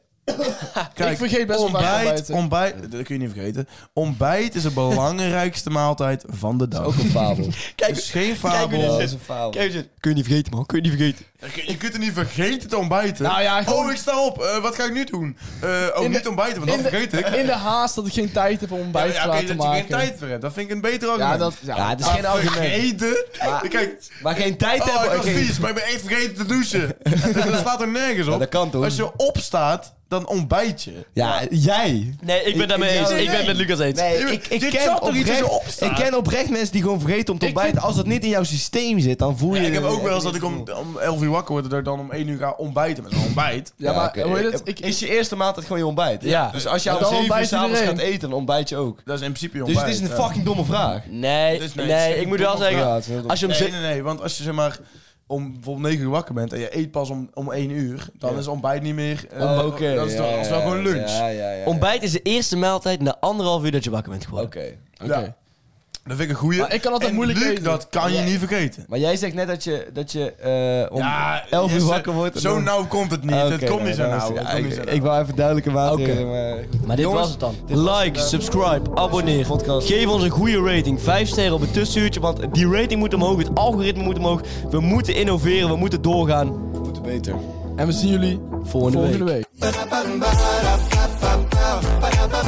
[SPEAKER 5] Kijk,
[SPEAKER 6] Ik vergeet best wel vaak
[SPEAKER 5] ontbijt,
[SPEAKER 6] ontbijten.
[SPEAKER 5] ontbijt, dat kun je niet vergeten. Ontbijt <laughs> is de belangrijkste maaltijd van de dag.
[SPEAKER 4] Ook een fabel.
[SPEAKER 7] Kijk,
[SPEAKER 5] Dus geen
[SPEAKER 7] kijk hoe dit
[SPEAKER 5] fabel.
[SPEAKER 4] Dat is een fabel.
[SPEAKER 7] kijk, dit- kun je niet vergeten, man. Kun je niet vergeten.
[SPEAKER 5] Je kunt er niet vergeten te ontbijten.
[SPEAKER 6] Nou ja, gewoon-
[SPEAKER 5] oh, ik sta op. Eh, wat ga ik nu doen? Eh oh,
[SPEAKER 6] In de-
[SPEAKER 5] niet ontbijten, want
[SPEAKER 6] in
[SPEAKER 5] dat
[SPEAKER 6] de-
[SPEAKER 5] vergeet ik.
[SPEAKER 6] In de haast dat ik geen tijd heb om ontbijt
[SPEAKER 5] ja,
[SPEAKER 6] te
[SPEAKER 5] oké,
[SPEAKER 6] laten
[SPEAKER 5] dat je
[SPEAKER 6] maken.
[SPEAKER 5] geen tijd voor hebt. Dat vind ik een beter argument. Ah,
[SPEAKER 6] Ja, dat... Ja,
[SPEAKER 4] Ja, het is geen argument.
[SPEAKER 5] Vergeten? Kijk,
[SPEAKER 4] Maar geen tijd
[SPEAKER 5] oh, ik
[SPEAKER 4] hebben.
[SPEAKER 5] was
[SPEAKER 4] geen-
[SPEAKER 5] vies, maar ik ben echt vergeten te
[SPEAKER 4] <laughs>
[SPEAKER 5] douchen. dat slaat er nergens op.
[SPEAKER 4] Ja, dat kan toch?
[SPEAKER 5] Als je opstaat, dan ontbijt je.
[SPEAKER 4] Ja, jij.
[SPEAKER 7] Nee, ik ben daarmee
[SPEAKER 4] ik-
[SPEAKER 7] eens.
[SPEAKER 4] nee.
[SPEAKER 7] Ik ben het met Lucas eens.
[SPEAKER 4] Nee,
[SPEAKER 5] Dit-
[SPEAKER 4] ik, ik,
[SPEAKER 5] dit
[SPEAKER 4] ken
[SPEAKER 5] zat toch iets in je
[SPEAKER 4] oprecht,
[SPEAKER 5] opstaan?
[SPEAKER 4] ik ken oprecht mensen die gewoon vergeten om te ontbijten. Als dat niet in jouw systeem zit, dan voel je...
[SPEAKER 5] ik heb ook wel eens dat ik om, om 11 uur wakker word en dat ik dan om 1 uur ga ontbijten. Met een ontbijt.
[SPEAKER 6] Ja, maar
[SPEAKER 4] oké.
[SPEAKER 6] hoe heet het? Ik,
[SPEAKER 4] Is je eerste maaltijd gewoon je ontbijt?
[SPEAKER 7] Ja.
[SPEAKER 4] Dus als je
[SPEAKER 6] Ja,
[SPEAKER 4] om
[SPEAKER 6] dan
[SPEAKER 4] zeven uur
[SPEAKER 6] ontbijt
[SPEAKER 4] s'avonds gaat
[SPEAKER 6] iedereen.
[SPEAKER 4] eten, dan ontbijt je ook.
[SPEAKER 5] Dat is in principe je
[SPEAKER 4] Dus
[SPEAKER 5] ontbijt.
[SPEAKER 4] het is een
[SPEAKER 5] ja.
[SPEAKER 4] fucking domme vraag.
[SPEAKER 7] Nee,
[SPEAKER 5] Dus nee, het
[SPEAKER 7] nee,
[SPEAKER 5] is
[SPEAKER 7] ik moet wel
[SPEAKER 5] een domme
[SPEAKER 4] vraag. Ja,
[SPEAKER 7] zeggen.
[SPEAKER 4] het is heel dom.
[SPEAKER 7] Als je hem
[SPEAKER 5] Nee,
[SPEAKER 7] zit...
[SPEAKER 5] nee, nee. Want als je zeg maar om bijvoorbeeld 9 uur wakker bent en je eet pas om, om 1 uur, dan is ontbijt niet meer... eh,
[SPEAKER 4] Oh, Oké.
[SPEAKER 5] Dat is,
[SPEAKER 4] ja,
[SPEAKER 5] dan, dat is wel gewoon lunch.
[SPEAKER 4] Ja, ja, ja.
[SPEAKER 7] Ontbijt is de eerste maaltijd na anderhalf uur dat je wakker bent geworden.
[SPEAKER 4] Oké.
[SPEAKER 5] Ja. Dat vind ik een goeie.
[SPEAKER 6] Maar ik kan altijd
[SPEAKER 5] En
[SPEAKER 6] moeilijk
[SPEAKER 5] Luc,
[SPEAKER 6] eten.
[SPEAKER 5] dat kan je niet vergeten.
[SPEAKER 4] Maar jij zegt net dat je, dat je eh, om
[SPEAKER 5] Ja,
[SPEAKER 4] 11 uur
[SPEAKER 5] Jesse,
[SPEAKER 4] wakker wordt. en
[SPEAKER 5] Zo
[SPEAKER 4] dan-
[SPEAKER 5] nauw komt het niet.
[SPEAKER 4] Ah,
[SPEAKER 5] het
[SPEAKER 4] oké,
[SPEAKER 5] komt
[SPEAKER 4] nee,
[SPEAKER 5] niet zo
[SPEAKER 4] dan is-
[SPEAKER 5] nauw. Het
[SPEAKER 4] ja,
[SPEAKER 5] komt niet zo
[SPEAKER 4] ik,
[SPEAKER 5] nou. nauw.
[SPEAKER 4] ik wou even duidelijke maatregelen. maar-
[SPEAKER 7] Maar dit
[SPEAKER 4] Jongens,
[SPEAKER 7] was het dan. Like, subscribe, abonneer.
[SPEAKER 4] podcast.
[SPEAKER 7] Geef ons een goede rating. Vijf sterren op het tussenuurtje, want die rating moet omhoog. Het algoritme moet omhoog. We moeten innoveren, we moeten doorgaan.
[SPEAKER 4] We moeten beter.
[SPEAKER 6] en we zien jullie
[SPEAKER 7] Volgende, week.
[SPEAKER 6] volgende week.
[SPEAKER 10] Ba-da-ba-ba-ba-ba-ba-ba-ba-ba-ba.